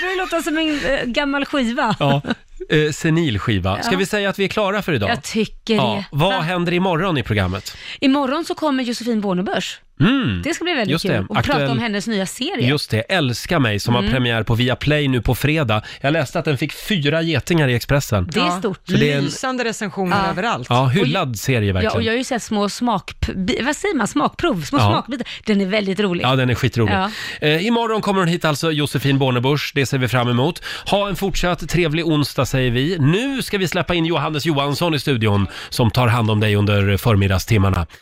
[SPEAKER 2] börjar låta som en eh, gammal skiva.
[SPEAKER 1] ja. Eh, senil skiva. Ska
[SPEAKER 2] Ja.
[SPEAKER 1] vi säga att vi är klara för idag?
[SPEAKER 2] Jag tycker det.
[SPEAKER 1] Vad
[SPEAKER 2] Va?
[SPEAKER 1] händer imorgon i programmet?
[SPEAKER 2] Imorgon så kommer Josefin Bornebusch.
[SPEAKER 1] Mm.
[SPEAKER 2] Det ska bli väldigt
[SPEAKER 1] Just
[SPEAKER 2] kul.
[SPEAKER 1] det.
[SPEAKER 2] Och prata
[SPEAKER 1] Aktuell-
[SPEAKER 2] om hennes nya serie.
[SPEAKER 1] Just det, Älska mig som har
[SPEAKER 2] Mm.
[SPEAKER 1] premiär på Viaplay nu på fredag. Jag läste att den fick fyra getingar i Expressen.
[SPEAKER 2] Det är Ja. stort.
[SPEAKER 1] Så det är en,
[SPEAKER 3] Lysande recensioner
[SPEAKER 2] Ja.
[SPEAKER 3] överallt.
[SPEAKER 1] ja, hyllad serie
[SPEAKER 2] Ja, och
[SPEAKER 1] verkligen.
[SPEAKER 2] jag har ju sett små smak... Vad säger man? Smakprov? Små
[SPEAKER 1] Ja.
[SPEAKER 2] smakbitar. Den är väldigt rolig.
[SPEAKER 1] Ja, den är skitrolig.
[SPEAKER 2] Ja.
[SPEAKER 1] Eh, imorgon kommer hon hit alltså, Josefin Bornebusch. Det ser vi fram emot. Ha en fortsatt trevlig onsdag säger vi. Nu ska vi släppa in Johannes Johansson i studion som tar hand om dig under förmiddagstimmarna.